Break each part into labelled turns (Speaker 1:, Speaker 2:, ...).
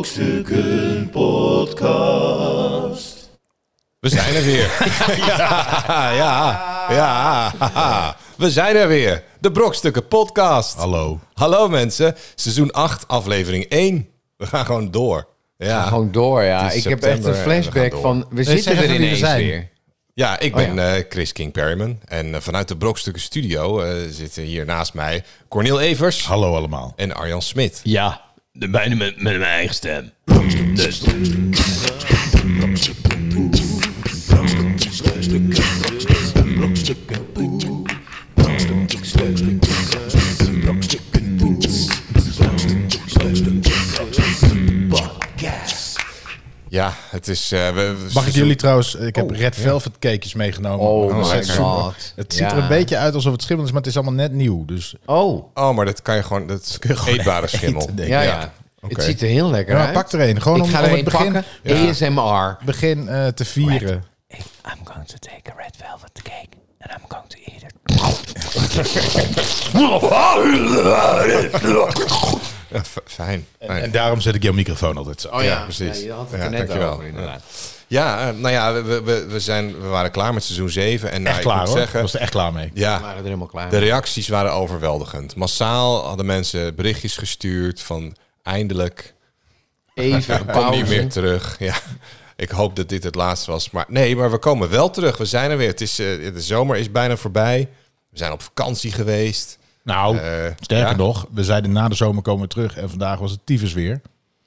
Speaker 1: Brokstukken Podcast.
Speaker 2: We zijn er weer. ja, ja, ja. haha. We zijn er weer. De Brokstukken Podcast.
Speaker 1: Hallo.
Speaker 2: Hallo mensen. Seizoen 8, aflevering 1. We gaan gewoon door. Ja,
Speaker 3: Gewoon door, ja.
Speaker 2: Het is
Speaker 3: Ik heb echt een
Speaker 2: september en we
Speaker 3: flashback
Speaker 2: gaan door.
Speaker 3: van... We zitten
Speaker 4: zeg
Speaker 3: er
Speaker 4: even wie we
Speaker 3: ineens
Speaker 4: zijn.
Speaker 3: weer.
Speaker 2: ja
Speaker 1: Oh,
Speaker 2: ik ben eh, Chris King Perryman. En eh, vanuit de Brokstukken Studio eh, zitten hier naast mij Cornel Evers
Speaker 1: Hallo allemaal.
Speaker 2: en Arjan Smit.
Speaker 4: Ja, de- bijna met, met mijn eigen stem. Dus.
Speaker 2: Ja, het is... eh, we, we-
Speaker 1: Mag ik jullie trouwens, ik heb
Speaker 2: Oh,
Speaker 1: Red Velvet cakejes meegenomen.
Speaker 3: Oh
Speaker 1: Dat
Speaker 3: my
Speaker 1: zijn super.
Speaker 3: god.
Speaker 1: Het ziet er
Speaker 3: Ja.
Speaker 1: een beetje uit alsof het schimmel is, maar het is allemaal net nieuw. Dus
Speaker 3: Oh,
Speaker 2: Oh, maar dat kan je gewoon... Dat is eetbare schimmel.
Speaker 1: eten, denk ik.
Speaker 3: ja, ja.
Speaker 2: Ja, oké.
Speaker 3: Het ziet er heel lekker
Speaker 1: Ja,
Speaker 3: uit.
Speaker 1: pak er één. Gewoon
Speaker 3: Ik
Speaker 1: om-
Speaker 3: ga
Speaker 1: om
Speaker 3: er
Speaker 1: het
Speaker 3: één
Speaker 1: begin-
Speaker 3: pakken.
Speaker 1: Ja.
Speaker 3: ASMR.
Speaker 1: begin eh, te vieren.
Speaker 4: I'm going to take a red velvet cake and I'm going to eat it.
Speaker 2: Ja, f- fijn. fijn.
Speaker 1: En daarom zet ik jouw microfoon altijd zo.
Speaker 3: Oh ja,
Speaker 2: Ja, precies.
Speaker 3: je had het
Speaker 2: Ja,
Speaker 3: er net
Speaker 2: dankjewel.
Speaker 3: over, inderdaad.
Speaker 2: Ja, eh, nou ja, we- we, we, we, zijn, we waren klaar met seizoen 7. En nou,
Speaker 1: Echt
Speaker 2: ik
Speaker 1: klaar
Speaker 2: moet
Speaker 1: hoor.
Speaker 2: zeggen,
Speaker 1: was er echt klaar mee.
Speaker 3: We
Speaker 2: ja,
Speaker 3: waren er helemaal klaar.
Speaker 2: de reacties waren overweldigend. Massaal hadden mensen berichtjes gestuurd van eindelijk
Speaker 3: Even een
Speaker 2: kom je weer
Speaker 3: pauze.
Speaker 2: terug. Ja, ik hoop dat dit het laatste was. Maar nee, maar we komen wel terug. We zijn er weer. Het is, eh, de zomer is bijna voorbij. We zijn op vakantie geweest.
Speaker 1: Nou,
Speaker 2: Eh,
Speaker 1: sterker
Speaker 2: ja.
Speaker 1: nog, we zeiden na de zomer komen we terug en vandaag was het tyfus weer.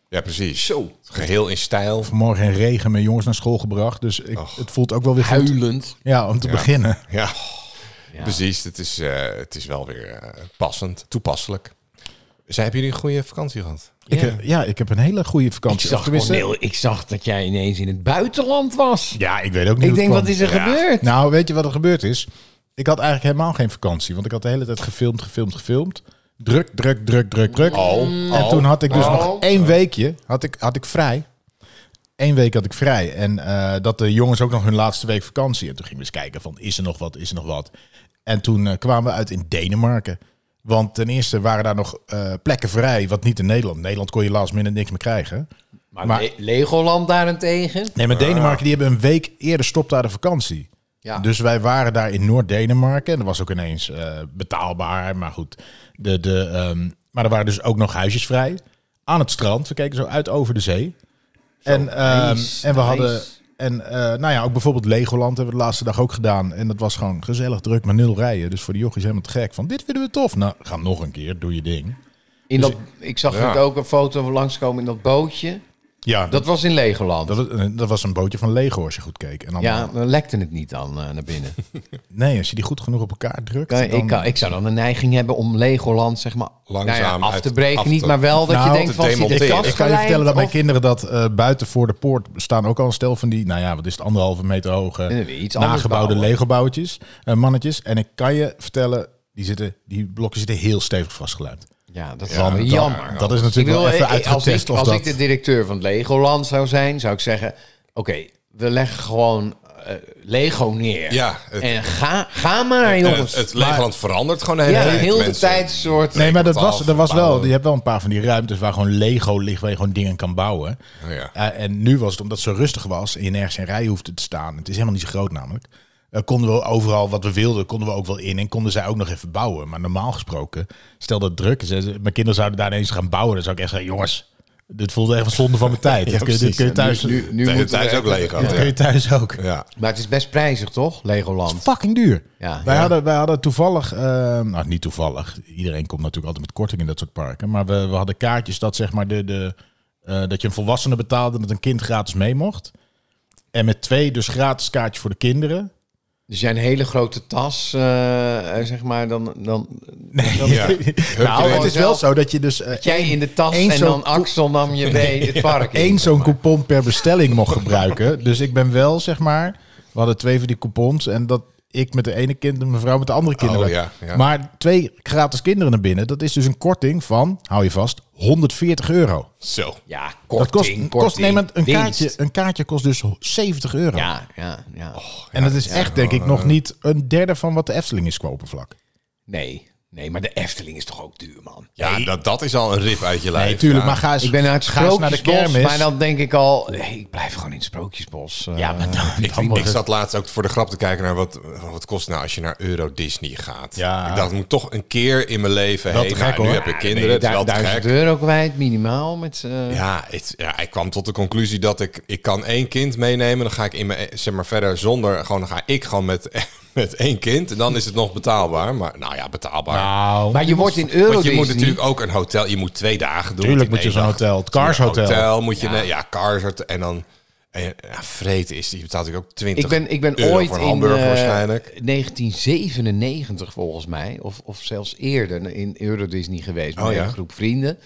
Speaker 2: Ja, precies. Zo. Geheel in stijl.
Speaker 1: Vanmorgen in regen mijn jongens naar school gebracht, dus ik,
Speaker 2: Och.
Speaker 1: het voelt ook wel weer goed.
Speaker 3: Huilend.
Speaker 1: Ja, om te beginnen.
Speaker 2: Ja,
Speaker 3: Ja.
Speaker 2: precies. Het is, eh, het is wel weer eh, passend, toepasselijk. Zij, hebben jullie een goede vakantie gehad?
Speaker 1: Ik,
Speaker 3: Ja.
Speaker 1: eh, ja, ik heb een hele goede
Speaker 3: Ik
Speaker 1: vakantie. Of
Speaker 3: zag,
Speaker 1: tenminste-
Speaker 3: Cornel, ik zag dat jij ineens in het buitenland was.
Speaker 1: Ja, ik weet ook niet
Speaker 3: ik
Speaker 1: hoe
Speaker 3: denk,
Speaker 1: het
Speaker 3: wat
Speaker 1: kwam.
Speaker 3: is er gebeurd?
Speaker 1: Nou, weet je wat er gebeurd is? Ik had eigenlijk helemaal geen vakantie, want ik had de hele tijd gefilmd, gefilmd, gefilmd. Druk, druk, druk, druk, druk. en toen had ik dus
Speaker 3: oh.
Speaker 1: nog één weekje, had ik, had ik vrij. Eén week had ik vrij. En eh, dat de jongens ook nog hun laatste week vakantie. En toen gingen we eens kijken van, is er nog wat, is er nog wat? En toen eh, kwamen we uit in Denemarken. Want ten eerste waren daar nog eh, plekken vrij, wat niet in Nederland. In Nederland kon je last minute niks meer krijgen. Ah.
Speaker 3: Maar,
Speaker 1: maar-
Speaker 3: Le- Legoland daarentegen?
Speaker 1: Nee, maar Denemarken die hebben een week eerder stopt daar de vakantie.
Speaker 3: Ja.
Speaker 1: Dus wij waren daar in Noord-Denemarken. En dat was ook ineens eh, betaalbaar. Maar goed, de, de, ehm, maar er waren dus ook nog huisjes vrij. Aan het strand. We keken zo uit over de zee. en, ehm,
Speaker 3: nice,
Speaker 1: en we
Speaker 3: nice.
Speaker 1: hadden. En eh, nou ja, ook bijvoorbeeld Legoland hebben we de laatste dag ook gedaan. En dat was gewoon gezellig druk met nul rijen. Dus voor de jochies helemaal te gek. Van dit vinden we tof. Nou, ga nog een keer. Doe je ding.
Speaker 3: In dat, ik zag
Speaker 2: Ja.
Speaker 3: net ook een foto van langskomen in dat bootje.
Speaker 1: Ja, dat,
Speaker 3: Dat was in Legoland.
Speaker 1: dat, was- dat was een bootje van Lego als je goed keek. En dan,
Speaker 3: ja, dan lekte het niet dan eh, naar binnen.
Speaker 1: Nee, als je die goed genoeg op elkaar drukt.
Speaker 3: Kan,
Speaker 1: dan-
Speaker 3: ik, kan, ik zou dan een neiging hebben om Legoland zeg maar
Speaker 2: Langzaam
Speaker 3: nou ja, af
Speaker 2: uit-
Speaker 3: te breken.
Speaker 2: af
Speaker 3: niet,
Speaker 2: te-
Speaker 3: maar wel dat
Speaker 1: Nou,
Speaker 3: je
Speaker 2: te
Speaker 3: denkt van zit de
Speaker 2: demonteren.
Speaker 3: kast
Speaker 1: Ik ga je vertellen dat mijn
Speaker 3: gelijmd
Speaker 1: kinderen dat eh, buiten voor de poort staan ook al een stel van die, nou ja, wat is het, anderhalve meter hoge,
Speaker 3: Nee, nee, iets anders
Speaker 1: nagebouwde
Speaker 3: bouwen.
Speaker 1: Lego-bouwtjes, eh, mannetjes. En ik kan je vertellen, die, zitten, die blokken zitten heel stevig vastgelijmd.
Speaker 3: of- Ja, dat is
Speaker 1: Want
Speaker 3: wel
Speaker 1: dat-
Speaker 3: jammer.
Speaker 1: Dat,
Speaker 3: Ik
Speaker 1: is natuurlijk
Speaker 3: bedoel,
Speaker 1: wel even
Speaker 3: eh, als ik,
Speaker 1: uitgetest of
Speaker 3: als
Speaker 1: dat...
Speaker 3: ik de directeur van het Legoland zou zijn, zou ik zeggen: Oké, we leggen gewoon eh, Lego neer.
Speaker 2: Ja, het-
Speaker 3: en ga, ga maar, jongens.
Speaker 2: Eh, het Legoland verandert gewoon de hele
Speaker 3: ja,
Speaker 2: tijd,
Speaker 3: heel de
Speaker 2: mensen.
Speaker 3: tijd een soort.
Speaker 1: Nee, maar dat
Speaker 2: twaalf
Speaker 1: was, dat was wel,
Speaker 2: bouwen.
Speaker 1: je hebt wel een paar van die ruimtes waar gewoon Lego ligt, waar je gewoon dingen kan bouwen.
Speaker 2: Oh ja.
Speaker 1: Eh, en nu was het omdat het zo rustig was en je nergens in rij hoefde te staan. Het is helemaal niet zo groot namelijk. Eh, konden we overal wat we wilden, konden we ook wel in en konden zij ook nog even bouwen. Maar normaal gesproken, stel dat het druk is, hè, ze- mijn kinderen zouden daar ineens gaan bouwen. Dan zou ik echt zeggen, jongens, dit voelde echt een zonde van mijn tijd. dit, kun, je- dit kun je thuis,
Speaker 3: Nu, nu
Speaker 2: De hele
Speaker 3: moeten we-
Speaker 2: tijd is ook Lego.
Speaker 1: dit kun je thuis ook.
Speaker 2: Ja.
Speaker 3: Maar het is best prijzig, toch? Legoland.
Speaker 1: Fucking duur.
Speaker 3: Ja.
Speaker 1: Wij, Hadden, wij hadden toevallig, eh, nou niet toevallig, iedereen komt natuurlijk altijd met korting in dat soort parken. Maar we, we hadden kaartjes dat zeg maar de, de, eh, dat je een volwassene betaalde en dat een kind gratis mee mocht. En met twee dus gratis kaartjes voor de kinderen.
Speaker 3: Dus jij een hele grote tas, eh, eh, zeg maar, dan, dan
Speaker 1: Nee,
Speaker 2: Ja.
Speaker 1: nou, het is wel zo dat je dus eh,
Speaker 3: jij in de tas
Speaker 1: één
Speaker 3: en
Speaker 1: zo'n
Speaker 3: dan Axel nam je mee het park in.
Speaker 1: één zo'n coupon per bestelling mocht gebruiken. Dus ik ben wel zeg maar, we hadden twee van die coupons en dat ik met de ene kind en mevrouw met de andere kinderen.
Speaker 2: Oh, ja, ja.
Speaker 1: Maar twee gratis kinderen naar binnen, dat is dus een korting van, hou je vast, 140 euro.
Speaker 2: Zo.
Speaker 3: Ja,
Speaker 1: Dat
Speaker 3: korting,
Speaker 1: kost,
Speaker 3: korting,
Speaker 1: kost nee, maar een,
Speaker 3: winst.
Speaker 1: kaartje, Oh. een kaartje kost dus 70 euro.
Speaker 3: Ja, ja, ja.
Speaker 1: en dat is echt, denk ik, nog niet een derde van wat de Efteling is qua oppervlak.
Speaker 3: Nee. Nee, maar de Efteling is toch ook duur, man?
Speaker 2: Ja, dat, dat is al een rip uit je lijf.
Speaker 1: Nee, tuurlijk,
Speaker 2: ja.
Speaker 1: maar ga eens,
Speaker 3: Ik ben naar het
Speaker 1: ga eens naar de
Speaker 3: Sprookjesbos,
Speaker 1: kermis.
Speaker 3: maar dan denk ik al... nee, ik blijf gewoon in het Sprookjesbos. eh.
Speaker 1: ja, maar dan,
Speaker 2: Ik,
Speaker 1: dan
Speaker 2: ik
Speaker 1: wordt het-
Speaker 2: zat laatst ook voor de grap te kijken naar wat, wat kost nou als je naar Euro Disney gaat.
Speaker 1: Ja.
Speaker 2: Ik dacht, ik moet toch een keer in mijn leven
Speaker 1: Wel te
Speaker 2: heen.
Speaker 1: gek,
Speaker 2: Nou, nu
Speaker 1: hoor.
Speaker 2: heb ik
Speaker 1: Ja,
Speaker 2: kinderen, het is
Speaker 3: Du-
Speaker 2: wel te
Speaker 3: duizend
Speaker 2: gek.
Speaker 3: euro kwijt, minimaal. Met, eh,
Speaker 2: Ja, het, ja, ik kwam tot de conclusie dat ik, ik kan één kind meenemen. Dan ga ik in mijn, zeg maar verder zonder, gewoon, dan ga ik gewoon met, met één kind. En dan is het nog betaalbaar. Maar nou ja, betaalbaar.
Speaker 1: Nou,
Speaker 3: Maar je wordt in euro
Speaker 2: Want je moet
Speaker 3: Disney-
Speaker 2: natuurlijk ook een hotel. Je moet twee dagen doen.
Speaker 1: Tuurlijk
Speaker 2: Want
Speaker 1: moet je
Speaker 2: in
Speaker 1: zo'n
Speaker 2: één dag
Speaker 1: hotel, het Cars
Speaker 2: moet je een
Speaker 1: Hotel.
Speaker 2: moet je ne- ja, Cars Hotel. En dan en, ja, vreten is die betaalt natuurlijk ook 20
Speaker 3: Ik ben, ik ben
Speaker 2: euro
Speaker 3: ooit
Speaker 2: voor
Speaker 3: in
Speaker 2: een hamburger
Speaker 3: eh,
Speaker 2: waarschijnlijk.
Speaker 3: 1997 volgens mij, of, of zelfs eerder, in Euro Disney geweest met
Speaker 2: Oh, ja?
Speaker 3: een groep vrienden.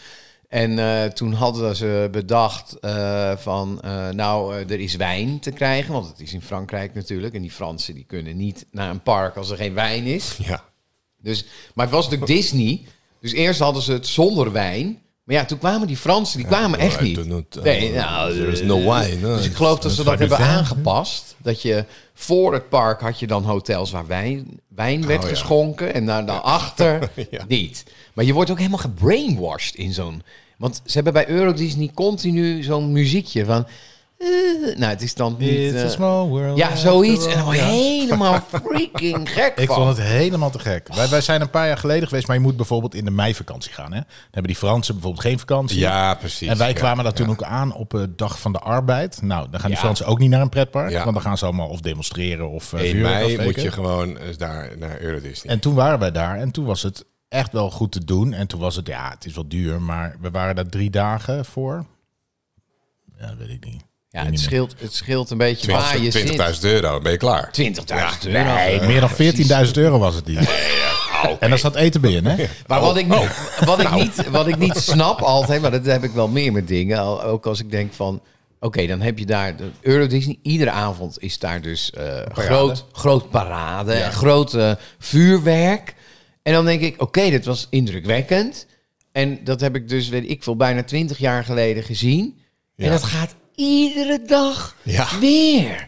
Speaker 3: En eh, toen hadden ze bedacht eh, van, eh, nou, eh, er is wijn te krijgen, want het is in Frankrijk natuurlijk. En die Fransen die kunnen niet naar een park als er geen wijn is.
Speaker 2: Ja.
Speaker 3: Dus, maar het was natuurlijk Disney. Dus eerst hadden ze het zonder wijn. Maar ja, toen kwamen die Fransen, die kwamen echt
Speaker 2: I
Speaker 3: niet.
Speaker 2: do not, uh,
Speaker 3: nee, nou,
Speaker 2: there is
Speaker 3: eh,
Speaker 2: no wine, hè.
Speaker 3: Dus ik geloof dat ze dat
Speaker 1: gaat niet
Speaker 3: hebben
Speaker 1: ver, hè?
Speaker 3: aangepast. Dat je voor het park had je dan hotels waar wijn, wijn werd
Speaker 2: Oh, ja.
Speaker 3: geschonken. En daar daarachter
Speaker 2: Ja.
Speaker 3: niet. Maar je wordt ook helemaal gebrainwashed in zo'n... Want ze hebben bij Euro Disney continu zo'n muziekje van... eh, nou, het is dan niet...
Speaker 1: It's a
Speaker 3: eh,
Speaker 1: small world
Speaker 3: ja,
Speaker 1: after
Speaker 3: zoiets.
Speaker 1: all.
Speaker 3: En dan word je
Speaker 1: Ja.
Speaker 3: helemaal freaking gek
Speaker 1: Ik
Speaker 3: van.
Speaker 1: vond het helemaal te gek. Wij, wij zijn een paar jaar geleden geweest, maar je moet bijvoorbeeld in de meivakantie gaan. Hè? Dan hebben die Fransen bijvoorbeeld geen vakantie.
Speaker 2: ja, precies.
Speaker 1: en wij
Speaker 2: Ja.
Speaker 1: kwamen daar toen ook aan op de dag van de arbeid. Nou, dan gaan die
Speaker 3: Ja.
Speaker 1: Fransen ook niet naar een pretpark.
Speaker 2: Ja.
Speaker 1: Want dan gaan ze allemaal of demonstreren of eh,
Speaker 2: In
Speaker 1: vuurwerk
Speaker 2: mei moet
Speaker 1: afsteken.
Speaker 2: je gewoon eens daar naar Euro Disney.
Speaker 1: En toen waren wij daar en toen was het echt wel goed te doen. En toen was het, ja, het is wel duur, maar we waren daar drie dagen voor. Ja, dat weet ik niet.
Speaker 3: Ja,
Speaker 1: Weet
Speaker 3: het
Speaker 1: niet
Speaker 3: scheelt, het scheelt een beetje waar je
Speaker 2: 20
Speaker 3: zit.
Speaker 2: 20.000 euro, dan ben je klaar.
Speaker 3: 20.000
Speaker 2: Ja,
Speaker 3: euro.
Speaker 1: meer. Meer dan 14.000 euro was het niet. En daar zat eten bij in, hè?
Speaker 3: Maar wat ik, wat, ik niet, wat ik niet snap altijd, maar dat heb ik wel meer met dingen. al- Ook als ik denk van, oké, dan heb je daar de Euro Disney. Iedere avond is daar dus eh, groot, groot parade en groot eh, vuurwerk. En dan denk ik, oké, dit was indrukwekkend. En dat heb ik dus, weet ik veel, bijna 20 jaar geleden gezien. En
Speaker 2: Ja.
Speaker 3: dat gaat iedere dag
Speaker 2: Ja.
Speaker 3: weer.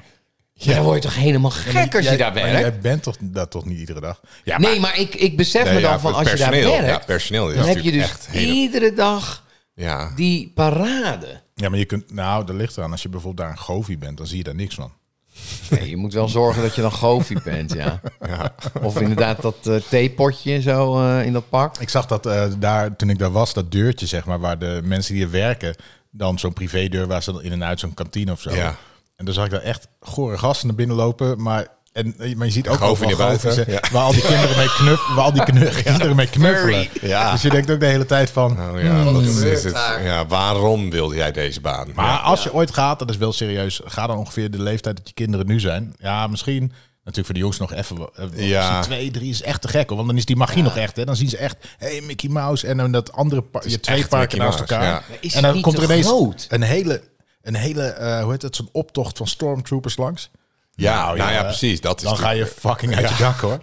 Speaker 3: Ja. Dan word je toch helemaal gek als je
Speaker 1: Jij-
Speaker 3: daar
Speaker 1: maar
Speaker 3: werkt?
Speaker 1: Jij bent toch, dat toch niet iedere dag? Ja,
Speaker 3: nee, maar ik, ik besef
Speaker 2: Nee,
Speaker 3: me dan
Speaker 2: ja,
Speaker 3: van
Speaker 2: voor
Speaker 3: als
Speaker 2: het
Speaker 3: je daar
Speaker 2: personeel.
Speaker 3: werkt,
Speaker 2: Ja, personeel is
Speaker 3: dan heb je
Speaker 2: natuurlijk
Speaker 3: dus
Speaker 2: echt hele-
Speaker 3: iedere dag
Speaker 2: Ja.
Speaker 3: die parade.
Speaker 1: Ja, maar je kunt, nou, dat ligt eraan. Als je bijvoorbeeld daar een goofy bent, dan zie je daar niks van.
Speaker 3: Nee, je moet wel zorgen dat je dan goofy bent, ja. Of inderdaad dat eh, theepotje zo eh, in dat pak.
Speaker 1: Ik zag dat eh, daar, toen ik daar was, dat deurtje, zeg maar, waar de mensen die er werken, dan zo'n privédeur waar ze dan in en uit zo'n kantine of zo.
Speaker 2: Ja.
Speaker 1: En dan zag ik daar echt gore gasten naar binnen lopen, maar... En, eh, maar je ziet ook
Speaker 2: Goofy
Speaker 1: overal
Speaker 2: naar buiten,
Speaker 1: gofies, hè,
Speaker 2: ja.
Speaker 1: waar al die kinderen mee, knuff, waar al die knu- kinderen mee knuffelen.
Speaker 2: Ja.
Speaker 1: Dus je denkt ook de hele tijd van...
Speaker 2: Oh ja, wat is het? ja, waarom wilde jij deze baan?
Speaker 1: Maar als je ooit gaat, dat is wel serieus, ga dan ongeveer de leeftijd dat je kinderen nu zijn. Ja, misschien natuurlijk voor de jongens nog even. eh, want
Speaker 2: Ja.
Speaker 1: misschien Twee, drie is echt te gek hoor. Want dan is die magie nog echt. Hè. Dan zien ze echt, hé hey, Mickey Mouse. En dan dat andere par- je
Speaker 2: is
Speaker 1: hebt twee
Speaker 2: echt
Speaker 1: parken
Speaker 2: Mickey
Speaker 1: naast
Speaker 2: Mouse,
Speaker 1: elkaar.
Speaker 2: ja. Maar
Speaker 3: is
Speaker 1: en
Speaker 3: het
Speaker 1: dan
Speaker 3: niet
Speaker 1: komt er
Speaker 3: te
Speaker 1: ineens
Speaker 3: groot?
Speaker 1: een hele, een hele eh, hoe heet dat, zo'n optocht van stormtroopers langs.
Speaker 2: ja, nou, ja,
Speaker 1: ja,
Speaker 2: precies. Dat is
Speaker 1: dan ga je
Speaker 2: natuurlijk-
Speaker 1: fucking uit je dak hoor.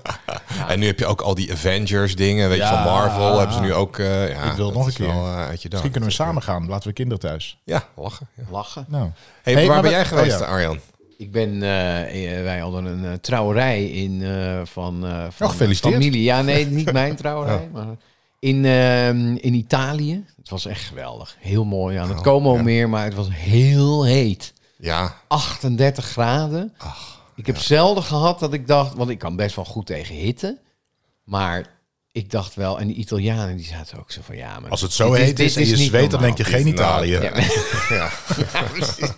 Speaker 2: En nu heb je ook al die Avengers dingen, weet je,
Speaker 1: Ja.
Speaker 2: van Marvel hebben ze nu ook. eh, ja,
Speaker 1: Ik wil
Speaker 2: dat
Speaker 1: nog een
Speaker 2: is
Speaker 1: keer.
Speaker 2: wel, eh, uit je dag.
Speaker 1: Misschien kunnen we samen gaan. Laten we kinderen thuis.
Speaker 2: Ja, lachen. Ja.
Speaker 3: Lachen.
Speaker 1: Nou.
Speaker 2: Hey,
Speaker 1: Hey,
Speaker 2: waar
Speaker 1: maar
Speaker 2: ben
Speaker 1: we-
Speaker 2: jij geweest,
Speaker 1: oh, ja.
Speaker 2: Arjan?
Speaker 3: Ik ben, eh, eh, wij hadden een eh, trouwerij in eh, van, eh van
Speaker 1: Oh, gefeliciteerd.
Speaker 3: familie. Ja, nee, niet mijn trouwerij, maar in, ehm, in Italië. Het was echt geweldig. Heel mooi aan het Como meer, maar het was heel heet.
Speaker 2: Ja,
Speaker 3: 38 graden. ik heb zelden gehad dat ik dacht, want ik kan best wel goed tegen hitte, maar ik dacht wel, en die Italianen die zaten ook zo van ja, maar
Speaker 1: Als het zo
Speaker 3: dit
Speaker 1: heet is, en
Speaker 3: dit
Speaker 1: je
Speaker 3: niet
Speaker 1: zweet, dan denk je
Speaker 2: normaal.
Speaker 1: geen
Speaker 2: Dit is
Speaker 1: Italië.
Speaker 2: nou-
Speaker 3: Ja. Ja, precies.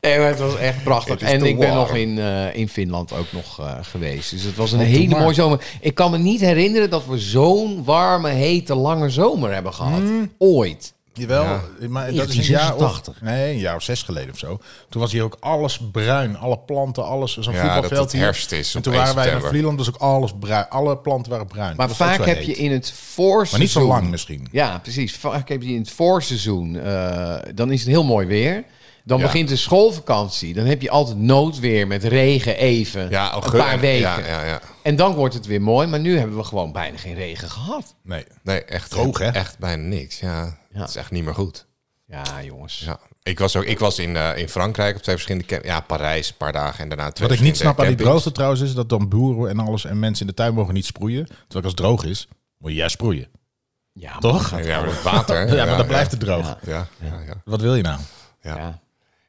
Speaker 3: Nee, maar het was echt prachtig.
Speaker 2: Het is
Speaker 3: En
Speaker 2: te
Speaker 3: ik ben
Speaker 2: warm.
Speaker 3: nog in, eh, in Finland ook nog eh, geweest. Dus het was een
Speaker 1: Oh, doe
Speaker 3: hele
Speaker 1: maar.
Speaker 3: mooie zomer. Ik kan me niet herinneren dat we zo'n warme, hete, lange zomer hebben gehad.
Speaker 1: Hmm.
Speaker 3: Ooit.
Speaker 1: Jawel, maar dat is een jaar of,
Speaker 3: 1986.
Speaker 1: nee, een jaar of zes geleden of zo. Toen was hier ook alles bruin, alle planten, alles. Zo'n
Speaker 2: Ja,
Speaker 1: voetbalveld
Speaker 2: dat het
Speaker 1: hier.
Speaker 2: herfst is
Speaker 1: En
Speaker 2: op
Speaker 1: toen
Speaker 2: 1
Speaker 1: waren wij naar
Speaker 2: september.
Speaker 1: Vlieland, dus ook alles bruin. Alle planten waren bruin.
Speaker 3: Maar
Speaker 1: Dat was ook
Speaker 3: vaak
Speaker 1: zo
Speaker 3: heb je
Speaker 1: heet.
Speaker 3: in het voorseizoen...
Speaker 1: Maar niet zo lang misschien.
Speaker 3: Ja, precies. Vaak heb je in het voorseizoen, eh, dan is het heel mooi weer. Dan
Speaker 2: Ja.
Speaker 3: begint de schoolvakantie. Dan heb je altijd noodweer met regen even.
Speaker 2: ja
Speaker 3: een
Speaker 2: augustus-
Speaker 3: paar weken.
Speaker 2: Ja, ja, ja.
Speaker 3: En dan wordt het weer mooi. Maar nu hebben we gewoon bijna geen regen gehad.
Speaker 1: Nee.
Speaker 2: Nee, echt,
Speaker 1: Droog, hè?
Speaker 2: echt bijna niks. Ja,
Speaker 3: Ja.
Speaker 2: het is echt niet meer goed.
Speaker 3: Ja, jongens.
Speaker 2: Ja. Ik was, ook, ik was in, eh, in Frankrijk op twee verschillende camp Ja, Parijs, een paar dagen en daarna twee
Speaker 1: Wat ik
Speaker 2: verschillende
Speaker 1: niet snap aan die
Speaker 2: campings.
Speaker 1: droogte trouwens is dat dan boeren en alles en mensen in de tuin mogen niet sproeien. Terwijl als het droog is, Moet je juist sproeien,
Speaker 3: Ja, maar
Speaker 1: toch?
Speaker 3: dat gaat
Speaker 2: Ja,
Speaker 3: wel.
Speaker 2: met water.
Speaker 1: Ja, maar dan blijft het droog.
Speaker 3: Ja.
Speaker 2: Ja, ja, ja.
Speaker 1: Wat wil je nou?
Speaker 3: Ja.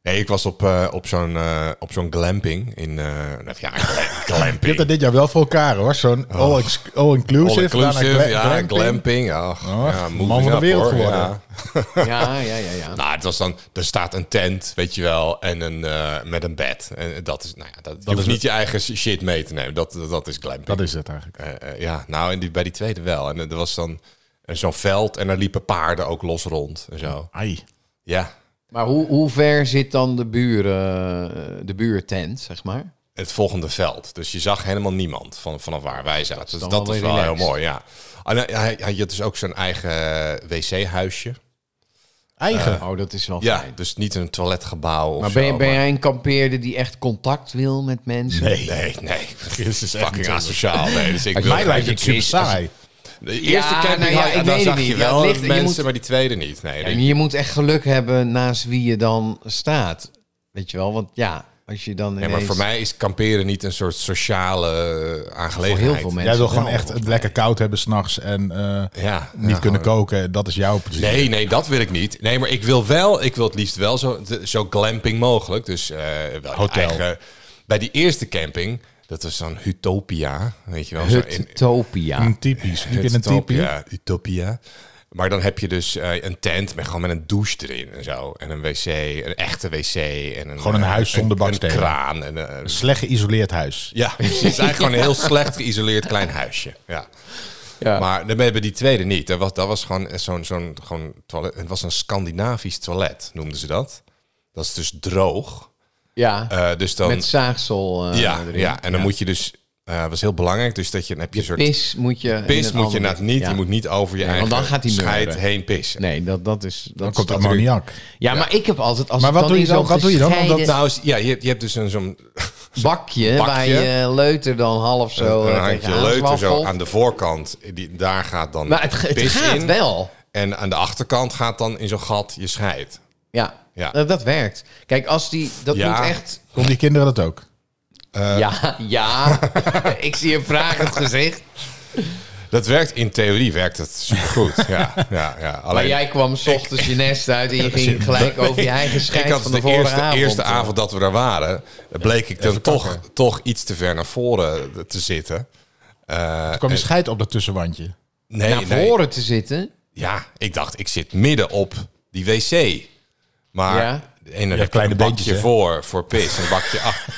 Speaker 2: Nee, ik was op, eh, op zo'n eh, op zo'n glamping in... eh ja, gla-
Speaker 1: Je hebt dat
Speaker 2: glamping.
Speaker 1: dit jaar wel voor elkaar hoor. Zo'n all-ex- all-inclusive.
Speaker 2: All
Speaker 1: daarna gla-
Speaker 2: inclusive, ja,
Speaker 1: glamping.
Speaker 2: glamping. Ja, ja,
Speaker 1: man
Speaker 2: moving
Speaker 1: van de
Speaker 2: up,
Speaker 1: wereld
Speaker 2: hoor,
Speaker 1: geworden.
Speaker 2: ja.
Speaker 3: ja, ja, ja, ja.
Speaker 2: Nou, het was dan, er staat een tent, weet je wel, en een, eh, met een bed. En dat is, nou ja, dat, je hoeft
Speaker 1: is
Speaker 2: niet
Speaker 1: het.
Speaker 2: je eigen shit mee te nemen. Dat, dat, dat is glamping.
Speaker 1: Dat is het eigenlijk.
Speaker 2: Eh, eh, ja, nou, en die, bij die tweede wel. En eh, er was dan eh, zo'n veld en er liepen paarden ook los rond en zo.
Speaker 1: Ai.
Speaker 2: Ja,
Speaker 3: Maar hoe, hoe ver zit dan de, buren, eh, de buurtent, zeg maar?
Speaker 2: het volgende veld. Dus je zag helemaal niemand van, vanaf waar wij zaten. Dus
Speaker 3: dan
Speaker 2: dat
Speaker 3: wel
Speaker 2: is
Speaker 3: weer
Speaker 2: wel heel
Speaker 3: relaxed.
Speaker 2: mooi, ja. En hij, hij, hij had dus ook zijn eigen eh, wc-huisje.
Speaker 1: Eigen.
Speaker 3: Oh, dat is wel
Speaker 2: Ja,
Speaker 3: fijn.
Speaker 2: dus niet een toiletgebouw of
Speaker 3: Maar ben,
Speaker 2: zo,
Speaker 3: je- ben
Speaker 2: maar-
Speaker 3: jij een kampeerder die echt contact wil met mensen?
Speaker 2: Nee, nee, nee.
Speaker 1: Christus, echt
Speaker 2: fucking
Speaker 1: niet
Speaker 2: asociaal. Nee, dus ik wil
Speaker 1: Mij lijkt het
Speaker 2: geen-
Speaker 1: super saai.
Speaker 2: De eerste
Speaker 3: Ja,
Speaker 2: camping
Speaker 3: nou ja,
Speaker 2: had-
Speaker 3: ik
Speaker 2: dan
Speaker 3: weet het
Speaker 2: zag
Speaker 3: niet.
Speaker 2: je
Speaker 3: Ja, het
Speaker 2: wel
Speaker 3: ligt- je
Speaker 2: mensen,
Speaker 3: moet-
Speaker 2: maar die tweede niet. Nee,
Speaker 3: Ja,
Speaker 2: ik-
Speaker 3: en je moet echt geluk hebben naast wie je dan staat. Weet je wel, want ja, als je dan.
Speaker 2: nee, maar voor mij is kamperen niet een soort sociale eh,
Speaker 3: Voor
Speaker 2: aangelegenheid.
Speaker 3: heel veel mensen.
Speaker 1: Jij wil gewoon
Speaker 3: wel,
Speaker 1: echt
Speaker 3: volgens
Speaker 1: het
Speaker 3: mij.
Speaker 1: lekker koud hebben s'nachts en eh,
Speaker 2: Ja,
Speaker 1: niet
Speaker 2: ja,
Speaker 1: kunnen
Speaker 2: gewoon-
Speaker 1: koken. Dat is jouw precies.
Speaker 2: Nee, nee, dat wil ik niet. Nee, maar ik wil wel, ik wil het liefst wel zo, de- zo glamping mogelijk. Dus eh, wel je
Speaker 1: Hotel.
Speaker 2: eigen- bij die eerste camping, dat was zo'n Utopia, weet je wel. zo in-
Speaker 3: Huttopia.
Speaker 2: Mm.
Speaker 1: Een typisch. Niet in een typie.
Speaker 2: Utopia, Utopia. Maar dan heb je dus eh, een tent met gewoon met een douche erin en zo. En een wc, een echte wc. En een,
Speaker 1: Gewoon een
Speaker 2: eh,
Speaker 1: huis zonder
Speaker 2: een-
Speaker 1: bakstenen.
Speaker 2: Een kraan. En, eh,
Speaker 1: Slecht geïsoleerd huis.
Speaker 2: ja, precies. Eigenlijk gewoon een heel slecht geïsoleerd klein huisje. Ja. Maar dan hebben die tweede niet. Dat was, dat was gewoon eh, zo'n zo'n gewoon toilet. Het was een Scandinavisch toilet, noemden ze dat. Dat is dus droog.
Speaker 3: Ja,
Speaker 2: Eh, dus dan,
Speaker 3: met zaagsel. eh,
Speaker 2: ja,
Speaker 3: erin.
Speaker 2: ja, en dan moet je dus... eh was heel belangrijk, dus dat je, dan heb je een soort
Speaker 3: Pis moet je. in
Speaker 2: Pis
Speaker 3: een
Speaker 2: moet je
Speaker 3: andere-
Speaker 2: inderdaad niet.
Speaker 3: Ja.
Speaker 2: Je moet niet over je
Speaker 3: Nee, want
Speaker 2: eigen
Speaker 3: dan gaat die
Speaker 2: scheid
Speaker 3: meuren.
Speaker 2: heen pissen.
Speaker 3: Nee, dat, dat is. Dat
Speaker 1: Dan
Speaker 3: is
Speaker 1: komt
Speaker 3: natuurlijk-
Speaker 1: ammoniak.
Speaker 3: Ja, maar ik heb altijd. Als
Speaker 1: Maar
Speaker 3: ik
Speaker 1: wat doe je
Speaker 3: in zo'n
Speaker 1: dan? Wat doe je dan? Omdat-
Speaker 3: gescheiden
Speaker 2: Nou, is- ja, je, hebt- je hebt dus een zo'n
Speaker 3: bakje,
Speaker 2: Nou, Bakje.
Speaker 3: waar je leuter dan half zo.
Speaker 2: een
Speaker 3: eh,
Speaker 2: handje
Speaker 3: tegenaan
Speaker 2: leuter zo
Speaker 3: zwaffelt.
Speaker 2: aan de voorkant. Die, daar gaat dan
Speaker 3: Maar het, het
Speaker 2: pis
Speaker 3: gaat
Speaker 2: in.
Speaker 3: wel.
Speaker 2: En aan de achterkant gaat dan in zo'n gat je scheid.
Speaker 3: Ja,
Speaker 2: Ja.
Speaker 3: Dat, dat werkt. Kijk, als die. Dat
Speaker 2: Ja.
Speaker 3: moet echt.
Speaker 1: Doen die kinderen dat ook?
Speaker 2: Eh,
Speaker 3: Ja, ja. ik zie een vragend gezicht.
Speaker 2: Dat werkt in theorie werkt het supergoed. ja, ja, ja.
Speaker 3: Maar
Speaker 2: Alleen,
Speaker 3: jij kwam s ochtends je nest uit en je ging gelijk over je eigen
Speaker 2: ik
Speaker 3: schijf
Speaker 2: had
Speaker 3: van
Speaker 2: het
Speaker 3: de,
Speaker 2: de,
Speaker 3: vorige
Speaker 2: eerste,
Speaker 3: avond. eh.
Speaker 2: eerste avond dat we daar waren, bleek ik dan toch,
Speaker 1: kakken.
Speaker 2: toch iets te ver naar voren te zitten. Eh,
Speaker 1: Er kwam die
Speaker 2: en-
Speaker 1: scheid op dat tussenwandje.
Speaker 2: nee,
Speaker 3: eh, naar
Speaker 2: nee.
Speaker 3: voren te zitten.
Speaker 2: Ja, ik dacht, ik zit midden op die wc. Maar
Speaker 3: Ja.
Speaker 2: en dan heb je
Speaker 1: kleine
Speaker 2: een bakje
Speaker 1: beentjes, hè?
Speaker 2: voor, voor pis en een bakje achter.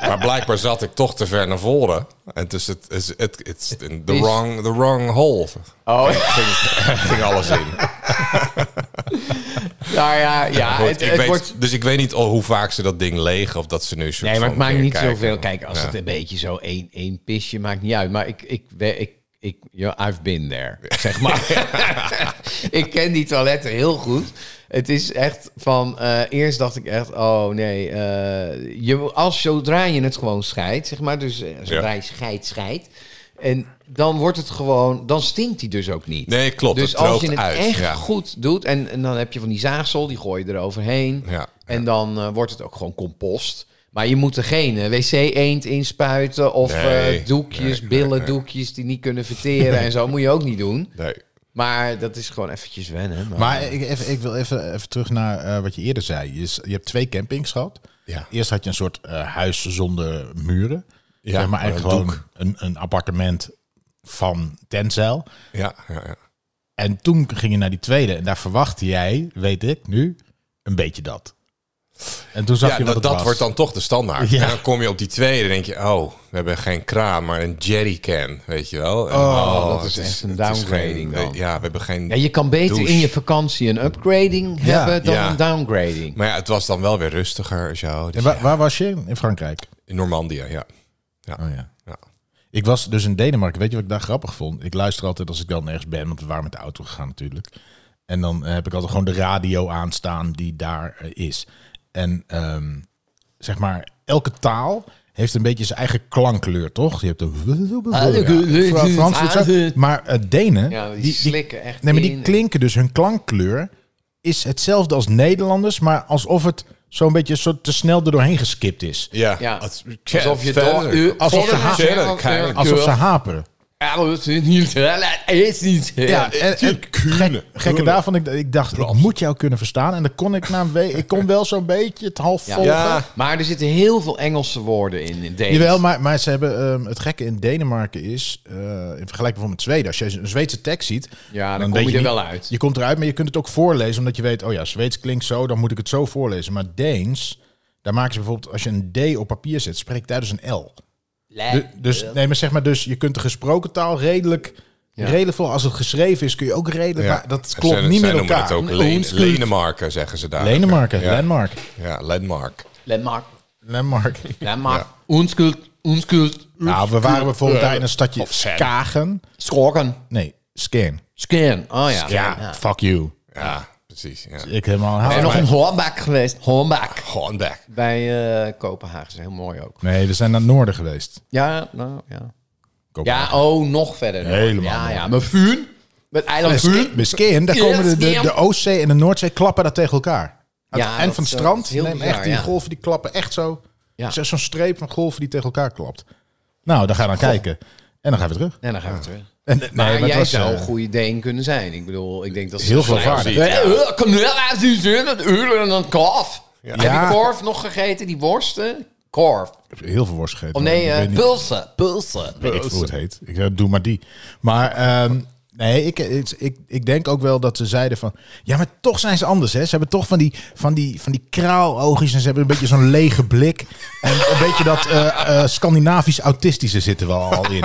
Speaker 2: Maar blijkbaar zat ik toch te ver naar voren. En dus het is het, it's in the,
Speaker 3: Is-
Speaker 2: wrong, the wrong hole.
Speaker 3: Oh,
Speaker 2: Ging alles in.
Speaker 3: nou ja, ja.
Speaker 2: Goed,
Speaker 3: het,
Speaker 2: ik
Speaker 3: het
Speaker 2: weet,
Speaker 3: wordt...
Speaker 2: Dus ik weet niet al hoe vaak ze dat ding leeg of dat ze nu soort
Speaker 3: Nee, maar
Speaker 2: van
Speaker 3: het maakt
Speaker 2: weer
Speaker 3: niet
Speaker 2: kijken.
Speaker 3: zoveel. Kijk, als het een beetje zo één, één pisje maakt niet uit. Maar ik, ik, ik, ik, ik yeah, I've been there, zeg maar. ik ken die toiletten heel goed. Het is echt van, eh, eerst dacht ik echt, oh nee, eh, je, als zodra je het gewoon scheidt, zeg maar, dus eh, zodra je scheidt, scheidt. En dan wordt het gewoon, dan stinkt die dus ook niet.
Speaker 2: Nee, klopt.
Speaker 3: Dus
Speaker 2: het
Speaker 3: als
Speaker 2: droogt
Speaker 3: je het
Speaker 2: uit.
Speaker 3: echt
Speaker 2: ja.
Speaker 3: goed doet, en, en dan heb je van die zaagsel, die gooi je eroverheen.
Speaker 2: Ja.
Speaker 3: En dan eh, wordt het ook gewoon compost. Maar je moet er geen eh, wc-eend in spuiten of
Speaker 2: Nee,
Speaker 3: eh, doekjes,
Speaker 2: nee,
Speaker 3: billendoekjes die niet kunnen verteren en zo. Moet je ook niet doen.
Speaker 2: Nee.
Speaker 3: Maar dat is gewoon eventjes wennen. Maar,
Speaker 1: Maar ik, even, ik wil even, even terug naar eh, wat je eerder zei. Je, is- je hebt twee campings gehad.
Speaker 2: Ja.
Speaker 1: Eerst had je een soort eh, huis zonder muren.
Speaker 2: Ja,
Speaker 1: zeg maar
Speaker 2: maar
Speaker 1: eigenlijk
Speaker 2: een
Speaker 1: gewoon een, een appartement van tentzeil.
Speaker 2: Ja, ja, ja.
Speaker 1: En toen ging je naar die tweede. En daar verwachtte jij, weet ik nu, een beetje dat. En toen zag
Speaker 2: Ja,
Speaker 1: je wat
Speaker 2: dat,
Speaker 1: het
Speaker 2: dat
Speaker 1: was.
Speaker 2: wordt dan toch de standaard.
Speaker 1: Ja.
Speaker 2: En dan kom je op die tweede en denk je... oh, we hebben geen kraan, maar een jerrycan, weet je wel. En,
Speaker 3: Oh, dat is
Speaker 2: het
Speaker 3: echt een
Speaker 2: het is
Speaker 3: downgrading
Speaker 2: geen-
Speaker 3: dan.
Speaker 2: Ja, we hebben geen...
Speaker 3: ja, je kan beter
Speaker 2: douche.
Speaker 3: in je vakantie een upgrading hebben dan
Speaker 2: ja.
Speaker 3: een downgrading.
Speaker 2: Maar ja, het was dan wel weer rustiger en zo. Dus
Speaker 1: En wa-
Speaker 2: ja,
Speaker 1: waar was je? In Frankrijk.
Speaker 2: in Normandië, ja.
Speaker 1: Oh ja.
Speaker 2: ja.
Speaker 1: Ik was dus in Denemarken. Weet je wat ik daar grappig vond? Ik luister altijd als ik dan ergens ben, want we waren met de auto gegaan natuurlijk. En dan eh, heb ik altijd gewoon de radio aanstaan die daar eh, is. En ehm, zeg maar, elke taal heeft een beetje zijn eigen klankkleur, toch? Je hebt een... Ja, Frans doet zo. Maar eh, Denen,
Speaker 3: Ja, die,
Speaker 1: die, die,
Speaker 3: slikken echt
Speaker 1: nee, maar
Speaker 3: in. eh.
Speaker 1: die klinken dus, hun klankkleur is hetzelfde als Nederlanders, maar alsof het zo'n beetje zo te snel er doorheen geskipt is.
Speaker 2: Ja,
Speaker 3: Ja.
Speaker 2: als-
Speaker 3: Alsof je
Speaker 2: verder.
Speaker 3: door- u-
Speaker 1: alsof ze
Speaker 2: Verder,
Speaker 1: haast-
Speaker 2: verder, kijk.
Speaker 1: Alsof ze haperen.
Speaker 3: Ja, maar dat is niet. dat Is niet.
Speaker 1: Ja, en, en gek, gekke daarvan, ik, ik dacht, ik moet jou kunnen verstaan. En dan kon ik na een week, ik kon wel zo'n beetje het half volgen.
Speaker 2: Ja.
Speaker 3: Maar er zitten heel veel Engelse woorden in. in Deens.
Speaker 1: Jawel, maar, maar ze hebben, ehm, het gekke in Denemarken is, eh, in vergelijking met Zweden, als je een Zweedse tekst ziet...
Speaker 3: Ja, dan kom
Speaker 1: weet
Speaker 3: je er
Speaker 1: niet-
Speaker 3: wel uit.
Speaker 1: Je komt eruit, maar je kunt het ook voorlezen, omdat je weet, oh ja, Zweeds klinkt zo, dan moet ik het zo voorlezen. Maar Deens, daar maken ze bijvoorbeeld, als je een D op papier zet, spreekt daar dus een L. Du- dus, nee, maar zeg maar, dus je kunt de gesproken taal redelijk, redelijk veel, als het geschreven is, kun je ook redelijk, maar dat
Speaker 2: Zij-
Speaker 1: klopt niet
Speaker 2: zij
Speaker 1: meer
Speaker 2: noemen
Speaker 1: elkaar.
Speaker 2: het ook
Speaker 1: Nee,
Speaker 2: Leen-
Speaker 1: ons-
Speaker 2: Lenemarken, zeggen ze daar.
Speaker 1: Lenemarken,
Speaker 2: Ja.
Speaker 1: Landmark.
Speaker 2: Ja, Landmark.
Speaker 3: Landmark.
Speaker 1: Landmark.
Speaker 3: Landmark. Onskuld. Onskuld.
Speaker 1: Nou, we waren bijvoorbeeld daar in een stadje
Speaker 2: Of Sen.
Speaker 1: Skagen.
Speaker 3: Schorken.
Speaker 1: Nee, Scan.
Speaker 3: Scan. Oh ja.
Speaker 1: Ja, fuck you.
Speaker 2: Ja, precies. Ja.
Speaker 1: Ik helemaal
Speaker 3: Er is
Speaker 1: haal.
Speaker 3: nog een Hornbach geweest. Hornbach.
Speaker 2: Gewoon back.
Speaker 3: Bij eh Kopenhagen. is heel mooi ook.
Speaker 1: Nee, we zijn naar het noorden geweest.
Speaker 3: Ja, nou ja. Ja,
Speaker 1: Kopenhagen.
Speaker 3: oh, nog verder.
Speaker 1: Helemaal
Speaker 3: Ja,
Speaker 1: nog.
Speaker 3: ja. Met vuur. Met eiland vuur.
Speaker 1: Bij Scan, daar
Speaker 3: Ja,
Speaker 1: komen de, de,
Speaker 3: Skien.
Speaker 1: de Oostzee en de Noordzee klappen daar tegen elkaar. Aan
Speaker 3: Ja,
Speaker 1: het eind
Speaker 3: dat
Speaker 1: van het
Speaker 3: is, eh, dat
Speaker 1: strand
Speaker 3: is heel
Speaker 1: nemen
Speaker 3: bizar,
Speaker 1: echt die
Speaker 3: ja.
Speaker 1: golven, die klappen echt zo.
Speaker 3: Ja.
Speaker 1: Zo- Zo'n streep van golven die tegen elkaar klapt. Nou, daar gaan we naar kijken. En dan gaan we terug.
Speaker 3: En dan gaan we terug.
Speaker 1: En, nee,
Speaker 3: Maar
Speaker 1: het
Speaker 3: jij
Speaker 1: was,
Speaker 3: zou
Speaker 1: eh,
Speaker 3: een goede Deen kunnen zijn. Ik bedoel, ik denk dat ze
Speaker 1: Heel veel
Speaker 3: gelijk
Speaker 1: vaardig.
Speaker 3: zien. Ja, eh, Kom nu uit die zin, dat uren en een kalf. Heb
Speaker 1: Ja.
Speaker 3: je korf nog gegeten? Die worsten? Korf.
Speaker 1: Heel veel worst gegeten.
Speaker 3: Of nee,
Speaker 1: Ik weet
Speaker 3: eh,
Speaker 1: niet-
Speaker 3: pulsen. Pulsen.
Speaker 1: Weet ik hoe het heet. Ik eh, doe maar die. Maar ehm, nee, ik, ik, ik, ik denk ook wel dat ze zeiden van... Ja, maar toch zijn ze anders, hè. Ze hebben toch van die, van die, van die kraaloogjes en ze hebben een beetje zo'n lege blik. En een beetje dat eh, eh, Scandinavisch-autistische zitten wel al in.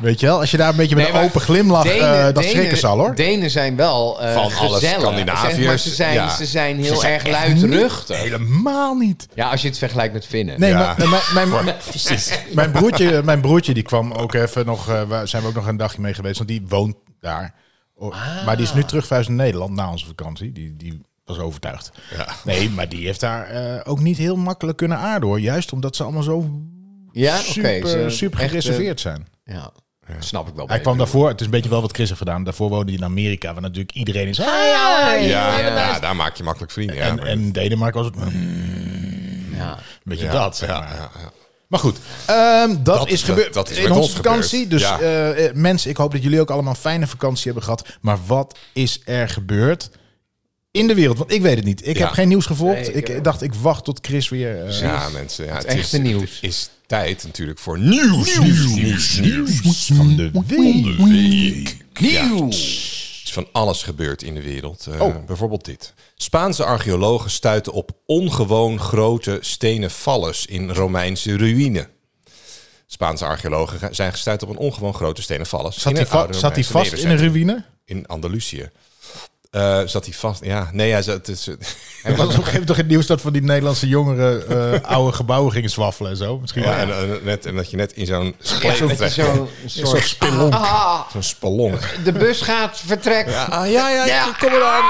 Speaker 1: Weet je wel? Als je daar een beetje met
Speaker 3: Nee,
Speaker 1: een
Speaker 3: maar
Speaker 1: open glimlach... eh,
Speaker 3: Denen-
Speaker 1: dat
Speaker 3: Denen-
Speaker 1: schrikken ze al, hoor.
Speaker 3: Denen zijn wel eh,
Speaker 2: Van alle
Speaker 3: gezellig.
Speaker 2: Scandinaviërs,
Speaker 3: Zeg maar ze zijn,
Speaker 2: ja.
Speaker 3: ze zijn heel
Speaker 2: zijn
Speaker 3: erg luidruchtig.
Speaker 1: Helemaal niet.
Speaker 3: Ja, als je het vergelijkt met Finnen.
Speaker 1: Nee,
Speaker 2: Ja.
Speaker 1: maar, maar- mijn, mijn, mijn broertje, mijn broertje die kwam ook even nog, eh, waar zijn we ook nog een dagje mee geweest, want die woont daar. O-
Speaker 3: Ah.
Speaker 1: Maar die is nu terug verhuisd naar Nederland na onze vakantie. Die, die was overtuigd. Nee, maar die heeft daar eh, ook niet heel makkelijk kunnen aarden hoor. Juist omdat ze allemaal zo
Speaker 3: Ja, Ah, oké.
Speaker 1: super,
Speaker 3: ze-
Speaker 1: super
Speaker 3: echt, eh,
Speaker 1: gereserveerd zijn.
Speaker 3: Ja, snap ik wel.
Speaker 1: Hij
Speaker 3: beter.
Speaker 1: kwam daarvoor, het is een beetje wel wat christig gedaan. Daarvoor woonde hij in Amerika, waar natuurlijk iedereen is. "Ah!"
Speaker 2: Ja, ja, daar maak je makkelijk vrienden. Ja,
Speaker 1: En,
Speaker 2: maar-
Speaker 1: en Denemarken was het. "Mm," Een
Speaker 3: Ja.
Speaker 1: beetje
Speaker 2: ja,
Speaker 1: dat. zeg
Speaker 2: ja,
Speaker 1: maar.
Speaker 2: ja, ja.
Speaker 1: Maar goed, ehm, dat,
Speaker 2: Dat-
Speaker 1: is gebeurd
Speaker 2: dat- dat is
Speaker 1: in
Speaker 2: met
Speaker 1: onze
Speaker 2: ons
Speaker 1: vakantie.
Speaker 2: gebeurd.
Speaker 1: Dus
Speaker 2: Ja.
Speaker 1: eh, eh, mensen, ik hoop dat jullie ook allemaal een fijne vakantie hebben gehad. Maar wat is er gebeurd in de wereld? Want ik weet het niet. Ik
Speaker 2: Ja.
Speaker 1: heb geen nieuws gevolgd.
Speaker 3: Nee, ik eh,
Speaker 1: ik
Speaker 3: ook.
Speaker 1: dacht, ik wacht tot Chris weer... eh,
Speaker 2: Ja, mensen. Ja, het
Speaker 3: echte
Speaker 2: is,
Speaker 3: nieuws.
Speaker 2: Het is tijd natuurlijk voor nieuws. Nieuws, nieuws, nieuws.
Speaker 1: van de week.
Speaker 2: week. Ja. is van alles gebeurd in de wereld. Eh, Bijvoorbeeld dit. Spaanse archeologen stuiten op ongewoon grote stenen valles in Romeinse ruïne. Spaanse archeologen ge- zijn gestuurd op een ongewoon grote stenen valles.
Speaker 1: Zat
Speaker 2: in
Speaker 1: hij,
Speaker 2: een
Speaker 1: va-
Speaker 2: oude
Speaker 1: zat hij
Speaker 2: Romeinse
Speaker 1: vast in een
Speaker 2: nederzetting
Speaker 1: ruïne?
Speaker 2: In Andalusië. Eh, zat hij vast? Ja, nee, hij zat... Het is,
Speaker 1: Er was op een gegeven moment toch het nieuws dat van die Nederlandse jongeren eh, oude gebouwen gingen zwaffelen en zo. Misschien
Speaker 2: ja,
Speaker 1: wel.
Speaker 2: en, en net, en dat je net in zo'n
Speaker 3: Ja,
Speaker 2: spleet
Speaker 3: dat je
Speaker 2: terecht-
Speaker 3: zo'n soort...
Speaker 1: spelonk.
Speaker 3: Ah,
Speaker 2: Zo'n spallon.
Speaker 3: de bus gaat vertrekken.
Speaker 2: Ah, ja, ja,
Speaker 3: Ja.
Speaker 2: kom eraan.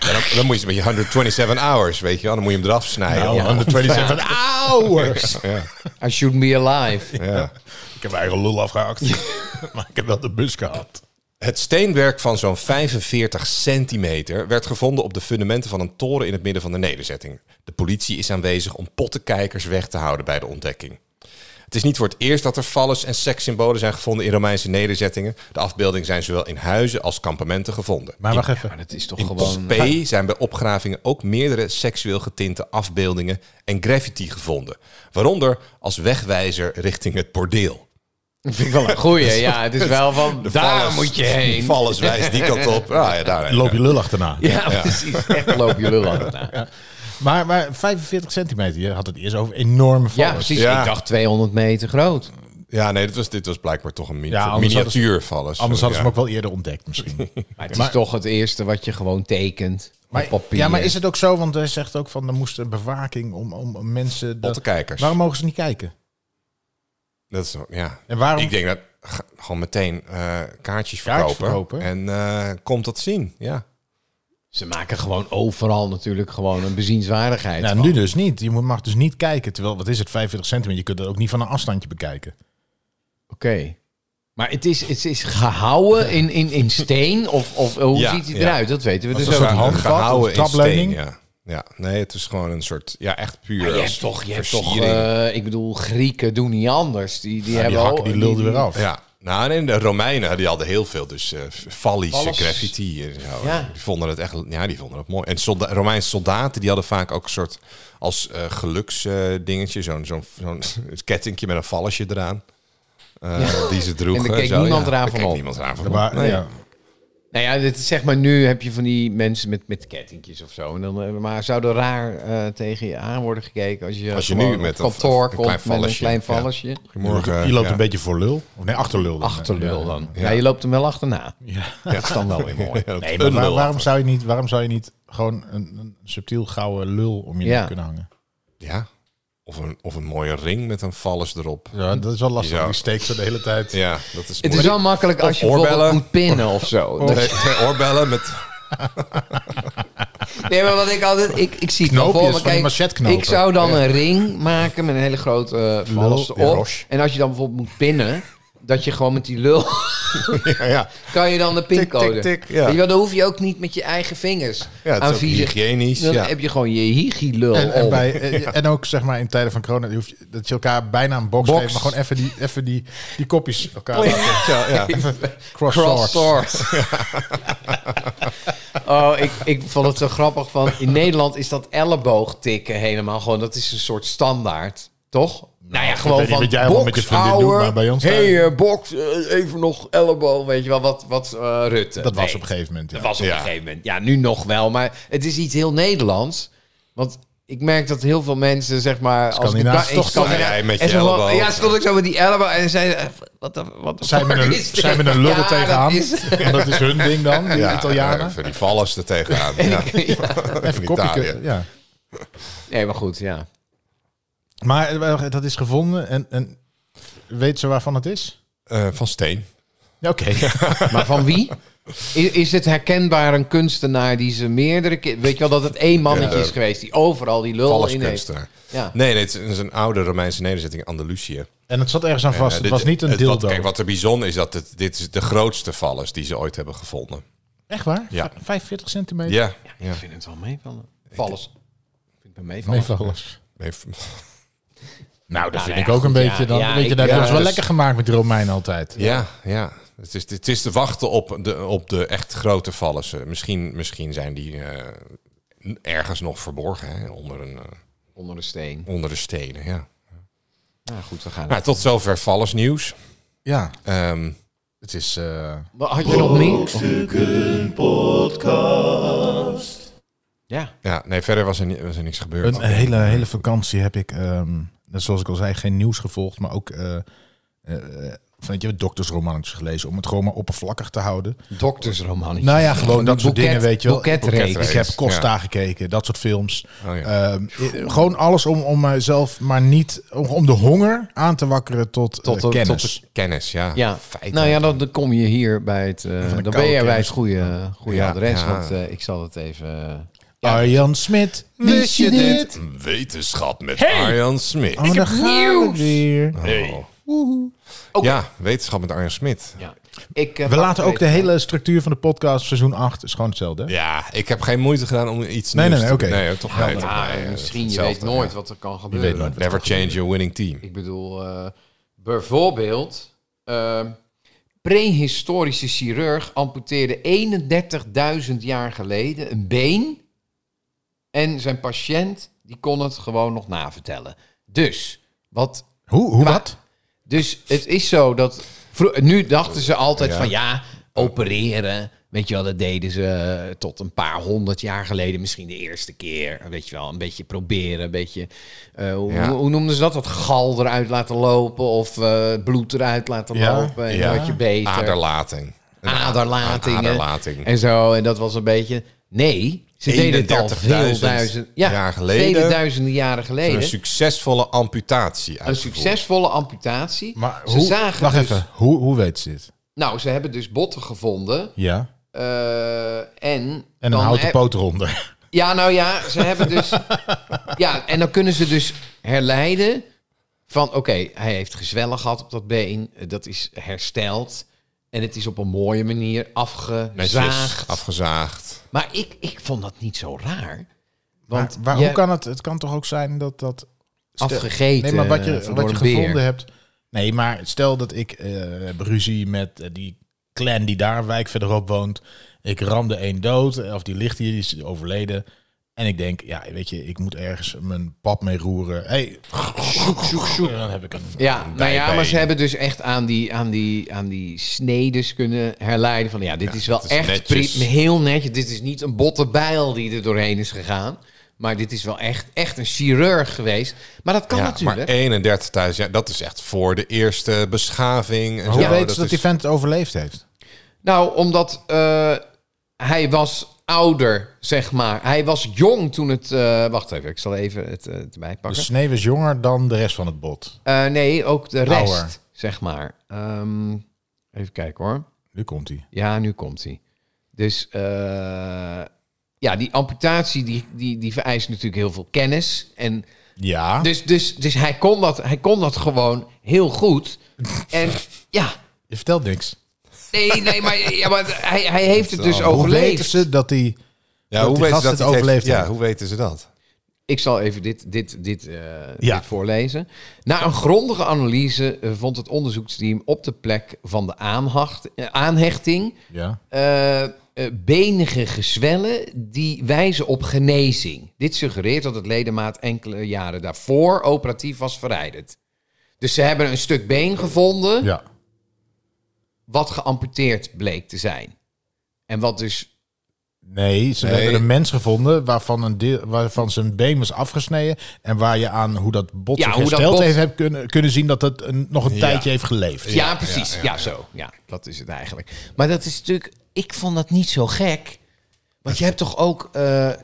Speaker 2: Ja, dan, dan moet je met je 127 hours, weet je wel. Dan moet je hem eraf snijden.
Speaker 1: Nou,
Speaker 2: Ja.
Speaker 1: 127 hours.
Speaker 2: Ja,
Speaker 3: I should be alive.
Speaker 2: ja.
Speaker 1: Ik heb mijn eigen lul afgehakt. maar ik heb wel de bus gehad.
Speaker 2: Het steenwerk van zo'n 45 centimeter werd gevonden op de fundamenten van een toren in het midden van de nederzetting. De politie is aanwezig om pottenkijkers weg te houden bij de ontdekking. Het is niet voor het eerst dat er valles en sekssymbolen zijn gevonden in Romeinse nederzettingen. De afbeeldingen zijn zowel in huizen als kampementen gevonden.
Speaker 1: Maar wacht even.
Speaker 3: Maar dat is toch
Speaker 2: In
Speaker 3: gewoon... eh,
Speaker 2: Pompeii zijn bij opgravingen ook meerdere seksueel getinte afbeeldingen en graffiti gevonden. Waaronder als wegwijzer richting het bordeel.
Speaker 3: Dat vind ik wel een goeie. Ja, het is wel van... daar
Speaker 2: Valles-
Speaker 3: moet je heen.
Speaker 2: Valles wijst die kant op. Ah, ja, daar,
Speaker 1: Loop je lul achterna.
Speaker 3: Ja, precies. Echt loop je lul achterna. Ja,
Speaker 1: Maar, maar 45 centimeter, je had het eerst over enorme vallen.
Speaker 3: precies.
Speaker 2: Ja.
Speaker 3: Ik dacht 200 meter groot.
Speaker 2: Ja, nee, dit was, dit was blijkbaar toch een mini
Speaker 1: Ja, anders
Speaker 2: miniatuurvalles.
Speaker 1: Anders hadden ze hem
Speaker 2: Ja.
Speaker 1: ook wel eerder ontdekt misschien.
Speaker 3: Maar het is toch het eerste wat je gewoon tekent.
Speaker 1: Maar-
Speaker 3: op papier.
Speaker 1: ja, maar is het ook zo? Want hij zegt ook van, er moest een bewaking om, om mensen... dat-
Speaker 2: Pottenkijkers.
Speaker 1: Waarom mogen ze niet kijken?
Speaker 2: Dat is, ja.
Speaker 1: En waarom...
Speaker 2: Ik denk dat g- gewoon meteen eh, kaartjes
Speaker 1: Kaartjes
Speaker 2: verkopen.
Speaker 1: verkopen.
Speaker 2: En eh, komt dat zien, ja.
Speaker 3: Ze maken gewoon overal natuurlijk gewoon een bezienswaardigheid
Speaker 1: nou,
Speaker 3: van.
Speaker 1: nu dus niet. Je moet- mag dus niet kijken. Terwijl, wat is het, 45 centimeter? Je kunt het ook niet van een afstandje bekijken.
Speaker 3: Oké. Maar het is, het is gehouden in, in, in steen? Of, of hoe
Speaker 2: Ja,
Speaker 3: ziet hij
Speaker 2: ja.
Speaker 3: eruit? Dat weten we dus
Speaker 1: een
Speaker 3: ook
Speaker 1: soort
Speaker 3: niet.
Speaker 1: handvat,
Speaker 2: gehouden
Speaker 1: een
Speaker 2: in steen,
Speaker 1: trapleuning.
Speaker 2: ja. Ja, nee, het is gewoon een soort, ja, echt puur.
Speaker 3: Maar je
Speaker 2: als
Speaker 3: hebt toch, je hebt toch
Speaker 2: versiering.
Speaker 3: eh, ik bedoel, Grieken doen niet anders. Die, die
Speaker 1: die
Speaker 3: hebben
Speaker 1: hakken
Speaker 3: ook.
Speaker 1: die lulden weer af.
Speaker 2: Ja. Nou, nee, de Romeinen die hadden heel veel, dus eh vallies,
Speaker 3: Alles.
Speaker 2: graffiti en zo.
Speaker 3: Ja.
Speaker 2: Die vonden het echt, ja, die vonden het mooi. En solda Romeinse soldaten, die hadden vaak ook een soort als eh geluksdingetje, zo'n zo'n zo'n kettingje met een vallesje eraan. eh, Die ze droegen.
Speaker 3: En daar keek
Speaker 2: zo,
Speaker 3: niemand
Speaker 2: ja.
Speaker 3: eraan
Speaker 2: Daar
Speaker 3: van
Speaker 2: keek
Speaker 3: op.
Speaker 2: niemand eraan van op.
Speaker 1: Maar,
Speaker 2: Nee.
Speaker 1: ja.
Speaker 3: Nou ja, dit is zeg maar nu heb je van die mensen met, met kettingjes of zo. En dan, eh, maar zouden raar eh, tegen je aan worden gekeken als je,
Speaker 2: Als je
Speaker 3: gewoon
Speaker 2: nu
Speaker 3: op
Speaker 2: met een-
Speaker 3: kantoor
Speaker 2: een
Speaker 3: komt
Speaker 2: klein
Speaker 3: met een
Speaker 2: vallesje.
Speaker 3: klein
Speaker 2: Ja.
Speaker 3: vallesje.
Speaker 2: Goedemorgen.
Speaker 1: je loopt
Speaker 2: eh, Ja.
Speaker 1: een beetje voor lul. Of nee, achter lul. dan.
Speaker 3: Achterlul dan. Ja.
Speaker 2: Ja.
Speaker 3: je loopt hem wel achterna.
Speaker 1: Ja.
Speaker 3: Dat is dan wel weer mooi.
Speaker 2: Ja, dat-
Speaker 3: Nee,
Speaker 1: Maar
Speaker 2: een
Speaker 1: waar-
Speaker 2: lul
Speaker 1: waarom,
Speaker 2: achter.
Speaker 1: zou je niet, waarom zou je niet gewoon een, een subtiel gouden lul om je
Speaker 3: Ja.
Speaker 1: nek kunnen hangen?
Speaker 2: Ja. Of een, of een mooie ring met een valles erop.
Speaker 1: Ja, dat is wel lastig.
Speaker 2: Ja.
Speaker 1: Die steekt zo de hele tijd.
Speaker 2: Ja, dat is
Speaker 3: Het is
Speaker 2: mooi.
Speaker 3: wel makkelijk als je bijvoorbeeld
Speaker 2: oorbellen.
Speaker 3: moet pinnen of zo. Dat-
Speaker 2: Twee, twee oorbellen met...
Speaker 3: Nee, maar wat ik altijd... Ik, ik zie het
Speaker 1: Knoopjes
Speaker 3: wel voor me.
Speaker 1: van die
Speaker 3: Kijk,
Speaker 1: machetknopen.
Speaker 3: Ik zou dan een ring maken met een hele grote uh,
Speaker 1: Lul, ja.
Speaker 3: erop. En als je dan bijvoorbeeld moet pinnen... Dat je gewoon met die lul...
Speaker 2: Ja, ja.
Speaker 3: kan je dan de pincode.
Speaker 2: tik, tik, ja.
Speaker 3: Weet je wel, dan hoef je ook niet met je eigen vingers
Speaker 2: ja het
Speaker 3: aan
Speaker 2: is ook
Speaker 3: vier.
Speaker 2: hygiënisch.
Speaker 3: Dan
Speaker 2: Ja.
Speaker 3: heb je gewoon je hygielul
Speaker 1: En, en,
Speaker 3: op.
Speaker 1: bij, eh, en ook zeg maar in tijden van corona, je hoeft, dat je elkaar bijna een box,
Speaker 2: Box.
Speaker 1: geeft, maar gewoon even die, even die, die kopjes elkaar laten
Speaker 2: Ja, ja.
Speaker 1: cross,
Speaker 3: Cross
Speaker 1: swords.
Speaker 3: swords. oh, ik, ik vond het zo grappig van... In Nederland is dat elleboogtikken helemaal gewoon... Dat is een soort standaard, toch? Nou ja, gewoon
Speaker 1: weet niet
Speaker 3: van
Speaker 1: wat jij allemaal met je vriendin doet,
Speaker 3: ouwe,
Speaker 1: maar bij ons
Speaker 3: Hey,
Speaker 1: thuis-
Speaker 3: eh, box, eh, even nog elleboog, weet je wel. Wat, wat eh, Rutte.
Speaker 1: Dat was
Speaker 3: Nee.
Speaker 1: op een gegeven moment. Ja.
Speaker 3: Dat was op
Speaker 2: Ja.
Speaker 3: een gegeven moment. Ja, nu nog wel. Maar het is iets heel Nederlands. Want ik merk dat heel veel mensen, zeg maar... Als ik
Speaker 1: Scandinavisch
Speaker 3: da-
Speaker 1: toch
Speaker 3: in Scandina-
Speaker 2: Ja, ja, met je
Speaker 3: en zo van-
Speaker 2: elleboog.
Speaker 3: Ja, stond ik zo met die elleboog en zei... eh, Wat de, wat de
Speaker 1: Zij met
Speaker 3: fuck
Speaker 1: een,
Speaker 3: is dit?
Speaker 1: zij met een lul
Speaker 3: Ja,
Speaker 1: er
Speaker 3: dat
Speaker 1: tegenaan.
Speaker 3: is-
Speaker 1: Want dat is hun ding dan, die Italianen.
Speaker 2: Even die vallers er tegenaan. Ja.
Speaker 1: Even
Speaker 2: in
Speaker 1: kopje.
Speaker 2: Italië.
Speaker 1: ke- Ja.
Speaker 3: Nee, maar goed, ja.
Speaker 1: Maar eh, dat is gevonden en, en weet ze waarvan het is?
Speaker 2: Eh, van steen.
Speaker 1: Ja, Oké.
Speaker 3: Maar van wie? I- Is het herkenbaar een kunstenaar die ze meerdere keer... Weet je wel, dat het één mannetje
Speaker 2: Ja.
Speaker 3: is geweest die overal die lul in heeft.
Speaker 2: Vallerskunstenaar.
Speaker 3: Ja.
Speaker 2: Nee, nee, het is een oude Romeinse nederzetting Andalusië.
Speaker 1: En het zat ergens aan vast.
Speaker 2: Eh,
Speaker 1: het
Speaker 2: dit-
Speaker 1: was niet een
Speaker 2: het- wat-
Speaker 1: dildo.
Speaker 2: Kijk, wat er bijzonder is, dat het, dit is de grootste vallers die ze ooit hebben gevonden.
Speaker 1: Echt waar?
Speaker 2: Ja.
Speaker 1: V- 45 centimeter?
Speaker 2: Ja. ja.
Speaker 3: Ik vind het wel meevallen. Valles. Ik vind het wel meevallen.
Speaker 1: Nee, alles.
Speaker 2: Nee, v-
Speaker 1: Nou, dat vind
Speaker 3: nou
Speaker 1: ik
Speaker 3: ja,
Speaker 1: ook een
Speaker 3: goed,
Speaker 1: beetje.
Speaker 3: ja,
Speaker 1: Dan,
Speaker 3: ja,
Speaker 1: weet je,
Speaker 3: ik-
Speaker 1: daar
Speaker 2: ja,
Speaker 1: hebben we ons wel
Speaker 2: dus-
Speaker 1: lekker gemaakt met de Romeinen altijd.
Speaker 2: ja, ja. Het is, het is te wachten op de, op de echt grote vallers. Eh, Misschien, misschien zijn die eh, ergens nog verborgen, hè, onder, een, eh,
Speaker 3: Onder de steen.
Speaker 2: onder de stenen. Ja.
Speaker 3: Nou goed, we gaan.
Speaker 2: Nou, tot zover vallersnieuws.
Speaker 1: Ja,
Speaker 2: Ehm
Speaker 1: het is... eh,
Speaker 3: Wat Had je nog meer? Ja.
Speaker 2: ja, nee, verder was er, ni- was er niks gebeurd.
Speaker 1: Een eh, hele, hele vakantie heb ik, ehm, net zoals ik al zei, geen nieuws gevolgd, maar ook eh eh, van weet je, doktersromannetjes gelezen om het gewoon maar oppervlakkig te houden.
Speaker 3: Doktersromannetje.
Speaker 1: Nou ja, gewoon dat soort
Speaker 3: boeket-
Speaker 1: dingen, weet je wel.
Speaker 3: boeketreeks.
Speaker 1: Ik heb
Speaker 2: Boeketreeks,
Speaker 1: Costa gekeken, dat soort films.
Speaker 2: Oh ja.
Speaker 1: Ehm, eh, gewoon alles om, om mijzelf, maar niet om, om de honger aan te wakkeren tot, eh,
Speaker 3: Tot de-
Speaker 1: kennis.
Speaker 3: tot
Speaker 2: Kennis, ja.
Speaker 3: Ja,
Speaker 2: Feiten.
Speaker 3: nou ja, dan, dan kom je hier bij het. eh,
Speaker 1: de
Speaker 3: dan ben
Speaker 1: koude
Speaker 3: je bij
Speaker 1: kennis.
Speaker 3: het goede, goede
Speaker 2: Ja,
Speaker 3: adres.
Speaker 2: ja.
Speaker 3: Want eh, ik zal het even.
Speaker 1: Arjan Smit, wist je dit?
Speaker 2: Wetenschap met Arjan Smit.
Speaker 1: Oh, daar gaan we weer.
Speaker 2: Oh. Ja, wetenschap met Arjan Smit.
Speaker 3: Ja. Ik, eh,
Speaker 1: We
Speaker 3: pak
Speaker 1: laten ook de
Speaker 3: twee-
Speaker 1: hele structuur van de podcast, seizoen 8, is gewoon hetzelfde. hè?
Speaker 2: Ja, ik heb geen moeite gedaan om iets
Speaker 1: Nee,
Speaker 2: nieuws
Speaker 1: nee,
Speaker 2: te
Speaker 1: nee, oké.
Speaker 2: Nee, toch nee, toch
Speaker 3: Ah,
Speaker 2: nee, eh,
Speaker 3: misschien, je weet
Speaker 2: hetzelfde,
Speaker 3: nooit
Speaker 2: ja.
Speaker 3: wat er kan
Speaker 1: Je
Speaker 3: gebeuren.
Speaker 1: weet nooit wat
Speaker 2: Never change your winning team.
Speaker 3: Ik bedoel, eh, bijvoorbeeld, eh, prehistorische chirurg amputeerde 31.000 jaar geleden een been. En zijn patiënt, die kon het gewoon nog navertellen. Dus, wat...
Speaker 1: Hoe, hoe
Speaker 3: Maar-
Speaker 1: wat?
Speaker 3: Dus het is zo dat... vro- Nu dachten ze altijd
Speaker 2: Ja.
Speaker 3: van ja, opereren. Weet je wel, dat deden ze eh, tot een paar honderd jaar geleden. Misschien de eerste keer. Weet je wel, een beetje proberen. Een beetje, eh, hoe,
Speaker 2: Ja.
Speaker 3: hoe noemden ze dat? Dat gal eruit laten lopen. Of eh, bloed eruit laten
Speaker 1: Ja,
Speaker 3: lopen. En
Speaker 2: ja.
Speaker 3: dan word je beter.
Speaker 2: Aderlating. Een a-
Speaker 3: Aderlatingen.
Speaker 2: een Aderlating.
Speaker 3: En zo, en dat was een beetje... Nee, ze deden het al veel
Speaker 2: 31.000
Speaker 3: duizend... Ja,
Speaker 2: jaar geleden.
Speaker 3: vele duizenden jaren geleden.
Speaker 2: Een
Speaker 3: Een,
Speaker 2: succesvolle amputatie uitgevoerd.
Speaker 3: succesvolle amputatie.
Speaker 1: Maar
Speaker 3: ze
Speaker 1: hoe,
Speaker 3: zagen
Speaker 1: wacht
Speaker 3: dus-
Speaker 1: even, hoe, hoe weet ze dit?
Speaker 3: Nou, ze hebben dus botten gevonden.
Speaker 1: Ja.
Speaker 3: eh, en
Speaker 1: En een houten
Speaker 3: heb-
Speaker 1: poot eronder.
Speaker 3: Ja, nou ja, ze hebben dus... ja, en dan kunnen ze dus herleiden van... Oké, hij heeft gezwellen gehad op dat been. eh, Dat is hersteld. En het is op een mooie manier
Speaker 2: Netjes,
Speaker 3: afgezaagd.
Speaker 2: afgezaagd.
Speaker 3: Maar ik, ik vond dat niet zo raar.
Speaker 1: Want
Speaker 3: Want
Speaker 1: maar, waar-
Speaker 3: je-
Speaker 1: hoe kan het? Het kan toch ook zijn dat dat... stel-
Speaker 3: Afgegeten
Speaker 1: Nee, maar wat
Speaker 3: eh,
Speaker 1: je,
Speaker 3: door
Speaker 1: wat je
Speaker 3: een beer.
Speaker 1: gevonden hebt... Nee, maar stel dat ik eh, heb ruzie met eh, die clan die daar een wijk verderop woont. Ik ram de een dood, eh, of die ligt hier, die is overleden. En ik denk, ja, weet je, ik moet ergens mijn pap mee roeren. hey, en dan heb ik een...
Speaker 3: Ja, nou ja,
Speaker 1: bij-
Speaker 3: maar ze hebben dus echt aan die, aan die, aan die snedes kunnen herleiden van ja, dit is wel
Speaker 2: het is
Speaker 3: echt
Speaker 2: netjes.
Speaker 3: pri- heel netjes. Dit is niet een botte bijl die er doorheen is gegaan. Maar dit is wel echt, echt een chirurg geweest. Maar dat kan
Speaker 2: Ja,
Speaker 3: natuurlijk.
Speaker 2: Maar eh, 31 thuis, ja, dat is echt voor de eerste beschaving. En
Speaker 1: Hoe
Speaker 2: zo.
Speaker 1: weten
Speaker 3: Oh,
Speaker 1: ze dat
Speaker 2: is-
Speaker 1: die vent het overleefd heeft?
Speaker 3: Nou, omdat eh, hij was ouder, zeg maar. Hij was jong toen het... eh, wacht even, ik zal even het eh, erbij
Speaker 1: De
Speaker 2: Dus
Speaker 3: pakken.
Speaker 1: sneeuw is jonger dan de rest van het bot.
Speaker 3: Eh, nee, ook de rest,
Speaker 1: Ouder.
Speaker 3: zeg maar. Ehm, even kijken hoor.
Speaker 1: Nu komt hij.
Speaker 3: Ja, nu komt hij. Dus eh, ja, die amputatie die, die, die vereist natuurlijk heel veel kennis. En
Speaker 1: Ja.
Speaker 3: dus, dus, dus hij, kon dat, hij kon dat gewoon heel goed. En ja,
Speaker 1: Je vertelt niks.
Speaker 3: nee, nee, maar, ja, maar hij, hij heeft het dus
Speaker 1: Hoe weten
Speaker 3: overleefd.
Speaker 1: ze dat hij...
Speaker 2: Ja,
Speaker 1: dat
Speaker 2: hoe
Speaker 1: die
Speaker 2: weten ze dat
Speaker 1: gast het
Speaker 2: hij heeft-
Speaker 1: overleefd
Speaker 2: Ja,
Speaker 1: heeft?
Speaker 2: hoe weten ze dat?
Speaker 3: Ik zal even dit, dit, dit, eh,
Speaker 1: Ja.
Speaker 3: dit voorlezen. Na een grondige analyse eh, vond het onderzoeksteam op de plek van de aanhacht, eh, aanhechting
Speaker 1: Ja.
Speaker 3: eh, eh, benige gezwellen die wijzen op genezing. Dit suggereert dat het ledemaat enkele jaren daarvoor operatief was verwijderd. Dus ze hebben een stuk been gevonden
Speaker 1: Ja.
Speaker 3: wat geamputeerd bleek te zijn. En wat dus...
Speaker 1: Nee, ze
Speaker 2: Nee.
Speaker 1: hebben een mens gevonden waarvan, een deel, waarvan zijn been was afgesneden. En waar je aan hoe dat bot
Speaker 3: Ja,
Speaker 1: zich
Speaker 3: hoe dat
Speaker 1: hersteld
Speaker 3: bot-
Speaker 1: heeft, hebt kunnen, kunnen zien dat het een, nog een tijdje heeft geleefd.
Speaker 3: Ja, precies. Ja, zo. Ja, dat is het eigenlijk. Maar dat is natuurlijk... Ik vond dat niet zo gek. Want je hebt toch ook... eh, eh,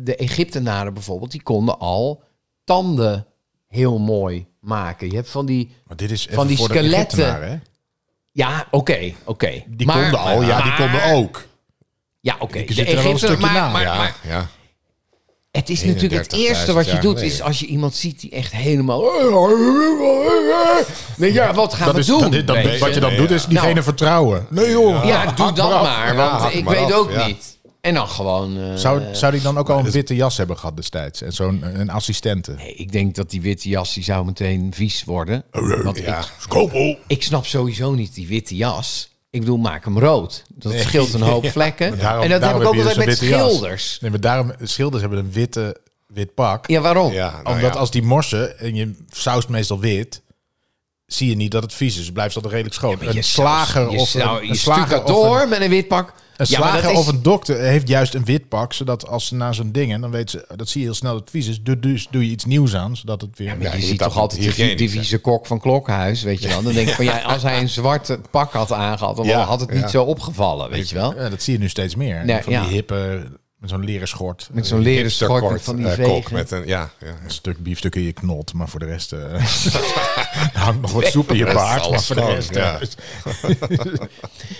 Speaker 3: de Egyptenaren bijvoorbeeld, die konden al tanden heel mooi maken. Je hebt van die...
Speaker 1: Maar dit is even
Speaker 3: Van die
Speaker 1: voor de
Speaker 3: skeletten.
Speaker 1: Egyptenaren, hè?
Speaker 3: Ja, oké, oké.
Speaker 1: Die
Speaker 3: Maar-
Speaker 1: konden al, ja, die
Speaker 3: maar-
Speaker 1: konden ook.
Speaker 3: Ja, oké.
Speaker 1: Die
Speaker 3: De
Speaker 1: zitten er wel een
Speaker 3: Egypten,
Speaker 1: stukje
Speaker 3: maar,
Speaker 1: na,
Speaker 3: maar,
Speaker 2: Ja,
Speaker 3: maar
Speaker 2: ja.
Speaker 3: het is natuurlijk het
Speaker 2: 31.000
Speaker 3: eerste wat je
Speaker 2: jaar
Speaker 3: doet,
Speaker 2: geleden.
Speaker 3: is als je iemand ziet die echt helemaal... Nee, ja, wat gaan
Speaker 1: Dat
Speaker 3: we
Speaker 1: is,
Speaker 3: Nou, doen?
Speaker 1: dat is- dat-
Speaker 3: weet
Speaker 1: wat je dan
Speaker 2: Ja.
Speaker 1: doet is diegene
Speaker 3: Nou.
Speaker 1: vertrouwen. Nee joh.
Speaker 3: Ja, doe dat Oh, maar, want
Speaker 2: hak
Speaker 3: ik
Speaker 2: maar
Speaker 3: weet
Speaker 2: af,
Speaker 3: ook
Speaker 2: ja.
Speaker 3: niet. En dan gewoon... eh,
Speaker 1: Zou, zou die dan ook al een witte jas hebben gehad destijds? En zo'n eh, een assistente.
Speaker 3: nee, ik denk dat die witte jas, die zou meteen vies worden. Want
Speaker 2: ja.
Speaker 3: ik, ik snap sowieso niet die witte jas. Ik bedoel, maak hem rood. Dat scheelt een hoop vlekken.
Speaker 1: Daarom-
Speaker 3: en dat heb
Speaker 1: daarom
Speaker 3: ik ook
Speaker 1: je
Speaker 3: altijd met
Speaker 1: dus een witte jas.
Speaker 3: schilders.
Speaker 1: Nee, maar daarom, schilders hebben een witte, wit pak.
Speaker 3: Ja, waarom?
Speaker 2: Ja, nou
Speaker 1: Omdat
Speaker 2: ja.
Speaker 1: als die morsen, en je saust meestal wit, zie je niet dat het vies is. Het blijft altijd redelijk schoon.
Speaker 3: Ja,
Speaker 1: een
Speaker 3: je
Speaker 1: slager
Speaker 3: zou- je
Speaker 1: of een,
Speaker 3: zou-
Speaker 1: een
Speaker 3: je
Speaker 1: slager
Speaker 3: door
Speaker 1: of een,
Speaker 3: met een wit pak.
Speaker 1: een
Speaker 3: Ja, maar dat
Speaker 1: slager
Speaker 3: is-
Speaker 1: of een dokter heeft juist een wit pak, zodat als ze naar zo'n ding en dan weet ze, dat zie je heel snel dat het vies is. Dus- Dus doe je iets nieuws aan, zodat het weer.
Speaker 3: je
Speaker 2: je
Speaker 3: ziet
Speaker 2: moet
Speaker 3: toch
Speaker 2: dat
Speaker 3: altijd die,
Speaker 2: hygiënisch
Speaker 3: vie- die
Speaker 2: zijn.
Speaker 3: vieze kok van Klokhuis, weet je wel. Dan denk ik van ja, als hij een zwart pak had aangehad, dan
Speaker 2: Ja,
Speaker 3: had het niet
Speaker 2: ja.
Speaker 3: zo opgevallen, weet je wel.
Speaker 1: Ja, dat zie je nu steeds meer.
Speaker 3: Oh. Nee,
Speaker 1: van
Speaker 3: ja.
Speaker 1: die hippe met zo'n leren schort,
Speaker 3: Met zo'n leren schort met
Speaker 2: Hipsterkort,
Speaker 3: van die
Speaker 2: eh, kok
Speaker 3: vegen.
Speaker 2: met een... Ja, ja.
Speaker 1: een stuk biefstuk in je knot, maar voor de rest eh, er hangt nog wat soep in je
Speaker 2: Dat is
Speaker 1: baard,
Speaker 2: alles
Speaker 1: maar voor de
Speaker 2: schoon,
Speaker 1: rest.
Speaker 2: ja.
Speaker 1: eh,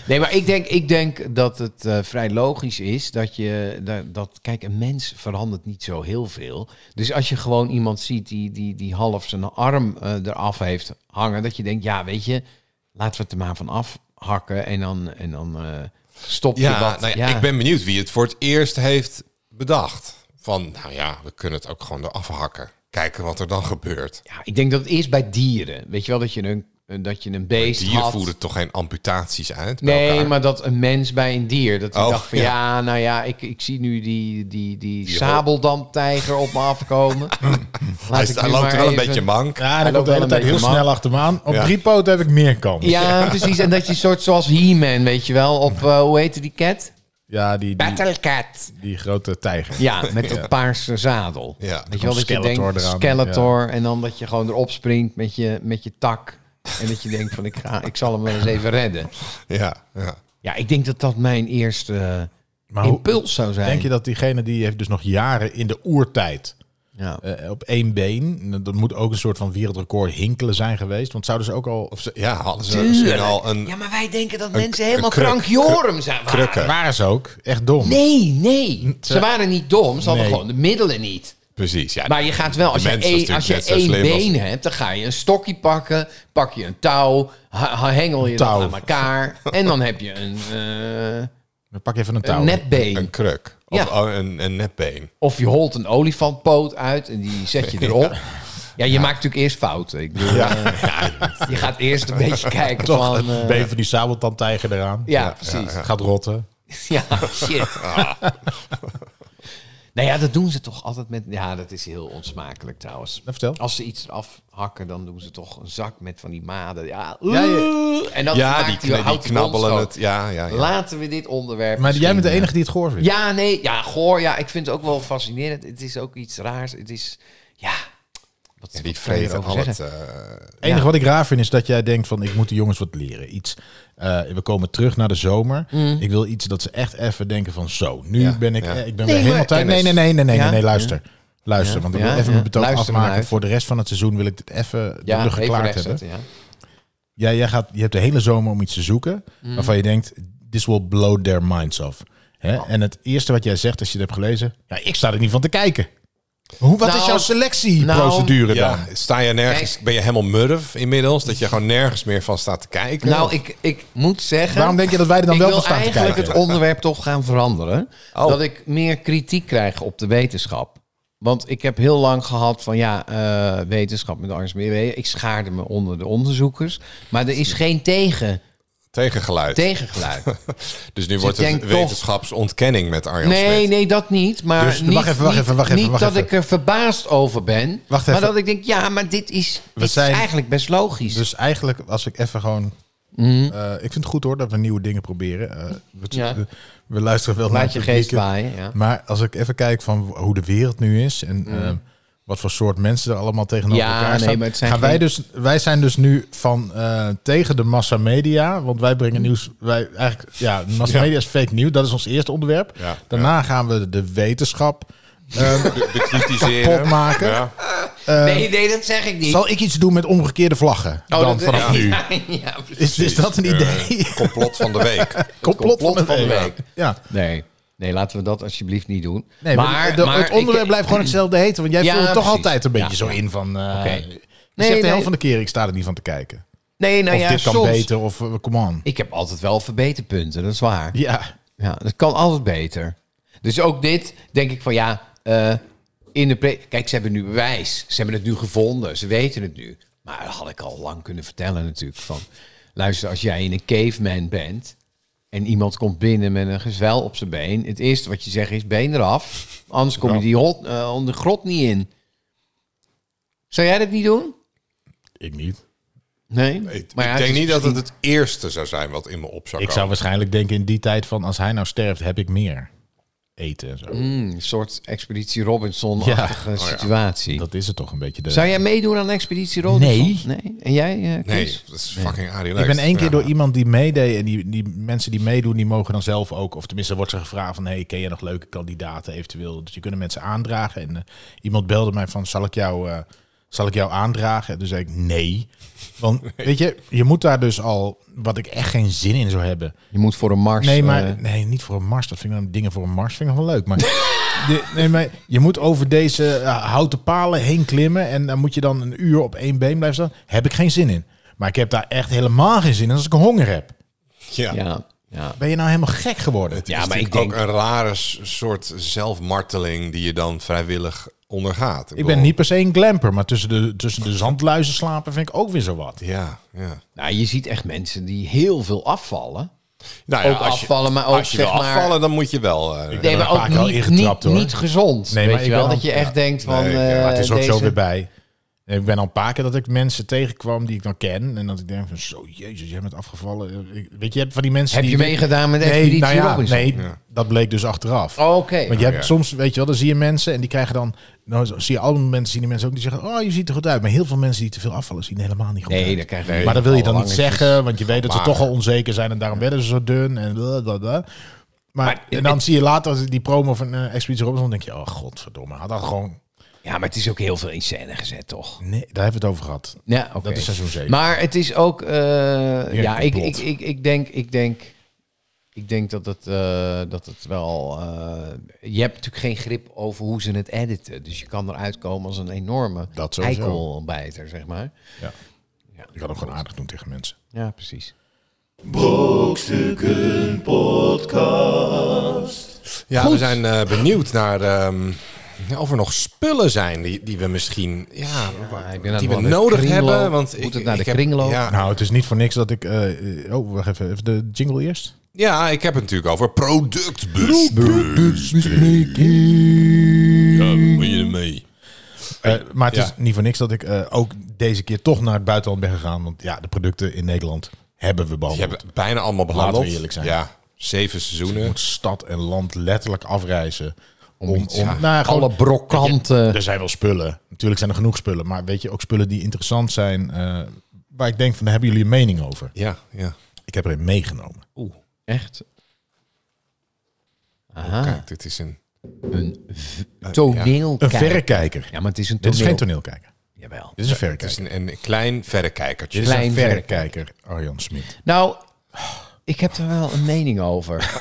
Speaker 3: Nee, maar ik denk, ik denk dat het eh, vrij logisch is dat je... Dat, dat, kijk, een mens verandert niet zo heel veel. Dus als je gewoon iemand ziet die, die, die half zijn arm eh, eraf heeft hangen... dat je denkt, ja, weet je, laten we het er maar van afhakken... en dan, en dan eh, stop je
Speaker 2: Ja,
Speaker 3: wat.
Speaker 2: nou ja, ik ben benieuwd wie het voor het eerst heeft bedacht. Van, nou ja, we kunnen het ook gewoon eraf hakken. Kijken wat er dan gebeurt.
Speaker 3: Ja, ik denk dat het eerst bij dieren. Weet je wel dat je een, dat je een beest
Speaker 2: Dieren
Speaker 3: had.
Speaker 2: voeren toch geen amputaties uit? bij
Speaker 3: Nee,
Speaker 2: elkaar?
Speaker 3: maar dat een mens bij een dier. Dat hij
Speaker 2: Oh,
Speaker 3: dacht van ja,
Speaker 2: ja.
Speaker 3: nou ja, ik, ik zie nu die, die, die,
Speaker 2: Die
Speaker 3: sabeldamtijger op me afkomen.
Speaker 2: hij,
Speaker 3: Laat ik
Speaker 2: hij
Speaker 3: nu
Speaker 2: loopt
Speaker 3: maar
Speaker 2: er wel een
Speaker 3: even-
Speaker 2: beetje mank.
Speaker 1: Ja,
Speaker 3: Hij
Speaker 1: dan
Speaker 3: loopt
Speaker 1: komt de
Speaker 3: wel
Speaker 1: hele
Speaker 3: een
Speaker 1: tijd heel
Speaker 3: beetje mank.
Speaker 1: snel achter me aan. Op
Speaker 2: Ja.
Speaker 1: drie poten heb ik meer kans.
Speaker 3: Ja, precies. En dat je soort zoals He-Man, weet je wel, op eh, hoe heette die cat?
Speaker 1: Ja, die, die,
Speaker 3: Battlecat.
Speaker 1: die grote tijger.
Speaker 3: Ja, met dat paarse zadel.
Speaker 2: Ja,
Speaker 3: weet je wel dat
Speaker 1: komt
Speaker 3: je
Speaker 1: Skeletor
Speaker 3: denkt,
Speaker 1: eraan,
Speaker 3: Skeletor. En dan dat je gewoon erop springt met je, met je tak. En dat je denkt van ik, ga, ik zal hem wel eens even redden.
Speaker 2: Ja, ja.
Speaker 3: Ja, ik denk dat dat mijn eerste eh,
Speaker 1: Maar hoe-
Speaker 3: impuls zou zijn.
Speaker 1: Nou, Denk je dat diegene die heeft dus nog jaren in de oertijd
Speaker 3: Ja.
Speaker 1: eh, op één been, dat moet ook een soort van wereldrecord hinkelen zijn geweest, want zouden ze ook al
Speaker 2: Of ze, ja, hadden ze misschien al een...
Speaker 3: ja, maar wij denken dat
Speaker 2: mensen
Speaker 3: mensen
Speaker 2: een helemaal
Speaker 3: helemaal
Speaker 2: kruk-
Speaker 3: krankjorum zijn.
Speaker 2: krukken.
Speaker 1: waren ze ook echt dom?
Speaker 3: Nee, nee. Ze
Speaker 1: Ze-
Speaker 3: waren niet dom, ze hadden
Speaker 1: Nee.
Speaker 3: gewoon de middelen niet.
Speaker 2: Precies, ja.
Speaker 3: Maar je gaat wel, als
Speaker 2: De
Speaker 3: je,
Speaker 2: mens was
Speaker 3: één, als
Speaker 2: natuurlijk
Speaker 3: je
Speaker 2: net zo
Speaker 3: één
Speaker 2: slim als-
Speaker 3: been hebt, dan ga je een stokje pakken, pak je een touw, ha- ha- hengel je dat
Speaker 1: Touw.
Speaker 3: aan elkaar en dan heb je een, eh,
Speaker 1: Dan pak je even een touw.
Speaker 3: Een nepbeen.
Speaker 2: Een kruk. Of
Speaker 3: Ja.
Speaker 2: oh, een, een nepbeen.
Speaker 3: Of je holt een olifantpoot uit en die zet je erop. Ja, je maakt natuurlijk eerst fouten. Ik bedoel, eh, je gaat eerst een beetje kijken
Speaker 1: Toch
Speaker 3: van...
Speaker 1: het
Speaker 3: eh,
Speaker 1: been van die sabeltandtijger eraan.
Speaker 3: ja, precies. Ja,
Speaker 1: Gaat rotten.
Speaker 3: shit. nou ja, dat doen ze toch altijd met... Ja, dat is heel onsmakelijk trouwens.
Speaker 1: Nou, vertel.
Speaker 3: Als ze iets eraf hakken, dan doen ze toch een zak met van die maden. Ja,
Speaker 1: Ja,
Speaker 3: en dat
Speaker 2: ja,
Speaker 3: maakt
Speaker 2: die, kn-
Speaker 3: houdt
Speaker 2: die
Speaker 3: die mond
Speaker 2: knabbelen
Speaker 3: schoon.
Speaker 2: het. Ja, ja, ja.
Speaker 3: Laten we dit onderwerp.
Speaker 1: Maar jij bent de
Speaker 3: misschien,
Speaker 1: enige die het gehoord vindt.
Speaker 3: eh, Ja, nee, ja, goor. Ja, ik vind het ook wel fascinerend. Het is ook iets raars. Het is, ja. Wat,
Speaker 2: Die
Speaker 3: wat kan je
Speaker 2: vreten
Speaker 3: erover
Speaker 2: al
Speaker 3: zeggen?
Speaker 2: het... eh,
Speaker 1: Het enige wat ik raar vind is dat jij denkt van ik moet de jongens wat leren. Iets, eh, we komen terug naar de zomer.
Speaker 3: Mm.
Speaker 1: Ik wil iets dat ze echt even denken van zo, nu
Speaker 2: Ja,
Speaker 1: ben ik,
Speaker 2: ja.
Speaker 1: eh, ik ben
Speaker 3: Nee,
Speaker 1: weer helemaal
Speaker 3: maar-
Speaker 1: thuis. Nee, nee,
Speaker 2: Kennis.
Speaker 1: nee, nee, nee,
Speaker 3: Ja?
Speaker 1: nee, nee, luister. Luister, want ik wil
Speaker 3: Ja,
Speaker 1: even
Speaker 3: ja.
Speaker 1: mijn betoog
Speaker 3: Luister maar
Speaker 1: afmaken.
Speaker 3: uit.
Speaker 1: Voor de rest van het seizoen wil ik dit even
Speaker 3: ja,
Speaker 1: er
Speaker 3: even
Speaker 1: geklaard hebben.
Speaker 3: rechtzetten, ja.
Speaker 1: Ja, jij gaat, je hebt de hele zomer om iets te zoeken
Speaker 3: Mhm.
Speaker 1: waarvan je denkt, this will blow their minds off. Hè?
Speaker 3: Oh.
Speaker 1: En het eerste wat jij zegt als je het hebt gelezen, ja, ik sta er niet van te kijken. Hoe, wat
Speaker 3: Nou,
Speaker 1: is jouw selectieprocedure
Speaker 2: Ja,
Speaker 1: dan?
Speaker 2: sta je nergens,
Speaker 3: Kijk.
Speaker 2: ben je helemaal murf inmiddels? Dat je gewoon nergens meer van staat te kijken?
Speaker 3: Nou, ik, ik moet zeggen.
Speaker 1: Waarom denk je dat wij er dan
Speaker 3: ik
Speaker 1: wel
Speaker 3: wil
Speaker 1: van staan te
Speaker 3: eigenlijk
Speaker 1: kijken? Oh.
Speaker 3: het onderwerp toch gaan veranderen. Dat ik meer kritiek krijg op de wetenschap. Want ik heb heel lang gehad van ja, eh, wetenschap met angst meer. Ik schaarde me onder de onderzoekers. Maar er is geen tegen,
Speaker 2: tegengeluid.
Speaker 3: tegengeluid.
Speaker 2: dus nu wordt het
Speaker 3: denk toch-
Speaker 2: wetenschapsontkenning met Arjan
Speaker 3: Nee,
Speaker 2: Smit.
Speaker 3: nee, dat niet. Maar
Speaker 1: Dus-
Speaker 3: niet,
Speaker 1: wacht even, wacht
Speaker 3: niet-
Speaker 1: even, wacht even,
Speaker 3: niet
Speaker 1: wacht
Speaker 3: dat
Speaker 1: even.
Speaker 3: ik er verbaasd over ben.
Speaker 1: Wacht
Speaker 3: maar
Speaker 1: even.
Speaker 3: dat ik denk, ja, maar dit is, dit is
Speaker 1: zijn-
Speaker 3: eigenlijk best logisch.
Speaker 1: Dus eigenlijk, als ik even gewoon. eh, ik vind het goed hoor dat we nieuwe dingen proberen. Eh, we,
Speaker 3: Mhm. Ja.
Speaker 1: we- we luisteren wel naar
Speaker 3: Laat
Speaker 1: het
Speaker 3: je geest
Speaker 1: publiek.
Speaker 3: waaien. Ja. Mhm.
Speaker 1: Maar als ik even kijk van w- hoe de wereld nu is en eh, wat voor soort mensen er allemaal tegenover
Speaker 3: Ja,
Speaker 1: elkaar
Speaker 3: nee,
Speaker 1: staan,
Speaker 3: maar het zijn
Speaker 1: gaan wij
Speaker 3: geen-
Speaker 1: dus, wij zijn dus nu van eh, tegen de massamedia, want wij
Speaker 3: Mhm.
Speaker 1: brengen nieuws, wij eigenlijk, ja, massamedia is fake nieuws, dat is ons eerste onderwerp.
Speaker 2: Ja,
Speaker 1: Daarna gaan we de wetenschap eh,
Speaker 2: Be- bekritiseren.
Speaker 1: kapot maken.
Speaker 2: Ja.
Speaker 3: nee, nee, dat zeg ik niet.
Speaker 1: Zal ik iets doen met omgekeerde vlaggen dan
Speaker 3: Oh, dat-
Speaker 1: vanaf
Speaker 3: ja.
Speaker 1: nu?
Speaker 3: ja, precies.
Speaker 1: Is, is dat een
Speaker 2: Eh,
Speaker 1: idee?
Speaker 2: complot van de week.
Speaker 1: Complot,
Speaker 3: complot van de week.
Speaker 1: Ja.
Speaker 3: Nee. nee, laten we dat alsjeblieft niet doen.
Speaker 1: Nee, maar, de- het
Speaker 3: ik-
Speaker 1: onderwerp blijft gewoon hetzelfde heten. Want jij
Speaker 3: Ja,
Speaker 1: voelt het toch
Speaker 3: precies.
Speaker 1: altijd een beetje
Speaker 3: Ja,
Speaker 1: zo
Speaker 3: ja.
Speaker 1: in van... eh
Speaker 3: Oké.
Speaker 1: Je
Speaker 3: Nee,
Speaker 1: zegt de
Speaker 3: nee.
Speaker 1: helft van de keer, ik sta er niet van te kijken.
Speaker 3: Nee, nou
Speaker 1: of
Speaker 3: ja,
Speaker 1: dit kan
Speaker 3: soms.
Speaker 1: beter, of eh, come on.
Speaker 3: Ik heb altijd wel verbeterpunten, dat is waar.
Speaker 1: Ja,
Speaker 3: Ja, dat kan altijd beter. Dus ook dit denk ik van ja, eh, in de pre- Kijk, ze hebben nu bewijs. Ze hebben het nu gevonden. Ze weten het nu. Maar dat had ik al lang kunnen vertellen natuurlijk. Van, luister, als jij in een caveman bent en iemand komt binnen met een gezwel op zijn been. Het eerste wat je zegt is been eraf. Anders kom je die hot, eh, onder de grot niet in. Zou jij dat niet doen?
Speaker 1: ik niet.
Speaker 3: Nee.
Speaker 2: Ik,
Speaker 3: Maar ja,
Speaker 2: ik
Speaker 3: het
Speaker 2: denk
Speaker 3: is
Speaker 2: niet dat
Speaker 3: misschien-
Speaker 2: het het eerste zou zijn wat in me op zou
Speaker 1: Ik
Speaker 2: komen.
Speaker 1: zou waarschijnlijk denken in die tijd van... als hij nou sterft, heb ik meer eten en zo.
Speaker 3: Mm, een soort Expeditie Robinson-achtige situatie.
Speaker 1: Oh Dat is het toch een beetje de...
Speaker 3: Zou jij meedoen aan Expeditie Robinson?
Speaker 1: Nee.
Speaker 3: En jij, eh,
Speaker 2: Nee,
Speaker 3: Chris?
Speaker 2: dat is fucking Arie
Speaker 1: ik
Speaker 2: Leust.
Speaker 1: ben één keer
Speaker 2: Ja.
Speaker 1: door iemand die meedeed... en die, die mensen die meedoen, die mogen dan zelf ook... of tenminste wordt ze gevraagd van... hey, ken je nog leuke kandidaten eventueel? Dus je kunt mensen aandragen. En eh, iemand belde mij van... zal ik jou, eh, zal ik jou aandragen? En toen zei ik nee. Want weet je, je moet daar dus al... wat ik echt geen zin in zou hebben...
Speaker 3: Je moet voor een mars...
Speaker 1: Nee,
Speaker 3: eh,
Speaker 1: maar nee, niet voor een mars. Dat vind ik dan dingen voor een mars vind ik nog wel leuk. Maar, de- nee, maar je moet over deze eh, houten palen heen klimmen en dan moet je dan een uur op één been blijven staan. Heb ik geen zin in. Maar ik heb daar echt helemaal geen zin in als ik honger heb.
Speaker 2: Ja. Dus
Speaker 3: ja, ja.
Speaker 1: Ben je nou helemaal gek geworden?
Speaker 2: Het is
Speaker 3: maar ik
Speaker 2: natuurlijk
Speaker 3: denk-
Speaker 2: ook een rare s- soort zelfmarteling die je dan vrijwillig ondergaat.
Speaker 1: Ik ben
Speaker 2: bedoel,
Speaker 1: niet per se een glamper, maar tussen de, tussen de zandluizen slapen vind ik ook weer zo wat.
Speaker 2: Ja, ja.
Speaker 3: Nou, je ziet echt mensen die heel veel afvallen.
Speaker 2: Nou ja,
Speaker 3: Ook afvallen, maar ook,
Speaker 2: als je wil
Speaker 3: zeg maar-
Speaker 2: afvallen, dan moet je wel. eh,
Speaker 3: Nee,
Speaker 1: ben
Speaker 3: maar
Speaker 1: er een
Speaker 3: ook
Speaker 1: paar keer al
Speaker 3: niet,
Speaker 1: ingetrapt,
Speaker 3: niet,
Speaker 1: hoor.
Speaker 3: niet gezond.
Speaker 1: Nee,
Speaker 3: weet
Speaker 1: maar
Speaker 3: je
Speaker 1: ik
Speaker 3: wel,
Speaker 1: ben
Speaker 3: dat
Speaker 1: al-
Speaker 3: je echt denkt van... eh,
Speaker 2: Nee, ja,
Speaker 1: Maar het is ook
Speaker 3: deze...
Speaker 1: zo weer bij. Ik ben al een paar keer dat ik mensen tegenkwam die ik dan ken. En dat ik denk van, zo jezus, jij bent afgevallen. Ik- Weet je, je hebt van die mensen
Speaker 3: Heb
Speaker 1: die...
Speaker 3: je meegedaan met
Speaker 1: Nee,
Speaker 3: Expeditie
Speaker 1: nou ja,
Speaker 3: Robinson? Oh,
Speaker 1: nee,
Speaker 2: Ja. Oh,
Speaker 1: dat bleek dus achteraf.
Speaker 3: Oké.
Speaker 1: Want je hebt
Speaker 2: ja.
Speaker 1: soms, weet je wel, dan zie je mensen en die krijgen dan... Nou, zo- zie je allemaal mensen, zien die mensen ook die zeggen... Oh, je ziet er goed uit. Maar heel veel mensen die te veel afvallen zien helemaal niet goed
Speaker 3: Nee,
Speaker 1: uit.
Speaker 3: dan krijg je...
Speaker 1: maar dat wil je dan niet
Speaker 3: langetjes.
Speaker 1: zeggen, want je weet dat ze
Speaker 2: mager.
Speaker 1: toch al onzeker zijn en daarom werden ze zo dun en bla, bla, bla. Maar,
Speaker 3: Maar
Speaker 1: en dan zie je later die promo van eh Expeditie Robinson, dan denk je, oh godverdomme, had dat gewoon...
Speaker 3: Ja, maar het is ook heel veel in scène gezet, toch?
Speaker 1: Nee, daar hebben we het over gehad.
Speaker 3: Ja, oké.
Speaker 1: Dat is seizoen 7.
Speaker 3: Maar het is ook. eh, ja, ik, ik,
Speaker 1: complot.
Speaker 3: ik, ik denk. Ik denk ik denk dat het, eh, dat het wel. eh, je hebt natuurlijk geen grip over hoe ze het editen. Dus je kan eruit komen als een enorme
Speaker 1: Dat sowieso.
Speaker 3: eikelbijter, zeg maar.
Speaker 1: ik had ook gewoon aardig doen tegen mensen.
Speaker 3: Ja, precies.
Speaker 5: Brokstukken Podcast.
Speaker 2: Ja, we zijn eh, benieuwd naar ehm, ja, of er nog spullen zijn die, die we misschien ja,
Speaker 3: Ja, ik ben aan
Speaker 2: die we
Speaker 3: het wel naar de
Speaker 2: nodig
Speaker 3: kringloop.
Speaker 2: hebben. Want
Speaker 3: Moet
Speaker 2: ik-
Speaker 3: het naar de
Speaker 2: ik heb-
Speaker 3: kringloop?
Speaker 2: Ja,
Speaker 1: Nou, het is niet voor niks dat ik... eh, eh, oh, wacht even. Even de jingle eerst.
Speaker 2: ja, ik heb het natuurlijk over productbus. Ja, moet je ermee?
Speaker 1: Eh, maar het
Speaker 2: Ja.
Speaker 1: is niet voor niks dat ik eh, ook deze keer toch naar het buitenland ben gegaan. Want ja, de producten in Nederland hebben we
Speaker 2: Je
Speaker 1: behandeld.
Speaker 2: hebt het bijna allemaal behandeld.
Speaker 1: Laten we eerlijk zijn.
Speaker 2: Ja, zeven
Speaker 1: Je
Speaker 2: seizoenen.
Speaker 1: moet stad en land letterlijk afreizen. Om,
Speaker 3: iets, ja.
Speaker 1: nou, gewoon-
Speaker 3: Alle brokkanten.
Speaker 1: Er zijn wel spullen. Natuurlijk zijn er genoeg spullen. Maar weet je, ook spullen die interessant zijn. eh, waar ik denk van, daar hebben jullie een mening over.
Speaker 2: Ja, ja.
Speaker 1: Ik heb er een meegenomen.
Speaker 3: Echt? Aha, Ah.
Speaker 2: Kijk, dit is een...
Speaker 3: een
Speaker 2: Eh,
Speaker 3: v- toneelkijker.
Speaker 1: Een verrekijker.
Speaker 3: Ja, maar het is een
Speaker 1: Dit
Speaker 3: toneel.
Speaker 1: is geen toneelkijker.
Speaker 3: Jawel.
Speaker 1: Dit is
Speaker 2: Het
Speaker 1: een
Speaker 2: is
Speaker 1: verrekijker.
Speaker 2: een, een klein verrekijkertje.
Speaker 1: Dit is een
Speaker 3: klein
Speaker 1: verrekijker, Arjan Smit.
Speaker 3: Nou, ik heb daar wel een mening over.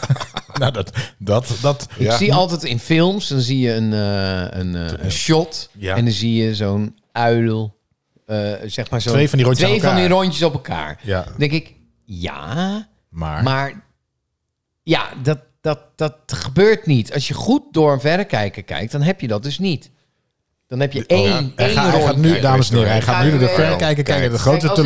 Speaker 1: nou, dat... dat, dat
Speaker 3: Ik zie altijd in films, dan zie je een, eh, een, eh, een shot.
Speaker 1: Ja.
Speaker 3: En dan zie je zo'n uil. eh, zeg maar zo'n
Speaker 1: Twee van die rondjes
Speaker 3: twee
Speaker 1: aan elkaar.
Speaker 3: van die rondjes op elkaar.
Speaker 1: Ja.
Speaker 3: Dan denk ik, ja,
Speaker 1: Maar,
Speaker 3: maar ja, dat, dat, dat gebeurt niet. Als je goed door een verrekijker kijkt, dan heb je dat dus niet. Dan heb je één,
Speaker 2: ja.
Speaker 3: één
Speaker 1: Oh, hij, gaat, hij
Speaker 3: rondje.
Speaker 1: gaat nu, dames en heren, hij
Speaker 3: Ga
Speaker 1: gaat
Speaker 3: je
Speaker 1: nu door de
Speaker 3: weer-
Speaker 1: verrekijker kijken. De
Speaker 2: Kijk,
Speaker 1: grote
Speaker 3: als ik-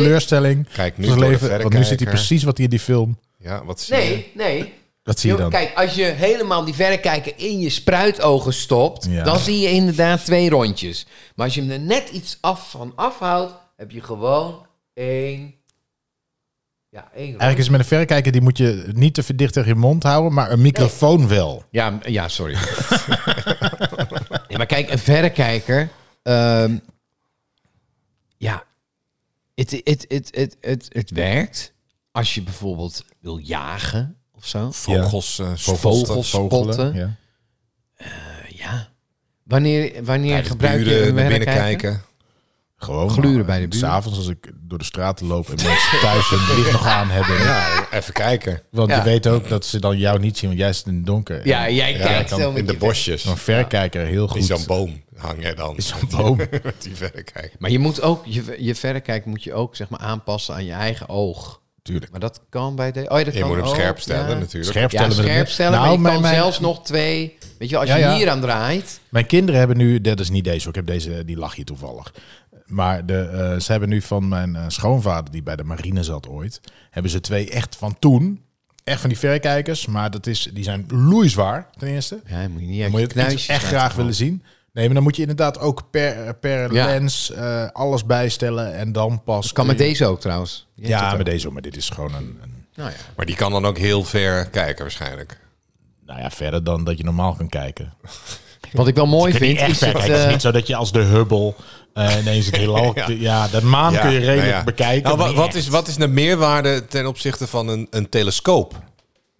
Speaker 2: Kijk
Speaker 1: teleurstelling
Speaker 2: nu
Speaker 1: van
Speaker 2: door
Speaker 1: zijn
Speaker 2: de
Speaker 1: leven. Want nu zit hij
Speaker 2: verrekijker.
Speaker 1: precies wat hij in die film...
Speaker 2: Ja, wat zie je?
Speaker 3: Nee, nee.
Speaker 1: Dat zie je
Speaker 3: Joh,
Speaker 1: dan.
Speaker 3: Kijk, als je helemaal die verrekijker in je spruitogen stopt,
Speaker 1: Ja.
Speaker 3: dan zie je inderdaad twee rondjes. Maar als je hem er net iets af van afhoudt, heb je gewoon één. Ja, één rondje.
Speaker 1: Eigenlijk is met een verrekijker, die moet je niet te verdicht tegen je mond houden, maar een microfoon wel.
Speaker 3: Ja, m- ja sorry. nee, maar kijk, een verrekijker. ehm, ja, het, het, het, het, het, het werkt als je bijvoorbeeld wil jagen of zo.
Speaker 2: Vogels, eh,
Speaker 3: Vogels, spotten.
Speaker 1: Ja.
Speaker 3: Ja. Wanneer, wanneer
Speaker 2: Bij de
Speaker 3: gebruik je
Speaker 2: buren
Speaker 3: een
Speaker 2: naar binnen
Speaker 3: verrekijker?
Speaker 2: kijken.
Speaker 1: Gewoon.
Speaker 3: Gluren
Speaker 1: maar,
Speaker 3: bij de
Speaker 1: eh,
Speaker 3: buren.
Speaker 1: S'avonds als ik door de straten loop en mensen thuis hun licht nog aan hebben.
Speaker 2: Ja, even kijken.
Speaker 1: Want
Speaker 3: Ja.
Speaker 1: je weet ook dat ze dan jou niet zien, want jij zit in het donker.
Speaker 3: Ja,
Speaker 1: En
Speaker 3: jij kijkt
Speaker 1: kan
Speaker 3: zo met
Speaker 2: In de
Speaker 3: je-
Speaker 2: bosjes.
Speaker 1: Zo'n verrekijker heel
Speaker 2: In
Speaker 1: goed.
Speaker 2: zo'n boom hang je dan.
Speaker 1: In zo'n boom.
Speaker 2: Met die verrekijker.
Speaker 3: Maar je moet ook, je, je verrekijker moet je ook zeg maar aanpassen aan je eigen oog.
Speaker 1: Tuurlijk.
Speaker 3: Maar dat kan bij de. Oh, ja, dat
Speaker 2: Je
Speaker 3: kan
Speaker 2: moet hem
Speaker 3: ook,
Speaker 2: scherp
Speaker 3: ja.
Speaker 2: stellen natuurlijk.
Speaker 1: Scherp
Speaker 3: Ja,
Speaker 1: stellen. met het
Speaker 3: scherp
Speaker 1: net.
Speaker 3: stellen.
Speaker 1: Nou,
Speaker 3: maar je
Speaker 1: mijn,
Speaker 3: kan
Speaker 1: mijn,
Speaker 3: zelfs nog twee. Weet je, wel, als je
Speaker 1: Ja, ja.
Speaker 3: hier aan draait.
Speaker 1: mijn kinderen hebben nu, dat is niet deze, hoor, ik heb deze, die lag hier toevallig. Maar de, eh, ze hebben nu van mijn eh, schoonvader, die bij de marine zat ooit, hebben ze twee echt van toen. Echt van die verrekijkers, maar dat is, die zijn loeizwaar ten eerste.
Speaker 3: Ja, moet je niet
Speaker 1: Dan moet je het echt echt graag willen zien. Nee, maar dan moet je inderdaad ook per, per
Speaker 3: Ja.
Speaker 1: lens eh, alles bijstellen en dan pas...
Speaker 3: Kan met deze ook trouwens. Je hebt
Speaker 1: Ja,
Speaker 3: het ook.
Speaker 1: met deze ook, maar dit is gewoon een... een
Speaker 3: Nou ja.
Speaker 2: Maar die kan dan ook heel ver kijken waarschijnlijk.
Speaker 1: nou ja, verder dan dat je normaal kan kijken.
Speaker 3: Wat ik wel mooi
Speaker 1: Ik
Speaker 3: vind
Speaker 1: vind echt
Speaker 3: is
Speaker 1: ver
Speaker 3: het,
Speaker 1: kijken. Het is
Speaker 3: eh,
Speaker 1: niet zo dat je als de Hubble eh, ineens het heelal... ja. de maan kun je redelijk
Speaker 2: nou ja.
Speaker 1: bekijken.
Speaker 2: Nou, wa-
Speaker 1: maar
Speaker 2: wat,
Speaker 1: niet
Speaker 2: is,
Speaker 1: echt.
Speaker 2: wat is de meerwaarde ten opzichte van een, een telescoop?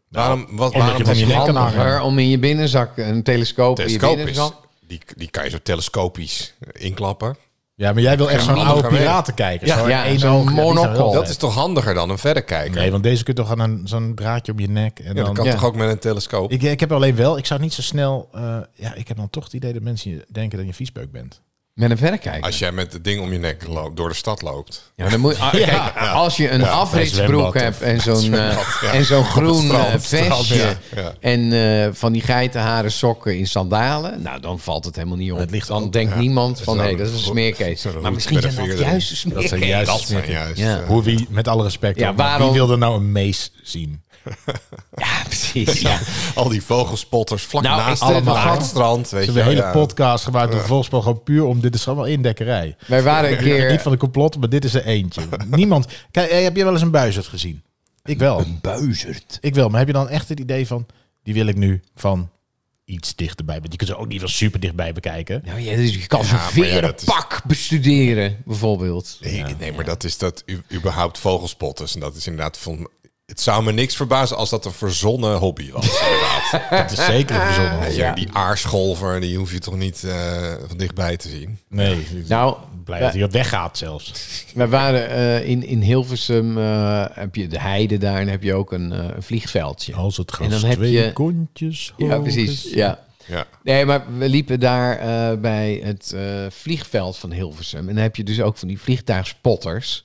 Speaker 2: waarom wat, waarom
Speaker 1: Nou, je hem
Speaker 2: was
Speaker 1: in je nek kan
Speaker 2: handiger?
Speaker 1: hangen.
Speaker 3: handiger om in je binnenzak een telescoop, in
Speaker 2: Telescoop
Speaker 3: je
Speaker 2: is,
Speaker 3: binnenzak.
Speaker 2: die, die kan je zo telescopisch eh, inklappen.
Speaker 1: Ja, maar jij wil echt zo'n
Speaker 2: Ja,
Speaker 1: oude
Speaker 2: gaan we-
Speaker 1: piraten kijken.
Speaker 3: Ja,
Speaker 1: Zo'n
Speaker 3: ja,
Speaker 1: één
Speaker 3: zo'n
Speaker 1: oog, die zijn wel
Speaker 3: monocle.
Speaker 1: vet.
Speaker 2: Dat is toch handiger dan een verrekijker?
Speaker 1: Oh, Nee, want deze kun je toch aan een- zo'n draadje om je nek. En
Speaker 2: ja,
Speaker 1: dan,
Speaker 2: dat kan
Speaker 3: Ja.
Speaker 2: toch ook met een telescoop?
Speaker 1: Ik, ik heb alleen wel, ik zou niet zo snel... eh, ja, ik heb dan toch het idee dat mensen je- denken dat je een viesbeuk bent.
Speaker 3: Met een verrekijker.
Speaker 2: Als jij met het ding om je nek loopt, door de stad loopt.
Speaker 3: Ja, maar dan moet, ah, kijk, als je een afritsbroek
Speaker 1: zwembad of-
Speaker 3: hebt en zo'n eh,
Speaker 2: ja.
Speaker 3: en zo'n groen
Speaker 2: strand,
Speaker 3: eh,
Speaker 2: het strand,
Speaker 3: vestje
Speaker 2: ja, ja.
Speaker 3: en eh, van die geitenharen sokken in sandalen, nou dan valt het helemaal niet op.
Speaker 1: Het ligt
Speaker 3: dan
Speaker 1: ook,
Speaker 3: denkt niemand van
Speaker 2: Zo'n
Speaker 3: hé, dat is een
Speaker 2: hoed-
Speaker 3: smeerkees.
Speaker 2: zo'n
Speaker 3: Maar
Speaker 2: hoed
Speaker 3: misschien
Speaker 2: met
Speaker 3: zijn
Speaker 2: een
Speaker 3: dat
Speaker 2: vinger
Speaker 3: juist
Speaker 2: erin.
Speaker 3: een
Speaker 1: Dat zijn
Speaker 3: smeerkees.
Speaker 1: juist
Speaker 2: Dat zijn juist.
Speaker 3: Ja.
Speaker 2: eh,
Speaker 1: Hoe wie, met alle respect,
Speaker 3: Ja,
Speaker 1: hoor, maar
Speaker 3: waarom-
Speaker 1: wie wilde nou een mees zien?
Speaker 3: Ja, precies. Ja.
Speaker 2: al die vogelspotters vlak
Speaker 3: Nou,
Speaker 2: naast
Speaker 3: is het
Speaker 2: allemaal
Speaker 3: een gat?
Speaker 2: het strand. Weet je,
Speaker 1: Ze hebben een
Speaker 2: wel,
Speaker 1: hele
Speaker 2: ja.
Speaker 1: podcast gemaakt door Volksspel gewoon puur om... Dit is allemaal indekkerij.
Speaker 3: Wij waren een
Speaker 1: Ik ben Niet
Speaker 3: keer...
Speaker 1: van de complot, maar dit is er eentje. Niemand... Kijk, hey, heb je wel eens een buizerd gezien? Ik wel.
Speaker 3: Buizerd.
Speaker 1: Ik wel. Maar heb je dan echt het idee van... Die wil ik nu van iets dichterbij. Want je kunt ze ook niet van super dichtbij bekijken.
Speaker 3: Nou, ja, dus je kan zo'n
Speaker 2: Ja, maar ja, dat is-
Speaker 3: verenpak bestuderen, bijvoorbeeld.
Speaker 2: Nee, nee, maar dat is dat u- überhaupt vogelspotters. En dat is inderdaad van. Het zou me niks verbazen als dat een verzonnen hobby was. Inderdaad.
Speaker 1: Dat is zeker een verzonnen.
Speaker 2: Ja, die aarsgolver, die hoef je toch niet eh, van dichtbij te zien.
Speaker 1: Nee.
Speaker 3: Nou,
Speaker 1: Blij dat hij wat weggaat zelfs.
Speaker 3: We waren eh, in, in Hilversum, eh, heb je de heide daar en heb je ook een, eh, een vliegveldje.
Speaker 1: Als het
Speaker 3: En
Speaker 1: gras
Speaker 3: dan heb
Speaker 1: twee
Speaker 3: je-
Speaker 1: kontjes
Speaker 3: ja,
Speaker 1: hoog
Speaker 3: precies.
Speaker 1: is.
Speaker 3: Ja.
Speaker 2: Ja.
Speaker 3: Nee, maar we liepen daar eh, bij het eh, vliegveld van Hilversum. En dan heb je dus ook van die vliegtuigspotters.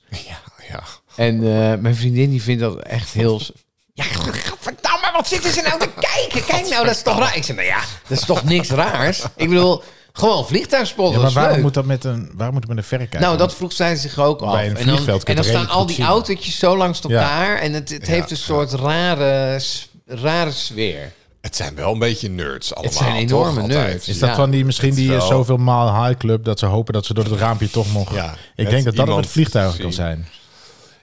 Speaker 2: Ja, ja.
Speaker 3: En eh, mijn vriendin die vindt dat echt heel... s-
Speaker 4: Ja, godverdamme, wat zitten ze nou te kijken?
Speaker 3: Kijk nou, dat is toch raar? Ik zei, nou ja, dat is toch niks raars? Ik bedoel, gewoon vliegtuigspot.
Speaker 1: Ja,
Speaker 3: dat
Speaker 1: maar
Speaker 3: is
Speaker 1: waarom
Speaker 3: leuk.
Speaker 1: moet dat met een, waarom moet het met een verrekijker?
Speaker 3: Nou, dat vroeg zij zich ook af.
Speaker 1: Bij een
Speaker 3: en dan,
Speaker 1: vliegveld kun
Speaker 3: en
Speaker 1: je
Speaker 3: dan
Speaker 1: het
Speaker 3: staan al
Speaker 1: redelijk goed
Speaker 3: die
Speaker 1: zien.
Speaker 3: autootjes zo langs elkaar. En het, het
Speaker 2: Ja,
Speaker 3: heeft een soort rare, s- rare sfeer.
Speaker 2: Het zijn wel een beetje nerds allemaal.
Speaker 3: zijn enorme
Speaker 2: toch? Altijd.
Speaker 3: nerds.
Speaker 1: Is dat
Speaker 3: Ja,
Speaker 1: van die misschien die
Speaker 2: wel-
Speaker 1: eh, zoveel maal high club dat ze hopen dat ze door het raampje toch mogen?
Speaker 2: Ja,
Speaker 1: ik
Speaker 2: met
Speaker 1: denk dat dat
Speaker 2: iemand
Speaker 1: met vliegtuigen
Speaker 2: zien.
Speaker 1: kan zijn.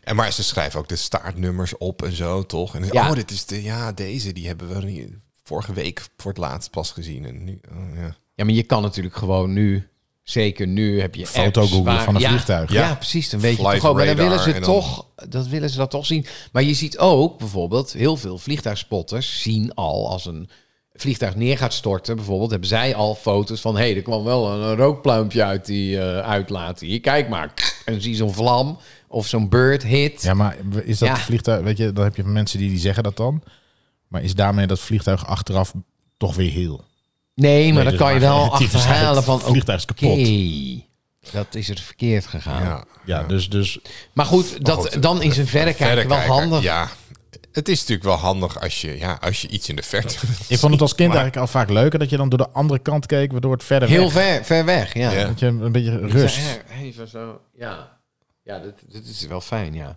Speaker 2: En maar ze schrijven ook de staartnummers op en zo, toch? En
Speaker 3: Ja.
Speaker 2: oh, dit is de, ja, deze, die hebben we hier vorige week voor het laatst pas gezien. En nu, oh, ja.
Speaker 3: Ja, maar je kan natuurlijk gewoon nu, zeker nu, heb je
Speaker 1: Foto
Speaker 3: apps
Speaker 1: googlen van een
Speaker 3: ja,
Speaker 1: vliegtuig.
Speaker 3: Ja,
Speaker 2: Ja.
Speaker 3: precies. Dan weet je
Speaker 2: Flight
Speaker 3: toch ook. Maar dan
Speaker 2: radar
Speaker 3: willen ze
Speaker 2: en dan-
Speaker 3: toch, dat willen ze dat toch zien. Maar je ziet ook bijvoorbeeld heel veel vliegtuigspotters zien al als een vliegtuig neer gaat storten. Bijvoorbeeld hebben zij al foto's van, hé, hey, er kwam wel een, een rookpluimpje uit die eh uitlaat hier. Kijk maar. En dan zie je zo'n vlam of zo'n bird hit.
Speaker 1: Ja, maar is dat
Speaker 3: Ja.
Speaker 1: vliegtuig? Weet je, dan heb je mensen die, die zeggen dat dan. Maar is daarmee dat vliegtuig achteraf toch weer heel?
Speaker 3: Nee, maar
Speaker 1: Nee,
Speaker 3: dan
Speaker 1: dus
Speaker 3: kan je
Speaker 1: maar-
Speaker 3: wel
Speaker 1: die waarschijnlijk
Speaker 3: achterhalen van, oké,
Speaker 1: vliegtuig is kapot.
Speaker 3: dat is er verkeerd gegaan.
Speaker 2: ja.
Speaker 1: Ja, dus, dus
Speaker 3: Maar goed, dat,
Speaker 2: goed,
Speaker 3: dan is een verrekijker wel
Speaker 2: Verrekijker,
Speaker 3: handig.
Speaker 2: Ja, het is natuurlijk wel handig als je, ja, als je iets in de verte...
Speaker 1: ik vond het als kind eigenlijk al vaak leuker dat je dan door de andere kant keek, waardoor het verder
Speaker 3: Heel
Speaker 1: weg-
Speaker 3: ver, ver weg, ja.
Speaker 2: Ja.
Speaker 1: Dat je een beetje rust.
Speaker 3: Ja, Even zo, ja. Ja, dat, dat is wel fijn, ja.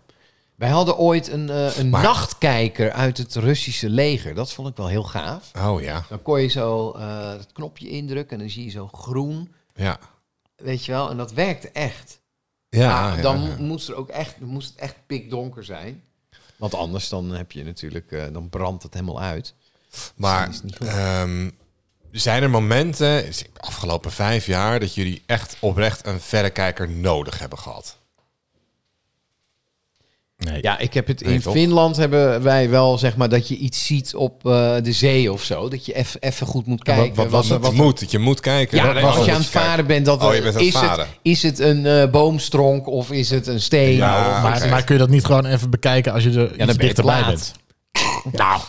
Speaker 3: Wij hadden ooit een, eh, een
Speaker 2: Maar-
Speaker 3: nachtkijker uit het Russische leger. Dat vond ik wel heel gaaf.
Speaker 2: Oh ja,
Speaker 3: Dan kon je zo eh, het knopje indrukken en dan zie je zo groen,
Speaker 2: ja.
Speaker 3: weet je wel. En dat werkte echt.
Speaker 2: Ja,
Speaker 3: Maar dan
Speaker 2: ja.
Speaker 3: moest, er ook echt, moest het echt pikdonker zijn. Want anders dan heb je natuurlijk, eh, dan brandt het helemaal uit.
Speaker 2: Maar
Speaker 3: dat is niet goed.
Speaker 2: ehm, zijn er momenten, dus de afgelopen vijf jaar, dat jullie echt oprecht een verrekijker nodig hebben gehad?
Speaker 1: Nee.
Speaker 3: Ja, ik heb het in
Speaker 2: Nee, toch?
Speaker 3: Finland hebben wij wel zeg maar dat je iets ziet op eh, de zee of zo, dat je eff- even goed moet
Speaker 1: wat-
Speaker 3: kijken.
Speaker 1: wat was
Speaker 2: Dat je moet, dat je moet kijken.
Speaker 3: Ja,
Speaker 2: Wat
Speaker 3: dat
Speaker 2: was
Speaker 3: als je
Speaker 2: het
Speaker 3: aan het
Speaker 2: dat kijkt?
Speaker 3: varen bent, dat
Speaker 2: Oh, je bent aan het
Speaker 3: is, het,
Speaker 2: varen.
Speaker 3: is het een eh, boomstronk of is het een steen?
Speaker 2: Ja,
Speaker 3: Of-
Speaker 1: Nou, maar,
Speaker 2: oké.
Speaker 1: maar kun je dat niet gewoon even bekijken als je er
Speaker 3: ben
Speaker 1: iets
Speaker 3: je
Speaker 1: dichterbij
Speaker 3: te
Speaker 1: bent? Nou,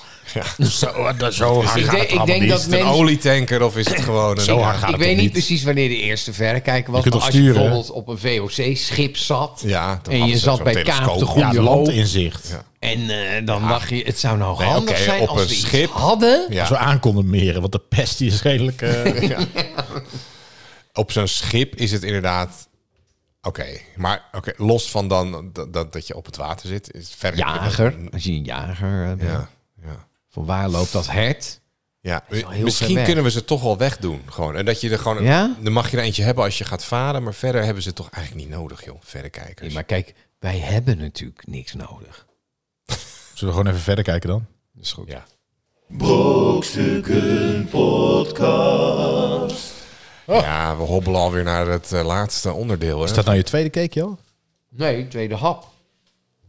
Speaker 1: zo, dat- zo hard
Speaker 3: Ik
Speaker 1: gaat
Speaker 3: denk-
Speaker 1: het
Speaker 3: ik
Speaker 1: allemaal
Speaker 3: denk
Speaker 1: niet.
Speaker 3: dat
Speaker 2: Is het een
Speaker 3: mensen-
Speaker 2: olietanker of is het gewoon een...
Speaker 1: Zo hard gaat
Speaker 3: ik
Speaker 1: het
Speaker 3: weet
Speaker 1: toch
Speaker 3: niet
Speaker 1: niet?
Speaker 3: precies wanneer de eerste verrekijker was.
Speaker 1: Je kunt
Speaker 3: maar
Speaker 1: toch
Speaker 3: als je
Speaker 1: sturen, hè?
Speaker 3: bijvoorbeeld op een VOC-schip zat
Speaker 2: Ja, dan
Speaker 3: en
Speaker 2: hadden
Speaker 3: je
Speaker 2: ze
Speaker 3: zat
Speaker 2: zo'n
Speaker 3: bij Kaap
Speaker 2: telescoop.
Speaker 3: de
Speaker 1: Ja,
Speaker 3: Goede
Speaker 1: het
Speaker 3: Hoop
Speaker 1: landinzicht.
Speaker 3: en eh, dan dacht je, het zou nou
Speaker 2: Nee,
Speaker 3: handig
Speaker 2: oké,
Speaker 3: zijn
Speaker 2: op
Speaker 3: als
Speaker 2: een
Speaker 3: we iets
Speaker 2: schip.
Speaker 3: hadden.
Speaker 2: Ja.
Speaker 1: Zo aankonden meren, want de pest die is redelijk... eh,
Speaker 2: Op zo'n schip is het inderdaad... Oké, maar oké, los van dan dat, dat, dat je op het water zit, is verder...
Speaker 3: Jager, als je een jager eh, bent.
Speaker 2: Ja, ja.
Speaker 3: Van waar loopt dat hert?
Speaker 2: Ja,
Speaker 3: wel heel ver
Speaker 2: misschien
Speaker 3: weg.
Speaker 2: kunnen we ze toch wel wegdoen. Gewoon. En dat je er gewoon.
Speaker 3: Ja?
Speaker 2: Dan mag je er eentje hebben als je gaat varen. Maar verder hebben ze het toch eigenlijk niet nodig, joh. Verrekijkers.
Speaker 3: Nee, maar kijk, wij hebben natuurlijk niks nodig.
Speaker 1: Zullen we gewoon even verder kijken dan?
Speaker 2: is goed. Ja. Brokstukken podcast. Ja, we hobbelen alweer naar het eh, laatste onderdeel. Hè?
Speaker 1: Is dat nou je tweede cakeje al?
Speaker 3: Nee, tweede hap.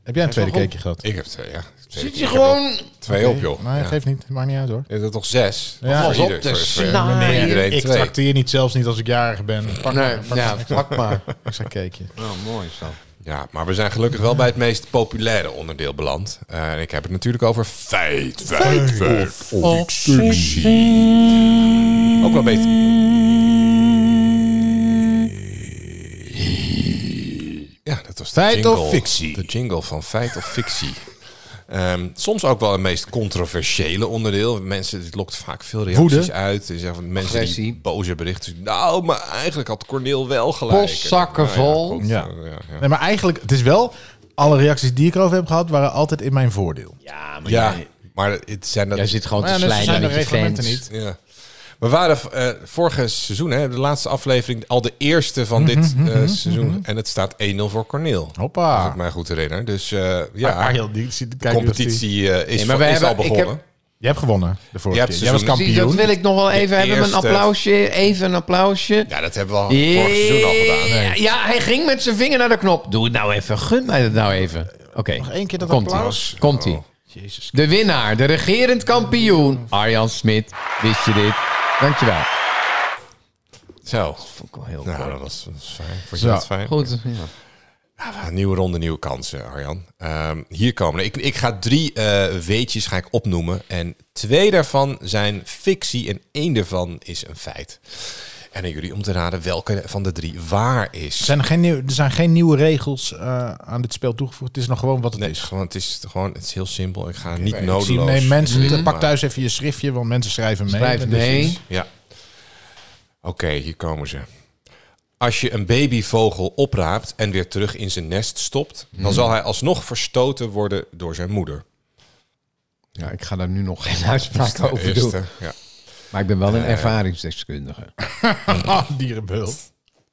Speaker 1: Heb jij een tweede
Speaker 3: wel
Speaker 1: cakeje gehad?
Speaker 2: Ik heb twee, ja. Twee,
Speaker 3: Zit je gewoon...
Speaker 2: twee op, joh.
Speaker 1: Nee,
Speaker 2: ja.
Speaker 1: geeft niet. Maakt niet uit hoor.
Speaker 2: Je hebt er toch zes?
Speaker 1: Ja.
Speaker 2: Voor
Speaker 1: Pas
Speaker 2: ieder-
Speaker 3: op, dus nou, de
Speaker 2: voor- voor-
Speaker 3: snaar.
Speaker 2: voor iedereen
Speaker 1: Ik
Speaker 2: twee.
Speaker 1: trakteer niet, zelfs niet als ik jarig ben. Pak
Speaker 3: Nee, ja, pak maar.
Speaker 1: extra cakeje.
Speaker 3: Oh, mooi zo.
Speaker 2: Ja, maar we zijn gelukkig wel bij het meest populaire onderdeel beland. Eh, en ik heb het natuurlijk over feit, feit, feit, fictie. Ook wel beter. Ja, dat was de
Speaker 1: Feit of
Speaker 2: jingle.
Speaker 1: fictie?
Speaker 2: De jingle van feit of fictie. Ehm, soms ook wel het meest controversiële onderdeel. Mensen, het lokt vaak veel reacties
Speaker 1: Woede.
Speaker 2: uit. Er zijn van mensen
Speaker 3: Agressie.
Speaker 2: die boze berichten. Nou, maar eigenlijk had Corneel wel gelijk.
Speaker 3: Postzakken
Speaker 2: Nou ja,
Speaker 3: vol.
Speaker 2: goed,
Speaker 1: Ja.
Speaker 2: eh, ja.
Speaker 1: Nee, maar eigenlijk, het is wel... Alle reacties die ik erover heb gehad, waren altijd in mijn voordeel.
Speaker 3: Ja, maar
Speaker 2: Ja,
Speaker 3: jij,
Speaker 2: maar het zijn dat.
Speaker 3: jij zit gewoon
Speaker 1: Maar
Speaker 3: te
Speaker 1: ja, net zo
Speaker 3: slijmen
Speaker 1: zijn de
Speaker 3: met je
Speaker 1: reglementen
Speaker 3: fans.
Speaker 1: niet.
Speaker 2: Ja. We waren eh vorige seizoen, hè, de laatste aflevering, al de eerste van
Speaker 3: Mhm,
Speaker 2: dit eh, seizoen. En het staat 1-0 voor Corneel. Als ik
Speaker 1: Hoppa.
Speaker 2: mij goed herinner. Dus eh,
Speaker 3: Ah,
Speaker 2: ja,
Speaker 1: Arjan, die ziet
Speaker 2: de
Speaker 1: kijken hoe het is.
Speaker 2: competitie eh, is,
Speaker 3: Nee, maar
Speaker 2: van-
Speaker 3: we
Speaker 2: is al
Speaker 3: hebben- ik heb-
Speaker 2: begonnen.
Speaker 1: Je hebt gewonnen de vorige
Speaker 2: Jij
Speaker 1: keer.
Speaker 2: hebt
Speaker 1: Jij was
Speaker 2: seizoen-
Speaker 1: kampioen.
Speaker 3: Precies, dat wil ik nog wel even hebben. Een
Speaker 2: eerste-
Speaker 3: applausje, even een applausje.
Speaker 2: Ja, dat hebben we al vorig seizoen al gedaan.
Speaker 3: Ja, Ja, hij ging met zijn vinger naar de knop. Doe het nou even, gun mij dat nou even. Oké,
Speaker 1: Nog één keer dat
Speaker 3: komt
Speaker 1: applaus. Oh,
Speaker 3: ie. Komt ie.
Speaker 1: Jezus.
Speaker 3: De winnaar, de regerend kampioen, Arjan Smit. Wist je dit? Dankjewel.
Speaker 2: Zo.
Speaker 3: Vond ik wel heel
Speaker 2: Nou,
Speaker 3: kort.
Speaker 2: dat was, dat was fijn. Vond
Speaker 1: Zo.
Speaker 2: je dat fijn?
Speaker 3: Goed, ja.
Speaker 2: Ah, Nieuwe ronde, nieuwe kansen, Arjan. Ehm, hier komen. Ik, ik ga drie eh, weetjes ga ik opnoemen. En twee daarvan zijn fictie en één daarvan is een feit. En aan jullie om te raden welke van de drie waar is.
Speaker 1: Er zijn, geen nieuw, er zijn geen nieuwe regels eh, aan dit spel toegevoegd. Het is nog gewoon wat het
Speaker 2: Nee,
Speaker 1: is.
Speaker 2: gewoon, het is gewoon, het is heel simpel. Ik ga niet
Speaker 1: Ik
Speaker 2: nodeloos.
Speaker 1: zie- nee, mensen,
Speaker 2: Maar-
Speaker 1: pak thuis even je schriftje, want mensen schrijven mee.
Speaker 3: Schrijf
Speaker 1: Dus
Speaker 3: mee.
Speaker 1: iets-
Speaker 2: Ja. Oké, hier komen ze. Als je een babyvogel opraapt en weer terug in zijn nest stopt,
Speaker 1: Hmm.
Speaker 2: dan zal hij alsnog verstoten worden door zijn moeder.
Speaker 3: Ja, ik ga daar nu nog geen uitspraak over doen.
Speaker 2: Eerste, ja.
Speaker 3: Maar ik ben wel een ervaringsdeskundige.
Speaker 1: Ah, dierenbeul.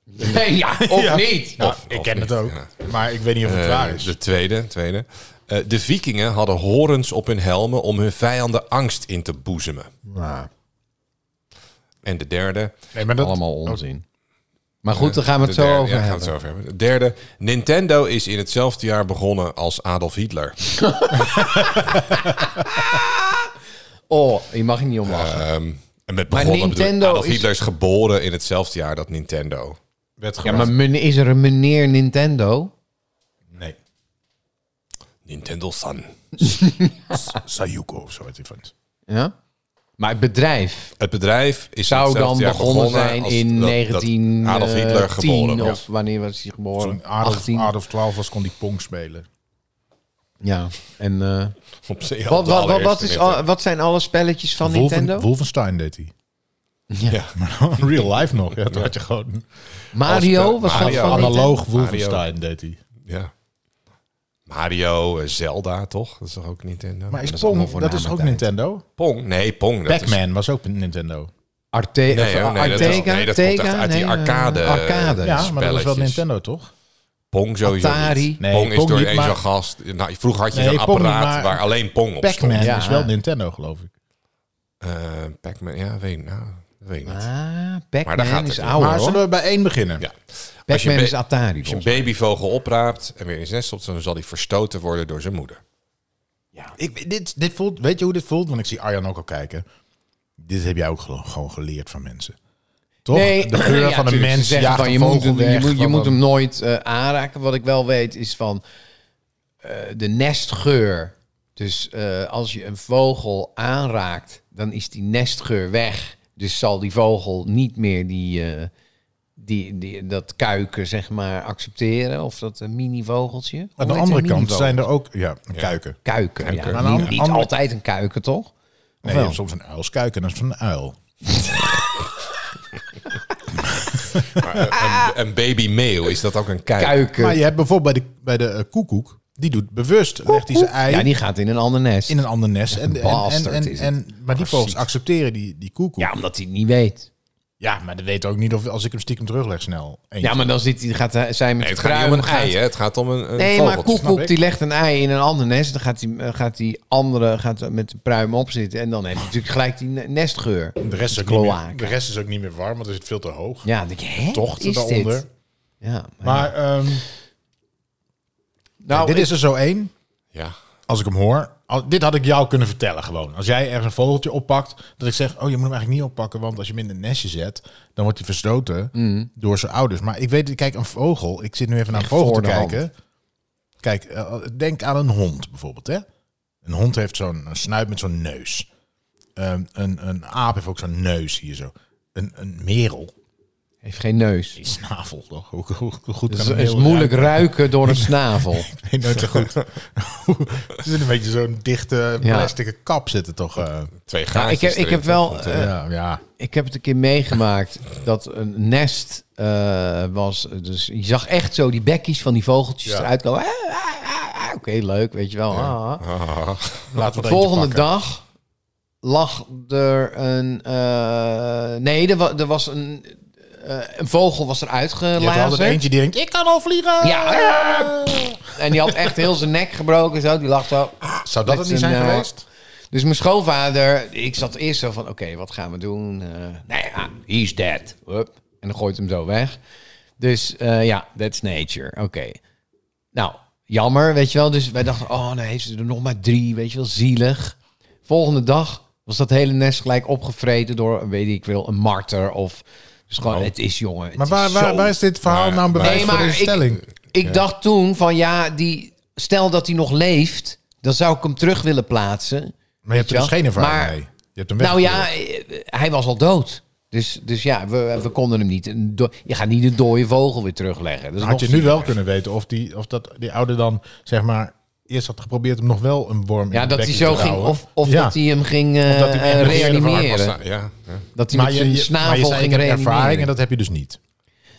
Speaker 3: Nee, ja, of
Speaker 1: Ja.
Speaker 3: niet.
Speaker 1: Nou,
Speaker 2: Of-
Speaker 1: ik
Speaker 2: of
Speaker 1: ken
Speaker 2: niet,
Speaker 1: het ook. Maar ik weet niet of het waar
Speaker 2: Eh,
Speaker 1: is.
Speaker 2: de tweede. tweede. Eh, de vikingen hadden horens op hun helmen om hun vijanden angst in te boezemen.
Speaker 3: Nou,
Speaker 2: En de derde.
Speaker 1: Nee, maar dat,
Speaker 3: allemaal onzin. Maar goed, daar gaan we het
Speaker 2: de
Speaker 3: zo
Speaker 2: derde-
Speaker 3: over
Speaker 2: ja, gaan we
Speaker 3: hebben.
Speaker 2: het zo over hebben. De derde. Nintendo is in hetzelfde jaar begonnen als Adolf Hitler.
Speaker 3: Oh, je mag er niet om lachen.
Speaker 2: Ehm, en met begonnen bedoel ik,
Speaker 3: Nintendo
Speaker 2: Adolf
Speaker 3: is-
Speaker 2: Hitler is geboren in hetzelfde jaar dat Nintendo.
Speaker 1: werd
Speaker 3: ja,
Speaker 1: gewoon...
Speaker 3: maar men- is er een meneer Nintendo?
Speaker 1: Nee.
Speaker 2: Nintendo San.
Speaker 1: Sayuko of zo heet die vent.
Speaker 3: Ja? Maar het bedrijf
Speaker 2: Het bedrijf is in
Speaker 3: zou
Speaker 2: hetzelfde
Speaker 3: dan
Speaker 2: jaar
Speaker 3: begonnen, zijn
Speaker 2: als dat-
Speaker 3: in
Speaker 2: dat
Speaker 3: 1910
Speaker 2: Adolf Hitler geboren
Speaker 3: of wanneer was hij geboren?
Speaker 1: Toen Adolf,
Speaker 3: 18.
Speaker 1: Adolf 12 was, kon die Pong spelen.
Speaker 3: Ja, en eh,
Speaker 2: Op zee al
Speaker 3: wat,
Speaker 2: de
Speaker 3: wat, wat, wat,
Speaker 2: allereerste
Speaker 3: is, oh,
Speaker 2: Nintendo.
Speaker 3: al- wat zijn alle spelletjes van
Speaker 1: Wolfen-
Speaker 3: Nintendo?
Speaker 1: Wolfenstein deed hij.
Speaker 3: Ja.
Speaker 1: Maar dan real life nog. Ja, toen had je gewoon...
Speaker 3: Mario was
Speaker 2: Mario.
Speaker 3: dat van Nintendo?
Speaker 1: Analoog Wolfenstein deed hij.
Speaker 2: Ja. Mario, eh, Zelda, toch? Dat is toch ook Nintendo?
Speaker 1: Maar is
Speaker 2: dat
Speaker 1: Pong,
Speaker 2: allemaal
Speaker 1: dat
Speaker 2: voor
Speaker 1: is toch ook
Speaker 2: na mijn
Speaker 1: Nintendo?
Speaker 2: tijd. Pong? Nee, Pong. Dat is,
Speaker 1: Pac-Man was ook Nintendo.
Speaker 3: Arte
Speaker 2: Nee,
Speaker 3: of
Speaker 2: hoor, nee, dat is-
Speaker 3: Artega?
Speaker 2: nee, dat komt echt uit die
Speaker 3: eh,
Speaker 2: arcade, eh,
Speaker 3: arcade.
Speaker 2: Ja,
Speaker 1: Ja, maar dat was wel
Speaker 2: spelletjes.
Speaker 1: Nintendo, toch?
Speaker 2: Pong sowieso
Speaker 3: Atari.
Speaker 2: niet.
Speaker 1: Nee,
Speaker 2: Pong is
Speaker 1: Pong
Speaker 2: door
Speaker 1: niet,
Speaker 2: één
Speaker 1: maar-
Speaker 2: zo'n gast. Nou, vroeger had je
Speaker 1: Nee,
Speaker 2: zo'n
Speaker 1: Pong niet,
Speaker 2: apparaat
Speaker 1: maar-
Speaker 2: waar alleen Pong op stond.
Speaker 1: Pac-Man
Speaker 3: Ja.
Speaker 1: is wel Nintendo, geloof ik.
Speaker 2: Eh, Pac-Man, ja, weet ik, nou, dat weet ik niet.
Speaker 3: Ah,
Speaker 2: Maar daar gaat
Speaker 3: Pac-Man
Speaker 2: het
Speaker 3: is
Speaker 2: in.
Speaker 3: ouder
Speaker 1: maar
Speaker 3: hoor.
Speaker 1: zullen we bij één beginnen?
Speaker 2: Ja. Als je
Speaker 3: Pac-Man
Speaker 2: ba-
Speaker 3: is Atari.
Speaker 2: Als je een
Speaker 3: volgens
Speaker 2: babyvogel opraapt en weer in zijn nest stopt, dan zal hij verstoten worden door zijn moeder.
Speaker 1: Ik, dit, dit voelt, weet je hoe dit voelt? Want ik zie Arjan ook al kijken. Dit heb jij ook gelo- gewoon geleerd van mensen. Toch?
Speaker 3: Nee,
Speaker 1: de geur
Speaker 3: ja,
Speaker 1: van een
Speaker 3: tuurlijk. Ze
Speaker 1: mens
Speaker 3: zeggen
Speaker 1: jaagt
Speaker 3: van,
Speaker 1: een
Speaker 3: je, moet
Speaker 1: vogel
Speaker 3: hem, je,
Speaker 1: weg,
Speaker 3: moet, je
Speaker 1: van
Speaker 3: moet
Speaker 1: een-
Speaker 3: hem nooit eh, aanraken. Wat ik wel weet is van eh, de nestgeur. Dus eh, als je een vogel aanraakt, dan is die nestgeur weg. Dus zal die vogel niet meer die, eh, die, die, dat kuiken zeg maar, accepteren. Of dat eh, mini-vogeltje. Hoe
Speaker 1: Aan de
Speaker 3: heet
Speaker 1: andere
Speaker 3: een
Speaker 1: kant
Speaker 3: minivogel?
Speaker 1: zijn er ook ja, kuiken.
Speaker 3: Kuiken, ja.
Speaker 1: Maar aan de
Speaker 3: Niet,
Speaker 1: andere-
Speaker 3: niet
Speaker 1: andere-
Speaker 3: altijd een kuiken, toch?
Speaker 1: Nee, je hebt soms een uilskuik en dat is een uil.
Speaker 2: Maar,
Speaker 3: Ah.
Speaker 2: eh, een, een baby meeuw, is dat ook een kuik?
Speaker 3: Kuiken.
Speaker 1: Maar je hebt bijvoorbeeld bij de, bij de eh, koekoek, die doet bewust, legt hij zijn ei
Speaker 3: Ja, die gaat in een ander nest.
Speaker 1: in een ander nest. En, en, en,
Speaker 3: bastard
Speaker 1: en,
Speaker 3: is
Speaker 1: en- maar die vogels
Speaker 2: Precies.
Speaker 1: accepteren die, die koekoek.
Speaker 3: Ja, omdat hij het niet weet.
Speaker 1: Ja, maar dat weet ook niet of als ik hem stiekem terugleg snel. Eentje.
Speaker 3: Ja, maar dan zit hij, gaat hij- zij met
Speaker 2: Nee, het
Speaker 3: de
Speaker 2: gaat niet om een
Speaker 3: pruimen
Speaker 2: ei,
Speaker 3: gaat-
Speaker 2: hè? het gaat om een, een
Speaker 3: Nee, maar
Speaker 2: vogeltje.
Speaker 1: snap ik.
Speaker 3: Koekoek Dus die legt een ei in een ander nest. Dan gaat die, eh, gaat die andere gaat met de pruim opzitten. En dan heeft hij natuurlijk gelijk die ne- nestgeur.
Speaker 1: de rest, is ook niet meer,
Speaker 3: kloaak.
Speaker 1: de rest is ook niet meer warm, want er zit veel te hoog.
Speaker 3: Ja, dan denk je, hè,
Speaker 1: Tocht
Speaker 3: is dit?
Speaker 1: daaronder.
Speaker 3: Ja, maar,
Speaker 1: Maar ehm,
Speaker 3: nou,
Speaker 1: dit
Speaker 3: ik-
Speaker 1: is er zo één.
Speaker 2: Ja.
Speaker 1: Als ik hem hoor. al- dit had ik jou kunnen vertellen gewoon. Als jij ergens een vogeltje oppakt. Dat ik zeg, oh je moet hem eigenlijk niet oppakken. Want als je hem in een nestje zet. Dan wordt hij verstoten door zijn ouders. Maar ik weet, kijk een vogel. Ik zit nu even naar een
Speaker 3: Mm. Echt
Speaker 1: vogel
Speaker 3: voor
Speaker 1: te
Speaker 3: de hand.
Speaker 1: kijken. Kijk, eh, denk aan een hond bijvoorbeeld. Hè? Een hond heeft zo'n een snuit met zo'n neus. Ehm, een, een aap heeft ook zo'n neus hier zo. Een, een merel.
Speaker 3: heeft geen neus.
Speaker 1: Die snavel toch? Hoe, hoe, hoe goed
Speaker 3: Dus
Speaker 1: kan
Speaker 3: het
Speaker 1: een
Speaker 3: is
Speaker 1: merel
Speaker 3: moeilijk ruiken door een snavel. Ah,
Speaker 1: Ik weet nooit zo goed. Het is een beetje zo'n dichte
Speaker 3: Ja.
Speaker 1: plastic kap zitten toch? eh.
Speaker 2: Twee gaatjes
Speaker 3: Nou, ik, heb, ik,
Speaker 2: erin.
Speaker 3: heb wel, eh,
Speaker 1: ja, ja.
Speaker 3: ik heb het een keer meegemaakt dat een nest eh, was. Dus je zag echt zo die bekjes van die vogeltjes
Speaker 1: Ja.
Speaker 3: eruit komen. Ah, ah, ah, ah. Oké, leuk, weet je wel. Ah, ah.
Speaker 2: Ah,
Speaker 1: Laten
Speaker 3: De
Speaker 1: we het eentje
Speaker 3: volgende
Speaker 1: pakken.
Speaker 3: dag lag er een. eh, nee, er, wa- er was een. eh, een vogel was eruit
Speaker 1: Je hebt altijd
Speaker 3: gelaten.
Speaker 1: eentje die denkt, ik kan al vliegen!
Speaker 3: Ja. En die had echt heel zijn nek gebroken. Zo. Die lag zo.
Speaker 1: Zou dat
Speaker 3: Met
Speaker 1: het niet
Speaker 3: zijn,
Speaker 1: zijn
Speaker 3: eh,
Speaker 1: geweest?
Speaker 3: Dus mijn schoonvader. Ik zat eerst zo van: oké, wat gaan we doen? Eh nou ja, he's dead. Hup. En dan gooit hem zo weg. Dus eh, ja, that's nature. Oké. Nou, jammer, weet je wel. Dus wij dachten, oh nee, heeft ze er nog maar drie, weet je wel, zielig. Volgende dag was dat hele nest gelijk opgevreten door, weet ik wel, een marter of... Dus
Speaker 2: Oh.
Speaker 3: gewoon, het is jongen. het
Speaker 1: Maar
Speaker 3: is
Speaker 1: waar, waar, waar is dit verhaal
Speaker 2: Maar-
Speaker 1: nou een
Speaker 2: maar-
Speaker 1: bewijs
Speaker 3: Nee,
Speaker 1: voor
Speaker 3: maar
Speaker 1: de
Speaker 3: ik-
Speaker 1: stelling?
Speaker 3: ik dacht toen van ja, die, stel dat hij nog leeft, dan zou ik hem terug willen plaatsen.
Speaker 1: Maar je hebt er dus
Speaker 3: wel?
Speaker 1: geen ervaring
Speaker 3: Maar-
Speaker 1: mee. Je hebt hem
Speaker 3: Nou
Speaker 1: weggegooid.
Speaker 3: ja, eh, hij was al dood.
Speaker 4: Dus, dus ja, we, we konden hem niet. Een do- Je gaat niet de dode vogel weer terugleggen. Dat is
Speaker 1: Dan had
Speaker 4: nog
Speaker 1: je nu wel
Speaker 4: zieliger.
Speaker 1: kunnen weten of die, of dat, die oude dan, zeg maar, eerst had geprobeerd hem nog wel een worm in
Speaker 4: Ja,
Speaker 1: het
Speaker 4: dat hij
Speaker 1: bekje
Speaker 4: zo
Speaker 1: te
Speaker 4: ging.
Speaker 1: houden.
Speaker 4: Of, of
Speaker 1: Ja.
Speaker 4: dat hij hem ging eh,
Speaker 1: dat hij hem
Speaker 4: eh,
Speaker 1: reanimeerde
Speaker 2: Eerder van
Speaker 4: reanimeren.
Speaker 2: Aquasna- Ja, ja.
Speaker 4: Dat hij
Speaker 1: maar
Speaker 4: met
Speaker 1: je,
Speaker 4: zijn
Speaker 1: je, maar je
Speaker 4: snavel
Speaker 1: zei, ik heb
Speaker 4: ging
Speaker 1: ervaring
Speaker 4: reanimeren.
Speaker 1: en dat heb je dus niet.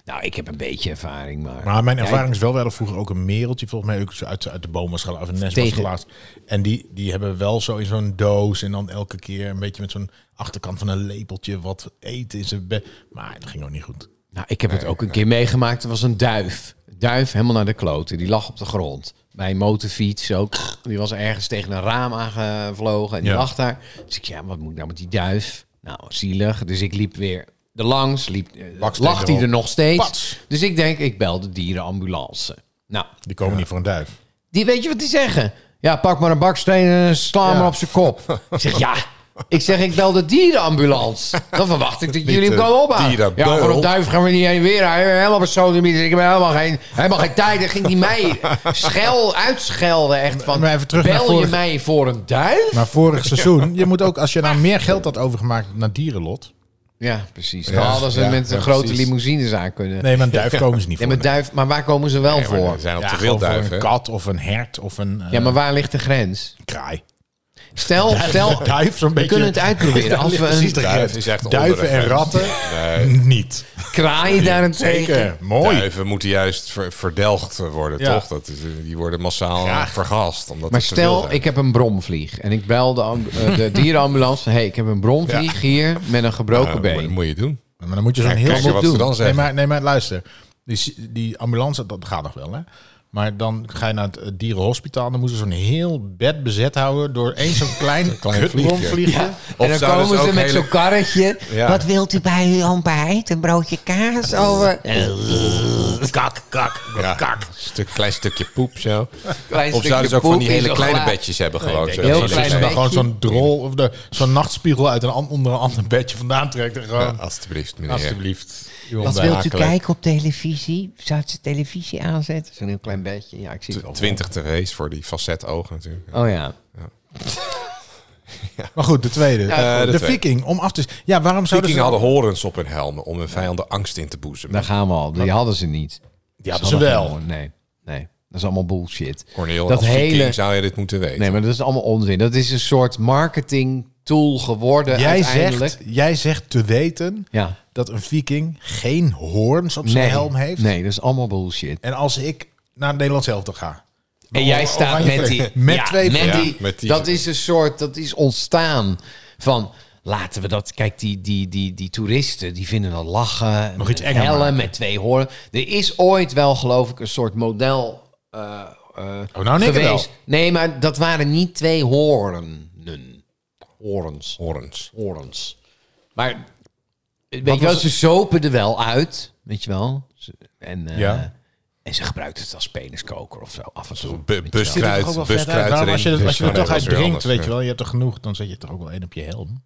Speaker 4: Nou, ik heb een beetje ervaring, maar...
Speaker 1: Maar Nou, mijn
Speaker 4: Ja, ik-
Speaker 1: ervaring is wel, we hadden vroeger ook een mereltje, volgens mij ook zo uit, uit de boom was gelaten, uit een nest was
Speaker 4: Tegen.
Speaker 1: gelaten. En die, die hebben wel zo in zo'n doos en dan elke keer een beetje met zo'n achterkant van een lepeltje wat eten in zijn bed. Maar dat ging ook niet goed.
Speaker 4: Nou, ik heb het ook een keer meegemaakt. Er was een duif. Duif helemaal naar de kloten. Die lag op de grond. Bij een motorfiets ook. Die was ergens tegen een raam aangevlogen. En die
Speaker 1: Ja.
Speaker 4: lag daar. Dus ik, ja, wat moet ik nou met die duif? Nou, zielig. Dus ik liep weer erlangs. Liep, eh,
Speaker 1: Baksteen
Speaker 4: lag die
Speaker 1: erop.
Speaker 4: er nog steeds.
Speaker 1: Pats.
Speaker 4: Dus ik denk, ik bel de dierenambulance. Nou,
Speaker 1: Die komen niet voor een duif.
Speaker 4: die, weet je wat die zeggen? Ja, pak maar een baksteen en sla hem op zijn kop. Ik zeg, ja. Ik zeg, ik bel de dierenambulance. Dan verwacht ik dat jullie hem
Speaker 2: de
Speaker 4: komen ophalen.
Speaker 2: dieren-
Speaker 4: Ja, voor een
Speaker 2: beul.
Speaker 4: duif gaan we niet heen weer. Hij helemaal persoonlijk niet. Ik heb helemaal geen, helemaal geen tijd. Dan ging hij mij schel, uitschelden. Echt van,
Speaker 1: Maar even terug naar
Speaker 4: bel je
Speaker 1: vorig-
Speaker 4: mij voor een duif?
Speaker 1: Maar vorig seizoen, je moet ook, als je nou meer geld had overgemaakt naar dierenlot.
Speaker 4: Ja, precies. Dan
Speaker 2: Ja,
Speaker 4: hadden ze
Speaker 2: ja,
Speaker 4: met
Speaker 2: ja,
Speaker 4: grote
Speaker 2: precies.
Speaker 4: limousines aan kunnen.
Speaker 1: Nee, maar een duif komen ze niet
Speaker 4: Ja,
Speaker 1: voor.
Speaker 4: maar, duif, maar waar komen ze wel
Speaker 2: Nee, maar
Speaker 4: voor?
Speaker 2: er zijn al
Speaker 1: Ja,
Speaker 2: te
Speaker 1: gewoon
Speaker 2: veel
Speaker 1: voor
Speaker 2: duiven.
Speaker 1: een
Speaker 2: hè?
Speaker 1: kat of een hert of een eh,
Speaker 4: Ja, maar waar ligt de grens?
Speaker 1: kraai.
Speaker 4: Stel, stel
Speaker 1: Duif, duif zo'n beetje.
Speaker 4: kunnen het uitproberen.
Speaker 1: Daar
Speaker 4: Als
Speaker 1: ligt
Speaker 4: we
Speaker 1: precies
Speaker 4: een
Speaker 1: de
Speaker 2: Duif
Speaker 1: grens.
Speaker 2: is echt onder
Speaker 1: Duiven
Speaker 2: de
Speaker 1: en
Speaker 2: grens.
Speaker 1: ratten
Speaker 2: Nee.
Speaker 1: niet.
Speaker 4: kraai daarentegen...
Speaker 1: Mooi.
Speaker 2: Duiven moeten juist ver- verdelgd worden,
Speaker 1: Ja.
Speaker 2: toch? Dat is, eh, die worden massaal
Speaker 1: Graag.
Speaker 2: vergast. Omdat
Speaker 4: Maar
Speaker 2: het te veel
Speaker 4: stel,
Speaker 2: zijn.
Speaker 4: ik heb een bromvlieg. En ik bel de, amb- eh, de dierenambulance. van, hey, ik heb een bromvlieg hier met een gebroken
Speaker 2: Ja,
Speaker 4: been.
Speaker 2: moet, moet je doen.
Speaker 1: Maar dan moet je zo'n heel
Speaker 2: Kijken wat
Speaker 1: doen.
Speaker 2: ze dan
Speaker 1: Nee
Speaker 2: zeggen.
Speaker 1: maar, nee, maar luister. Die, die ambulance, dat gaat nog wel, hè? Maar dan ga je naar het eh, dierenhospitaal. Dan moeten ze zo'n heel bed bezet houden door één zo'n klein,
Speaker 2: klein
Speaker 1: klein
Speaker 2: vliegje.
Speaker 1: vliegje.
Speaker 2: Of
Speaker 4: en dan
Speaker 2: zouden
Speaker 4: komen ze
Speaker 2: ook
Speaker 4: met
Speaker 2: hele-
Speaker 4: zo'n karretje.
Speaker 2: Ja.
Speaker 3: Wat wilt u bij uw ontbijt? Een broodje kaas? Over...
Speaker 1: Kak, kak,
Speaker 2: Ja,
Speaker 1: kak.
Speaker 2: Stuk, klein stukje poep zo.
Speaker 4: Klein
Speaker 2: Of
Speaker 4: stukje
Speaker 2: zouden ze ook van
Speaker 4: poep
Speaker 2: die
Speaker 4: in
Speaker 2: hele
Speaker 4: zo'n
Speaker 2: kleine
Speaker 4: glaas.
Speaker 2: bedjes hebben gewoon? zo,
Speaker 4: heel
Speaker 2: dat ze
Speaker 1: Dat
Speaker 4: klein
Speaker 1: ze
Speaker 2: liggen.
Speaker 1: dan
Speaker 4: bedje.
Speaker 1: gewoon zo'n drol of de- zo'n nachtspiegel uit een, an- onder een ander bedje vandaan trekt. En gewoon,
Speaker 2: Ja, Alsjeblieft, meneer.
Speaker 1: alsjeblieft.
Speaker 3: Wat
Speaker 2: Ontbijt.
Speaker 3: wilt u
Speaker 2: Akelig.
Speaker 3: kijken op televisie? Zou ze televisie aanzetten?
Speaker 4: Zo'n heel klein bedje. Ja, ik zie het wel.
Speaker 2: 20 tv's voor die facetogen natuurlijk.
Speaker 4: Oh ja.
Speaker 1: Maar goed, de tweede. Eh,
Speaker 2: de
Speaker 1: de,
Speaker 2: tweede.
Speaker 1: viking, om af te... Ja, waarom zouden
Speaker 2: Vikingen
Speaker 1: ze...
Speaker 2: hadden horens op hun helmen om hun vijanden angst in te boezemen.
Speaker 4: Daar gaan we al. Die hadden ze niet.
Speaker 1: Die hadden ze wel.
Speaker 4: Nee, nee. Dat is allemaal bullshit.
Speaker 2: Corneel,
Speaker 4: Dat
Speaker 2: als
Speaker 4: hele-
Speaker 2: Viking zou je dit moeten weten.
Speaker 4: Nee, maar dat is allemaal onzin. Dat is een soort marketing tool geworden
Speaker 1: Jij
Speaker 4: uiteindelijk.
Speaker 1: zegt, jij zegt te weten
Speaker 4: Ja.
Speaker 1: dat een viking geen hoorns op zijn
Speaker 4: nee.
Speaker 1: helm heeft.
Speaker 4: Nee, dat is allemaal bullshit.
Speaker 1: En als ik naar het Nederlands elftal ga.
Speaker 4: En jij
Speaker 1: Oranje
Speaker 4: staat
Speaker 1: vlag.
Speaker 4: met die.
Speaker 1: Met
Speaker 4: ja,
Speaker 1: twee
Speaker 4: met
Speaker 2: vlaggen.
Speaker 4: die,
Speaker 2: Ja, met die.
Speaker 4: Dat is een soort. Dat is ontstaan van. Laten we dat. Kijk, die, die, die, die toeristen die vinden dat lachen.
Speaker 1: Nog iets
Speaker 4: met
Speaker 1: enger
Speaker 4: Hellen
Speaker 1: maken.
Speaker 4: met twee horen. Er is ooit wel, geloof ik, een soort model. eh, eh,
Speaker 1: Oh, nou niks wel.
Speaker 4: geweest. Nee, maar dat waren niet twee hoornen. Horens.
Speaker 2: Horens.
Speaker 4: Horens. Maar. Weet je wel, ze zopen er wel uit. Weet je wel. Ze- En, eh,
Speaker 1: Ja.
Speaker 4: en ze gebruikt het als peniskoker of zo. Af en toe.
Speaker 2: Bu- buskruid,
Speaker 1: Toch ook wel vet uit.
Speaker 2: buskruid
Speaker 1: Waarom,
Speaker 2: erin.
Speaker 1: als je, dat- als je
Speaker 2: Dus nee,
Speaker 1: er toch
Speaker 2: dat
Speaker 1: uit
Speaker 2: is weer
Speaker 1: drinkt,
Speaker 2: anders,
Speaker 1: weet
Speaker 2: ja.
Speaker 1: je wel, je hebt er genoeg, dan zet je er ook wel één op je helm.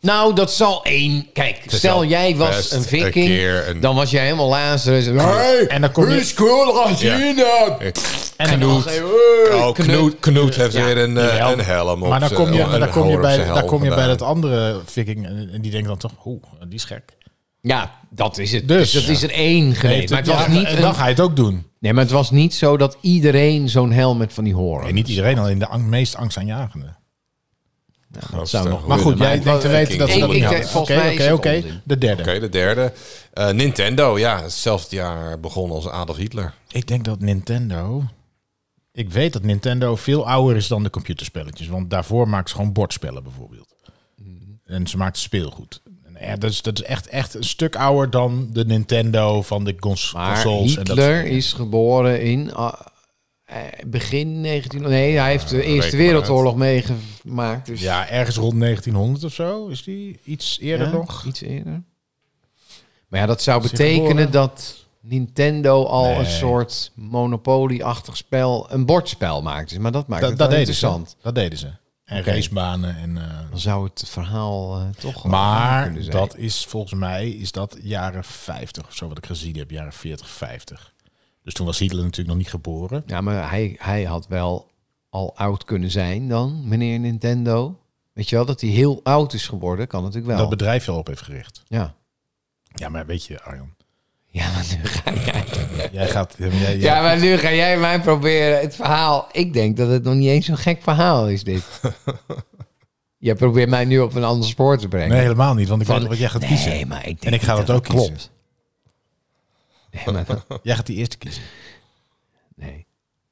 Speaker 4: Nou, dat zal één. Kijk, stel
Speaker 2: zal
Speaker 4: jij was
Speaker 2: best
Speaker 4: een
Speaker 2: een
Speaker 4: viking,
Speaker 2: keer een-
Speaker 4: dan was jij helemaal lazerus. Hey,
Speaker 1: En dan kom je-
Speaker 4: is cool, als je
Speaker 2: Ja.
Speaker 4: hier dan?
Speaker 1: En
Speaker 4: En
Speaker 1: dan,
Speaker 4: dan
Speaker 1: nog-
Speaker 4: ga je, hey,
Speaker 2: Oh,
Speaker 4: knul.
Speaker 2: Knoet, Knoet heeft weer een, eh,
Speaker 1: Jawel.
Speaker 2: een helm op
Speaker 1: maar dan
Speaker 2: zijn-
Speaker 1: kom je, maar
Speaker 2: een
Speaker 1: dan kom je
Speaker 2: hoorn op
Speaker 1: bij,
Speaker 2: zijn
Speaker 1: daar kom je
Speaker 2: helm
Speaker 1: bij dat
Speaker 2: vandaan.
Speaker 1: andere viking en, en die denkt dan toch, oeh, die is gek.
Speaker 4: Ja, dat is het. Dus,
Speaker 1: Dus-
Speaker 4: dat is er één geweest.
Speaker 1: Heeft
Speaker 4: maar
Speaker 1: het-
Speaker 4: het was
Speaker 1: ja,
Speaker 4: niet
Speaker 1: en
Speaker 4: een-
Speaker 1: dan ga je het ook doen.
Speaker 4: nee, maar het was niet zo dat iedereen zo'n helm met van die horen.
Speaker 1: En niet iedereen, alleen de ang- meest angstaanjagende.
Speaker 2: Dat
Speaker 4: zou
Speaker 2: is
Speaker 4: nog-
Speaker 2: de
Speaker 1: Maar goed,
Speaker 2: hoorn.
Speaker 1: jij
Speaker 4: maar-
Speaker 1: denkt te weten
Speaker 2: Viking.
Speaker 1: dat ze
Speaker 4: Ik-
Speaker 1: dat
Speaker 4: ik
Speaker 1: niet
Speaker 4: denk-
Speaker 1: hadden.
Speaker 4: volgens
Speaker 1: Oké,
Speaker 4: mij is
Speaker 1: oké,
Speaker 4: het
Speaker 1: oké.
Speaker 4: onzin.
Speaker 1: De derde.
Speaker 2: Oké, de derde. Eh, Nintendo, ja. Hetzelfde jaar begon als Adolf Hitler.
Speaker 1: Ik denk dat Nintendo. Ik weet dat Nintendo veel ouder is dan de computerspelletjes. Want daarvoor maakt ze gewoon bordspellen bijvoorbeeld.
Speaker 4: Mhm.
Speaker 1: En ze maakt speelgoed. En eh, dat is, dat is echt, echt een stuk ouder dan de Nintendo van de cons-
Speaker 4: Maar
Speaker 1: consoles. en dat soort
Speaker 4: Hitler
Speaker 1: dingen.
Speaker 4: is geboren in ah, eh, begin 19... Nee, hij heeft de Eerste
Speaker 2: reken maar
Speaker 4: Wereldoorlog meegemaakt. Dus
Speaker 1: Ja, ergens rond 1900 of zo. Is die iets eerder
Speaker 4: Ja,
Speaker 1: nog?
Speaker 4: Iets eerder. Maar ja, dat zou
Speaker 1: Is hij
Speaker 4: betekenen
Speaker 1: geboren?
Speaker 4: dat Nintendo al
Speaker 1: Nee.
Speaker 4: een soort monopolieachtig spel, een bordspel maakte. Maar dat maakt
Speaker 1: Dat,
Speaker 4: het
Speaker 1: dat
Speaker 4: wel
Speaker 1: deden ze.
Speaker 4: interessant.
Speaker 1: Dat deden ze. En
Speaker 4: Oké.
Speaker 1: racebanen en... eh,
Speaker 4: Dan zou het verhaal eh, toch wel waar
Speaker 1: Maar
Speaker 4: kunnen zijn.
Speaker 1: dat is volgens mij is dat jaren 50 of zo wat ik gezien heb, jaren 40, 50. Dus toen was Hitler natuurlijk nog niet geboren.
Speaker 4: Ja, maar hij, hij had wel al oud kunnen zijn dan, meneer Nintendo. Weet je wel, dat hij heel oud is geworden, kan natuurlijk wel.
Speaker 1: Dat bedrijf je al op heeft gericht.
Speaker 4: ja.
Speaker 1: Ja, maar weet je, Arjan.
Speaker 4: Ja, maar nu ga jij.
Speaker 1: Jij gaat... Ja, maar jij-
Speaker 4: Ja, maar nu ga jij mij proberen het verhaal. Ik denk dat het nog niet eens zo'n gek verhaal is, dit. jij probeert mij nu op een ander spoor te brengen.
Speaker 1: nee, helemaal niet. Want ik weet nog wat jij gaat kiezen.
Speaker 4: Nee, maar ik denk
Speaker 1: En ik ga
Speaker 4: niet
Speaker 1: dat ook
Speaker 4: we kiezen.
Speaker 1: klopt.
Speaker 4: Nee, maar dat-
Speaker 1: Jij gaat die eerste kiezen.
Speaker 4: nee.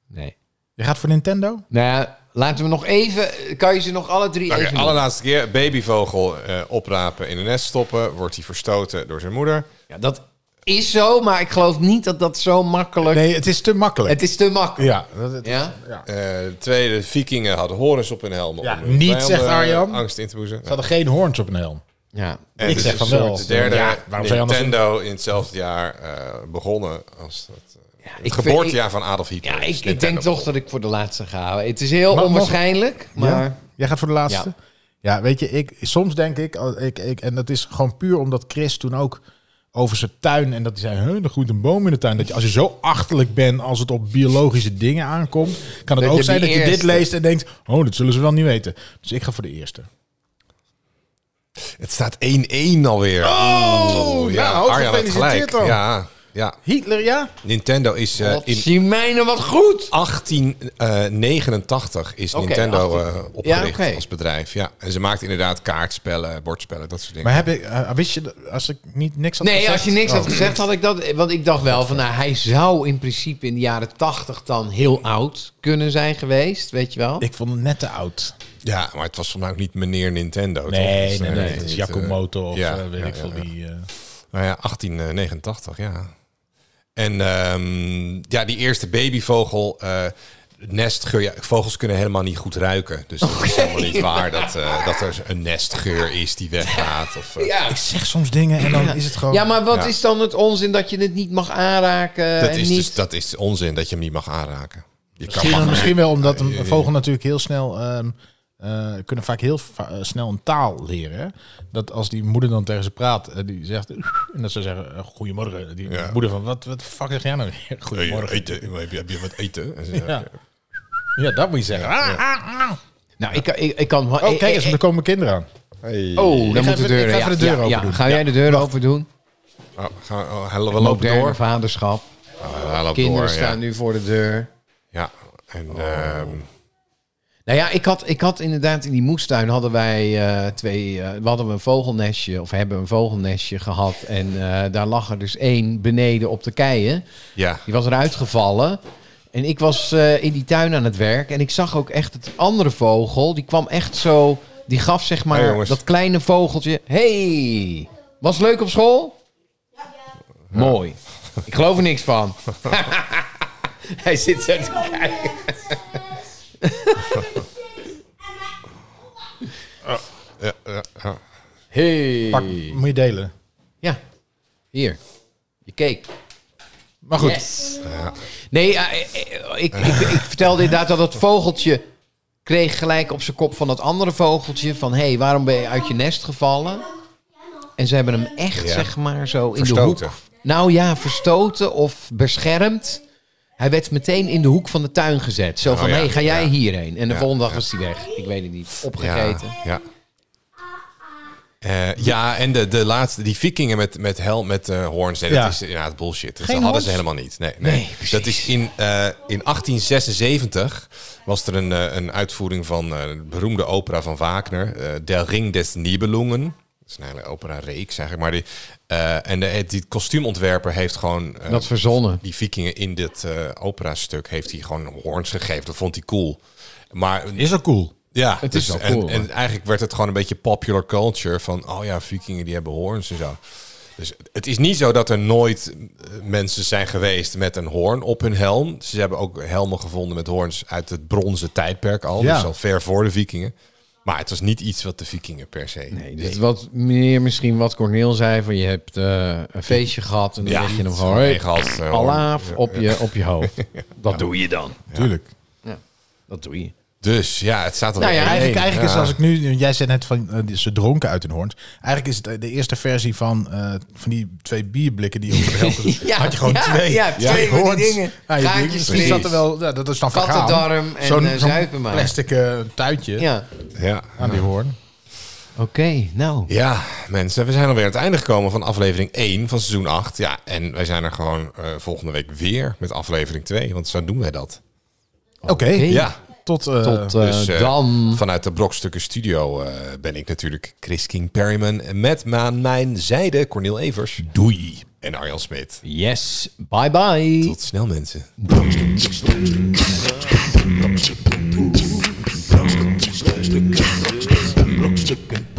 Speaker 4: Nee.
Speaker 1: Je gaat voor Nintendo?
Speaker 4: Nou ja, laten we nog even... Kan je ze nog alle drie
Speaker 2: Oké,
Speaker 4: even... doen?
Speaker 2: allerlaatste keer. Babyvogel eh, oprapen, in een nest stoppen. Wordt hij verstoten door zijn moeder.
Speaker 4: Ja, dat is zo, maar ik geloof niet dat dat zo makkelijk...
Speaker 1: Nee, het is te makkelijk.
Speaker 4: Het is te makkelijk.
Speaker 1: Ja. dat- dat-
Speaker 4: Ja?
Speaker 2: Eh, de tweede, vikingen hadden horens op hun helmen.
Speaker 1: Ja,
Speaker 2: hun
Speaker 1: niet,
Speaker 2: vijanden eh,
Speaker 1: zegt Arjan.
Speaker 2: Angst in te boezemen.
Speaker 1: Ze hadden geen hoorns op een helm.
Speaker 4: Ja.
Speaker 2: En
Speaker 1: Ik
Speaker 2: dit
Speaker 1: zeg
Speaker 2: is
Speaker 1: van
Speaker 2: een
Speaker 1: wel.
Speaker 2: soort De derde
Speaker 1: Ja, waarom zou je anders-
Speaker 2: Nintendo in hetzelfde jaar eh, begonnen als het, eh, het
Speaker 4: ik vind-
Speaker 2: geboortejaar van Adolf Hitler.
Speaker 4: Ja,
Speaker 2: Dus
Speaker 4: ik, ik
Speaker 2: Nintendo
Speaker 4: denk toch
Speaker 2: begon.
Speaker 4: dat ik voor de laatste ga houden. Het is heel
Speaker 1: Maar nog-
Speaker 4: onwaarschijnlijk, maar...
Speaker 1: Ja? Jij gaat voor de laatste? Ja, weet je, ik, soms denk ik, als ik, ik, en dat is gewoon puur omdat Chris toen ook over zijn tuin, en dat hij zei, "Huh, er groeit een boom in de tuin. Dat je, als je zo achterlijk bent als het op biologische dingen aankomt, kan het
Speaker 4: je
Speaker 1: ook
Speaker 4: die
Speaker 1: zijn dat je dit
Speaker 4: eerste-
Speaker 1: leest en denkt, oh, dat zullen ze wel niet weten. Dus ik ga voor de eerste.
Speaker 2: Het staat 1-1 alweer.
Speaker 1: Oh,
Speaker 2: Oeh,
Speaker 1: nou,
Speaker 2: Arjan had
Speaker 1: gefeliciteerd
Speaker 2: gelijk.
Speaker 1: dan.
Speaker 2: Ja, ja,
Speaker 1: Hitler, ja?
Speaker 2: Nintendo is eh,
Speaker 4: Wat
Speaker 2: in
Speaker 4: zie mijnen wat goed.
Speaker 2: 1889 is
Speaker 4: Oké,
Speaker 2: Nintendo
Speaker 4: 18.
Speaker 2: eh, opgericht
Speaker 4: Ja, oké.
Speaker 2: als bedrijf. Ja. En ze maakt inderdaad kaartspellen, bordspellen, dat soort dingen.
Speaker 1: Maar heb ik, eh, wist je, dat- als ik niet niks had
Speaker 4: Nee,
Speaker 1: gezegd-
Speaker 4: als je niks had
Speaker 1: Oh.
Speaker 4: gezegd, had ik dat. Want ik dacht wel van, nou, hij zou in principe in de jaren tachtig dan heel oud kunnen zijn geweest, weet je wel?
Speaker 1: Ik vond het net te oud.
Speaker 2: ja, maar het was voor mij ook niet meneer Nintendo. toch?
Speaker 1: Nee,
Speaker 2: Dus,
Speaker 1: nee,
Speaker 2: eh,
Speaker 1: nee. Het is
Speaker 2: eh,
Speaker 1: Yakumoto of
Speaker 2: ja,
Speaker 1: eh, weet
Speaker 2: ja,
Speaker 1: ik
Speaker 2: ja,
Speaker 1: veel
Speaker 2: ja.
Speaker 1: die... eh,
Speaker 2: Nou ja, 1889, ja. En ehm, ja, die eerste babyvogel... eh, Nestgeur, ja, vogels kunnen helemaal niet goed ruiken. Dus het is helemaal niet waar dat, eh, dat er een nestgeur is die weggaat. Of, eh,
Speaker 4: Ja.
Speaker 1: Ik zeg soms dingen en dan is het gewoon...
Speaker 4: ja, maar wat
Speaker 2: Ja.
Speaker 4: is dan het onzin dat je het niet mag aanraken?
Speaker 2: dat,
Speaker 4: en
Speaker 2: is
Speaker 4: niet...
Speaker 2: dus, dat is onzin dat je hem niet mag aanraken. Je kan
Speaker 1: Misschien,
Speaker 2: mag-
Speaker 1: misschien wel omdat een vogel natuurlijk heel snel... ehm, eh, kunnen vaak heel va- eh, snel een taal leren. hè. Dat als die moeder dan tegen ze praat, eh, die zegt... En dat ze zeggen, eh, goedemorgen. Die
Speaker 2: Ja.
Speaker 1: moeder van, wat, wat de fuck zeg jij nou? weer? Goedemorgen.
Speaker 2: Eh, Eten, heb, je, heb je wat eten? En ze-
Speaker 1: Ja. ja, dat moet je zeggen. Ah, ah, ah.
Speaker 4: Nou, ik, ik, ik kan...
Speaker 1: Oh, kijk eens, er komen kinderen aan.
Speaker 4: Oh,
Speaker 1: Ik ga
Speaker 4: dan moet
Speaker 1: even-
Speaker 4: de deur...
Speaker 1: ik ga
Speaker 4: ja,
Speaker 1: even de deur
Speaker 4: ja,
Speaker 1: open
Speaker 4: ja.
Speaker 1: doen.
Speaker 4: Ga jij de deur open doen?
Speaker 2: Oh, gaan, oh, hij- we lopen
Speaker 4: Moderne
Speaker 2: door.
Speaker 4: vaderschap.
Speaker 2: Oh, hij loopt
Speaker 4: Kinderen
Speaker 2: door,
Speaker 4: staan
Speaker 2: ja.
Speaker 4: nu voor de deur.
Speaker 2: Ja, en ehm,
Speaker 4: Nou ja, ik had, ik had inderdaad in die moestuin hadden wij eh, twee, eh, we hadden een vogelnestje of hebben een vogelnestje gehad en eh, daar lag er dus één beneden op de keien.
Speaker 2: ja.
Speaker 4: Die was eruit gevallen en ik was eh, in die tuin aan het werk en ik zag ook echt het andere vogel. Die kwam echt zo, die gaf zeg
Speaker 2: Hey,
Speaker 4: maar
Speaker 2: jongens.
Speaker 4: dat kleine vogeltje. Hey, was het leuk op school? Mooi. Ik geloof er niks van. Hij zit zo te kijken.
Speaker 2: ja, ja, ja.
Speaker 4: Hey.
Speaker 1: Pak, moet je delen.
Speaker 4: Ja, hier. Je keek.
Speaker 1: Maar goed,
Speaker 4: Nee, eh, eh, ik, ik, ik, vertelde inderdaad dat dat vogeltje kreeg gelijk op zijn kop van dat andere vogeltje. Van, hé, hey, waarom ben je uit je nest gevallen? En ze hebben hem echt,
Speaker 2: Ja.
Speaker 4: zeg maar, zo in de
Speaker 2: Verstoten.
Speaker 4: hoek. Nou ja, verstoten of beschermd. Hij werd meteen in de hoek van de tuin gezet. Zo van,
Speaker 2: Oh ja,
Speaker 4: hé, hey, ga jij
Speaker 2: ja.
Speaker 4: hierheen? En de
Speaker 2: Ja,
Speaker 4: volgende dag
Speaker 2: ja.
Speaker 4: was hij weg. Ik weet het niet.
Speaker 2: Ja,
Speaker 4: Opgegeten.
Speaker 2: ja. Eh, ja, en de, de laatste, die vikingen met, met hel, met eh hoorns, nee,
Speaker 1: Ja.
Speaker 2: dat is inderdaad bullshit. Dat
Speaker 1: Geen
Speaker 2: hadden ze
Speaker 1: hoorns?
Speaker 2: helemaal niet. Nee, nee.
Speaker 4: Nee, precies.
Speaker 2: dat is in, eh, in 1876 was er een, eh, een uitvoering van eh, de beroemde opera van Wagner, eh Der Ring des Nibelungen. Dat is een hele opera-reeks eigenlijk. Maar die, eh, en de, die kostuumontwerper heeft gewoon eh,
Speaker 4: Dat verzonnen.
Speaker 2: die vikingen in dit eh, opera-stuk heeft hij gewoon hoorns gegeven. Dat vond hij cool. Maar
Speaker 1: is dat cool?
Speaker 2: ja,
Speaker 4: Het
Speaker 2: het
Speaker 4: is
Speaker 2: is
Speaker 4: wel cool,
Speaker 2: en, en
Speaker 4: hoor.
Speaker 2: eigenlijk werd het gewoon een beetje popular culture van, oh ja, vikingen die hebben hoorns en zo. Dus het is niet zo dat er nooit eh, mensen zijn geweest met een hoorn op hun helm. Ze hebben ook helmen gevonden met hoorns uit het bronzen tijdperk al,
Speaker 1: Ja.
Speaker 2: dus al ver voor de vikingen. Maar het was niet iets wat de vikingen per se. Dus
Speaker 4: Nee, dit Dus is wat meer misschien wat Corneel zei van je hebt eh, een feestje gehad en dan leg je hem gewoon hey,
Speaker 2: gehad.
Speaker 4: Alaaf op je, op je hoofd. Dat doe je dan.
Speaker 1: Tuurlijk.
Speaker 4: Dat doe je.
Speaker 2: Dus ja, het staat er
Speaker 3: Nou
Speaker 2: weer
Speaker 3: ja,
Speaker 2: één.
Speaker 1: Eigenlijk, eigenlijk
Speaker 2: Ja.
Speaker 1: is als ik nu, jij zei net van eh, ze dronken uit hun hoorns. Eigenlijk is het eh, de eerste versie van, eh, van die twee bierblikken die op de helft had je gewoon
Speaker 3: ja,
Speaker 1: twee.
Speaker 3: ja, twee van die dingen.
Speaker 1: Ja, je-
Speaker 3: Gaatjes
Speaker 1: misschien
Speaker 3: erin.
Speaker 1: zat er wel, ja, dat is dan vergaan.
Speaker 3: Kattendarm en,
Speaker 1: zo'n
Speaker 3: eh,
Speaker 1: zo'n
Speaker 3: zuipen maken.
Speaker 1: plastic eh, tuitje
Speaker 3: Ja.
Speaker 2: Ja.
Speaker 1: aan die hoorn.
Speaker 3: Oké, nou.
Speaker 2: Ja, mensen, we zijn alweer aan het einde gekomen van aflevering 1 van seizoen 8. Ja, en wij zijn er gewoon eh, volgende week weer met aflevering 2, want zo doen wij dat.
Speaker 1: Oké,
Speaker 2: Ja,
Speaker 1: tot, eh,
Speaker 3: Tot eh,
Speaker 2: dus eh,
Speaker 3: dan.
Speaker 2: vanuit de Brokstukken Studio eh, ben ik natuurlijk Chris King Perryman met aan mijn zijde Cornel Evers. Doei. En Arjan Smit.
Speaker 3: Yes, bye bye.
Speaker 2: Tot snel, mensen.
Speaker 6: Brokstukken, brokstukken, brokstukken.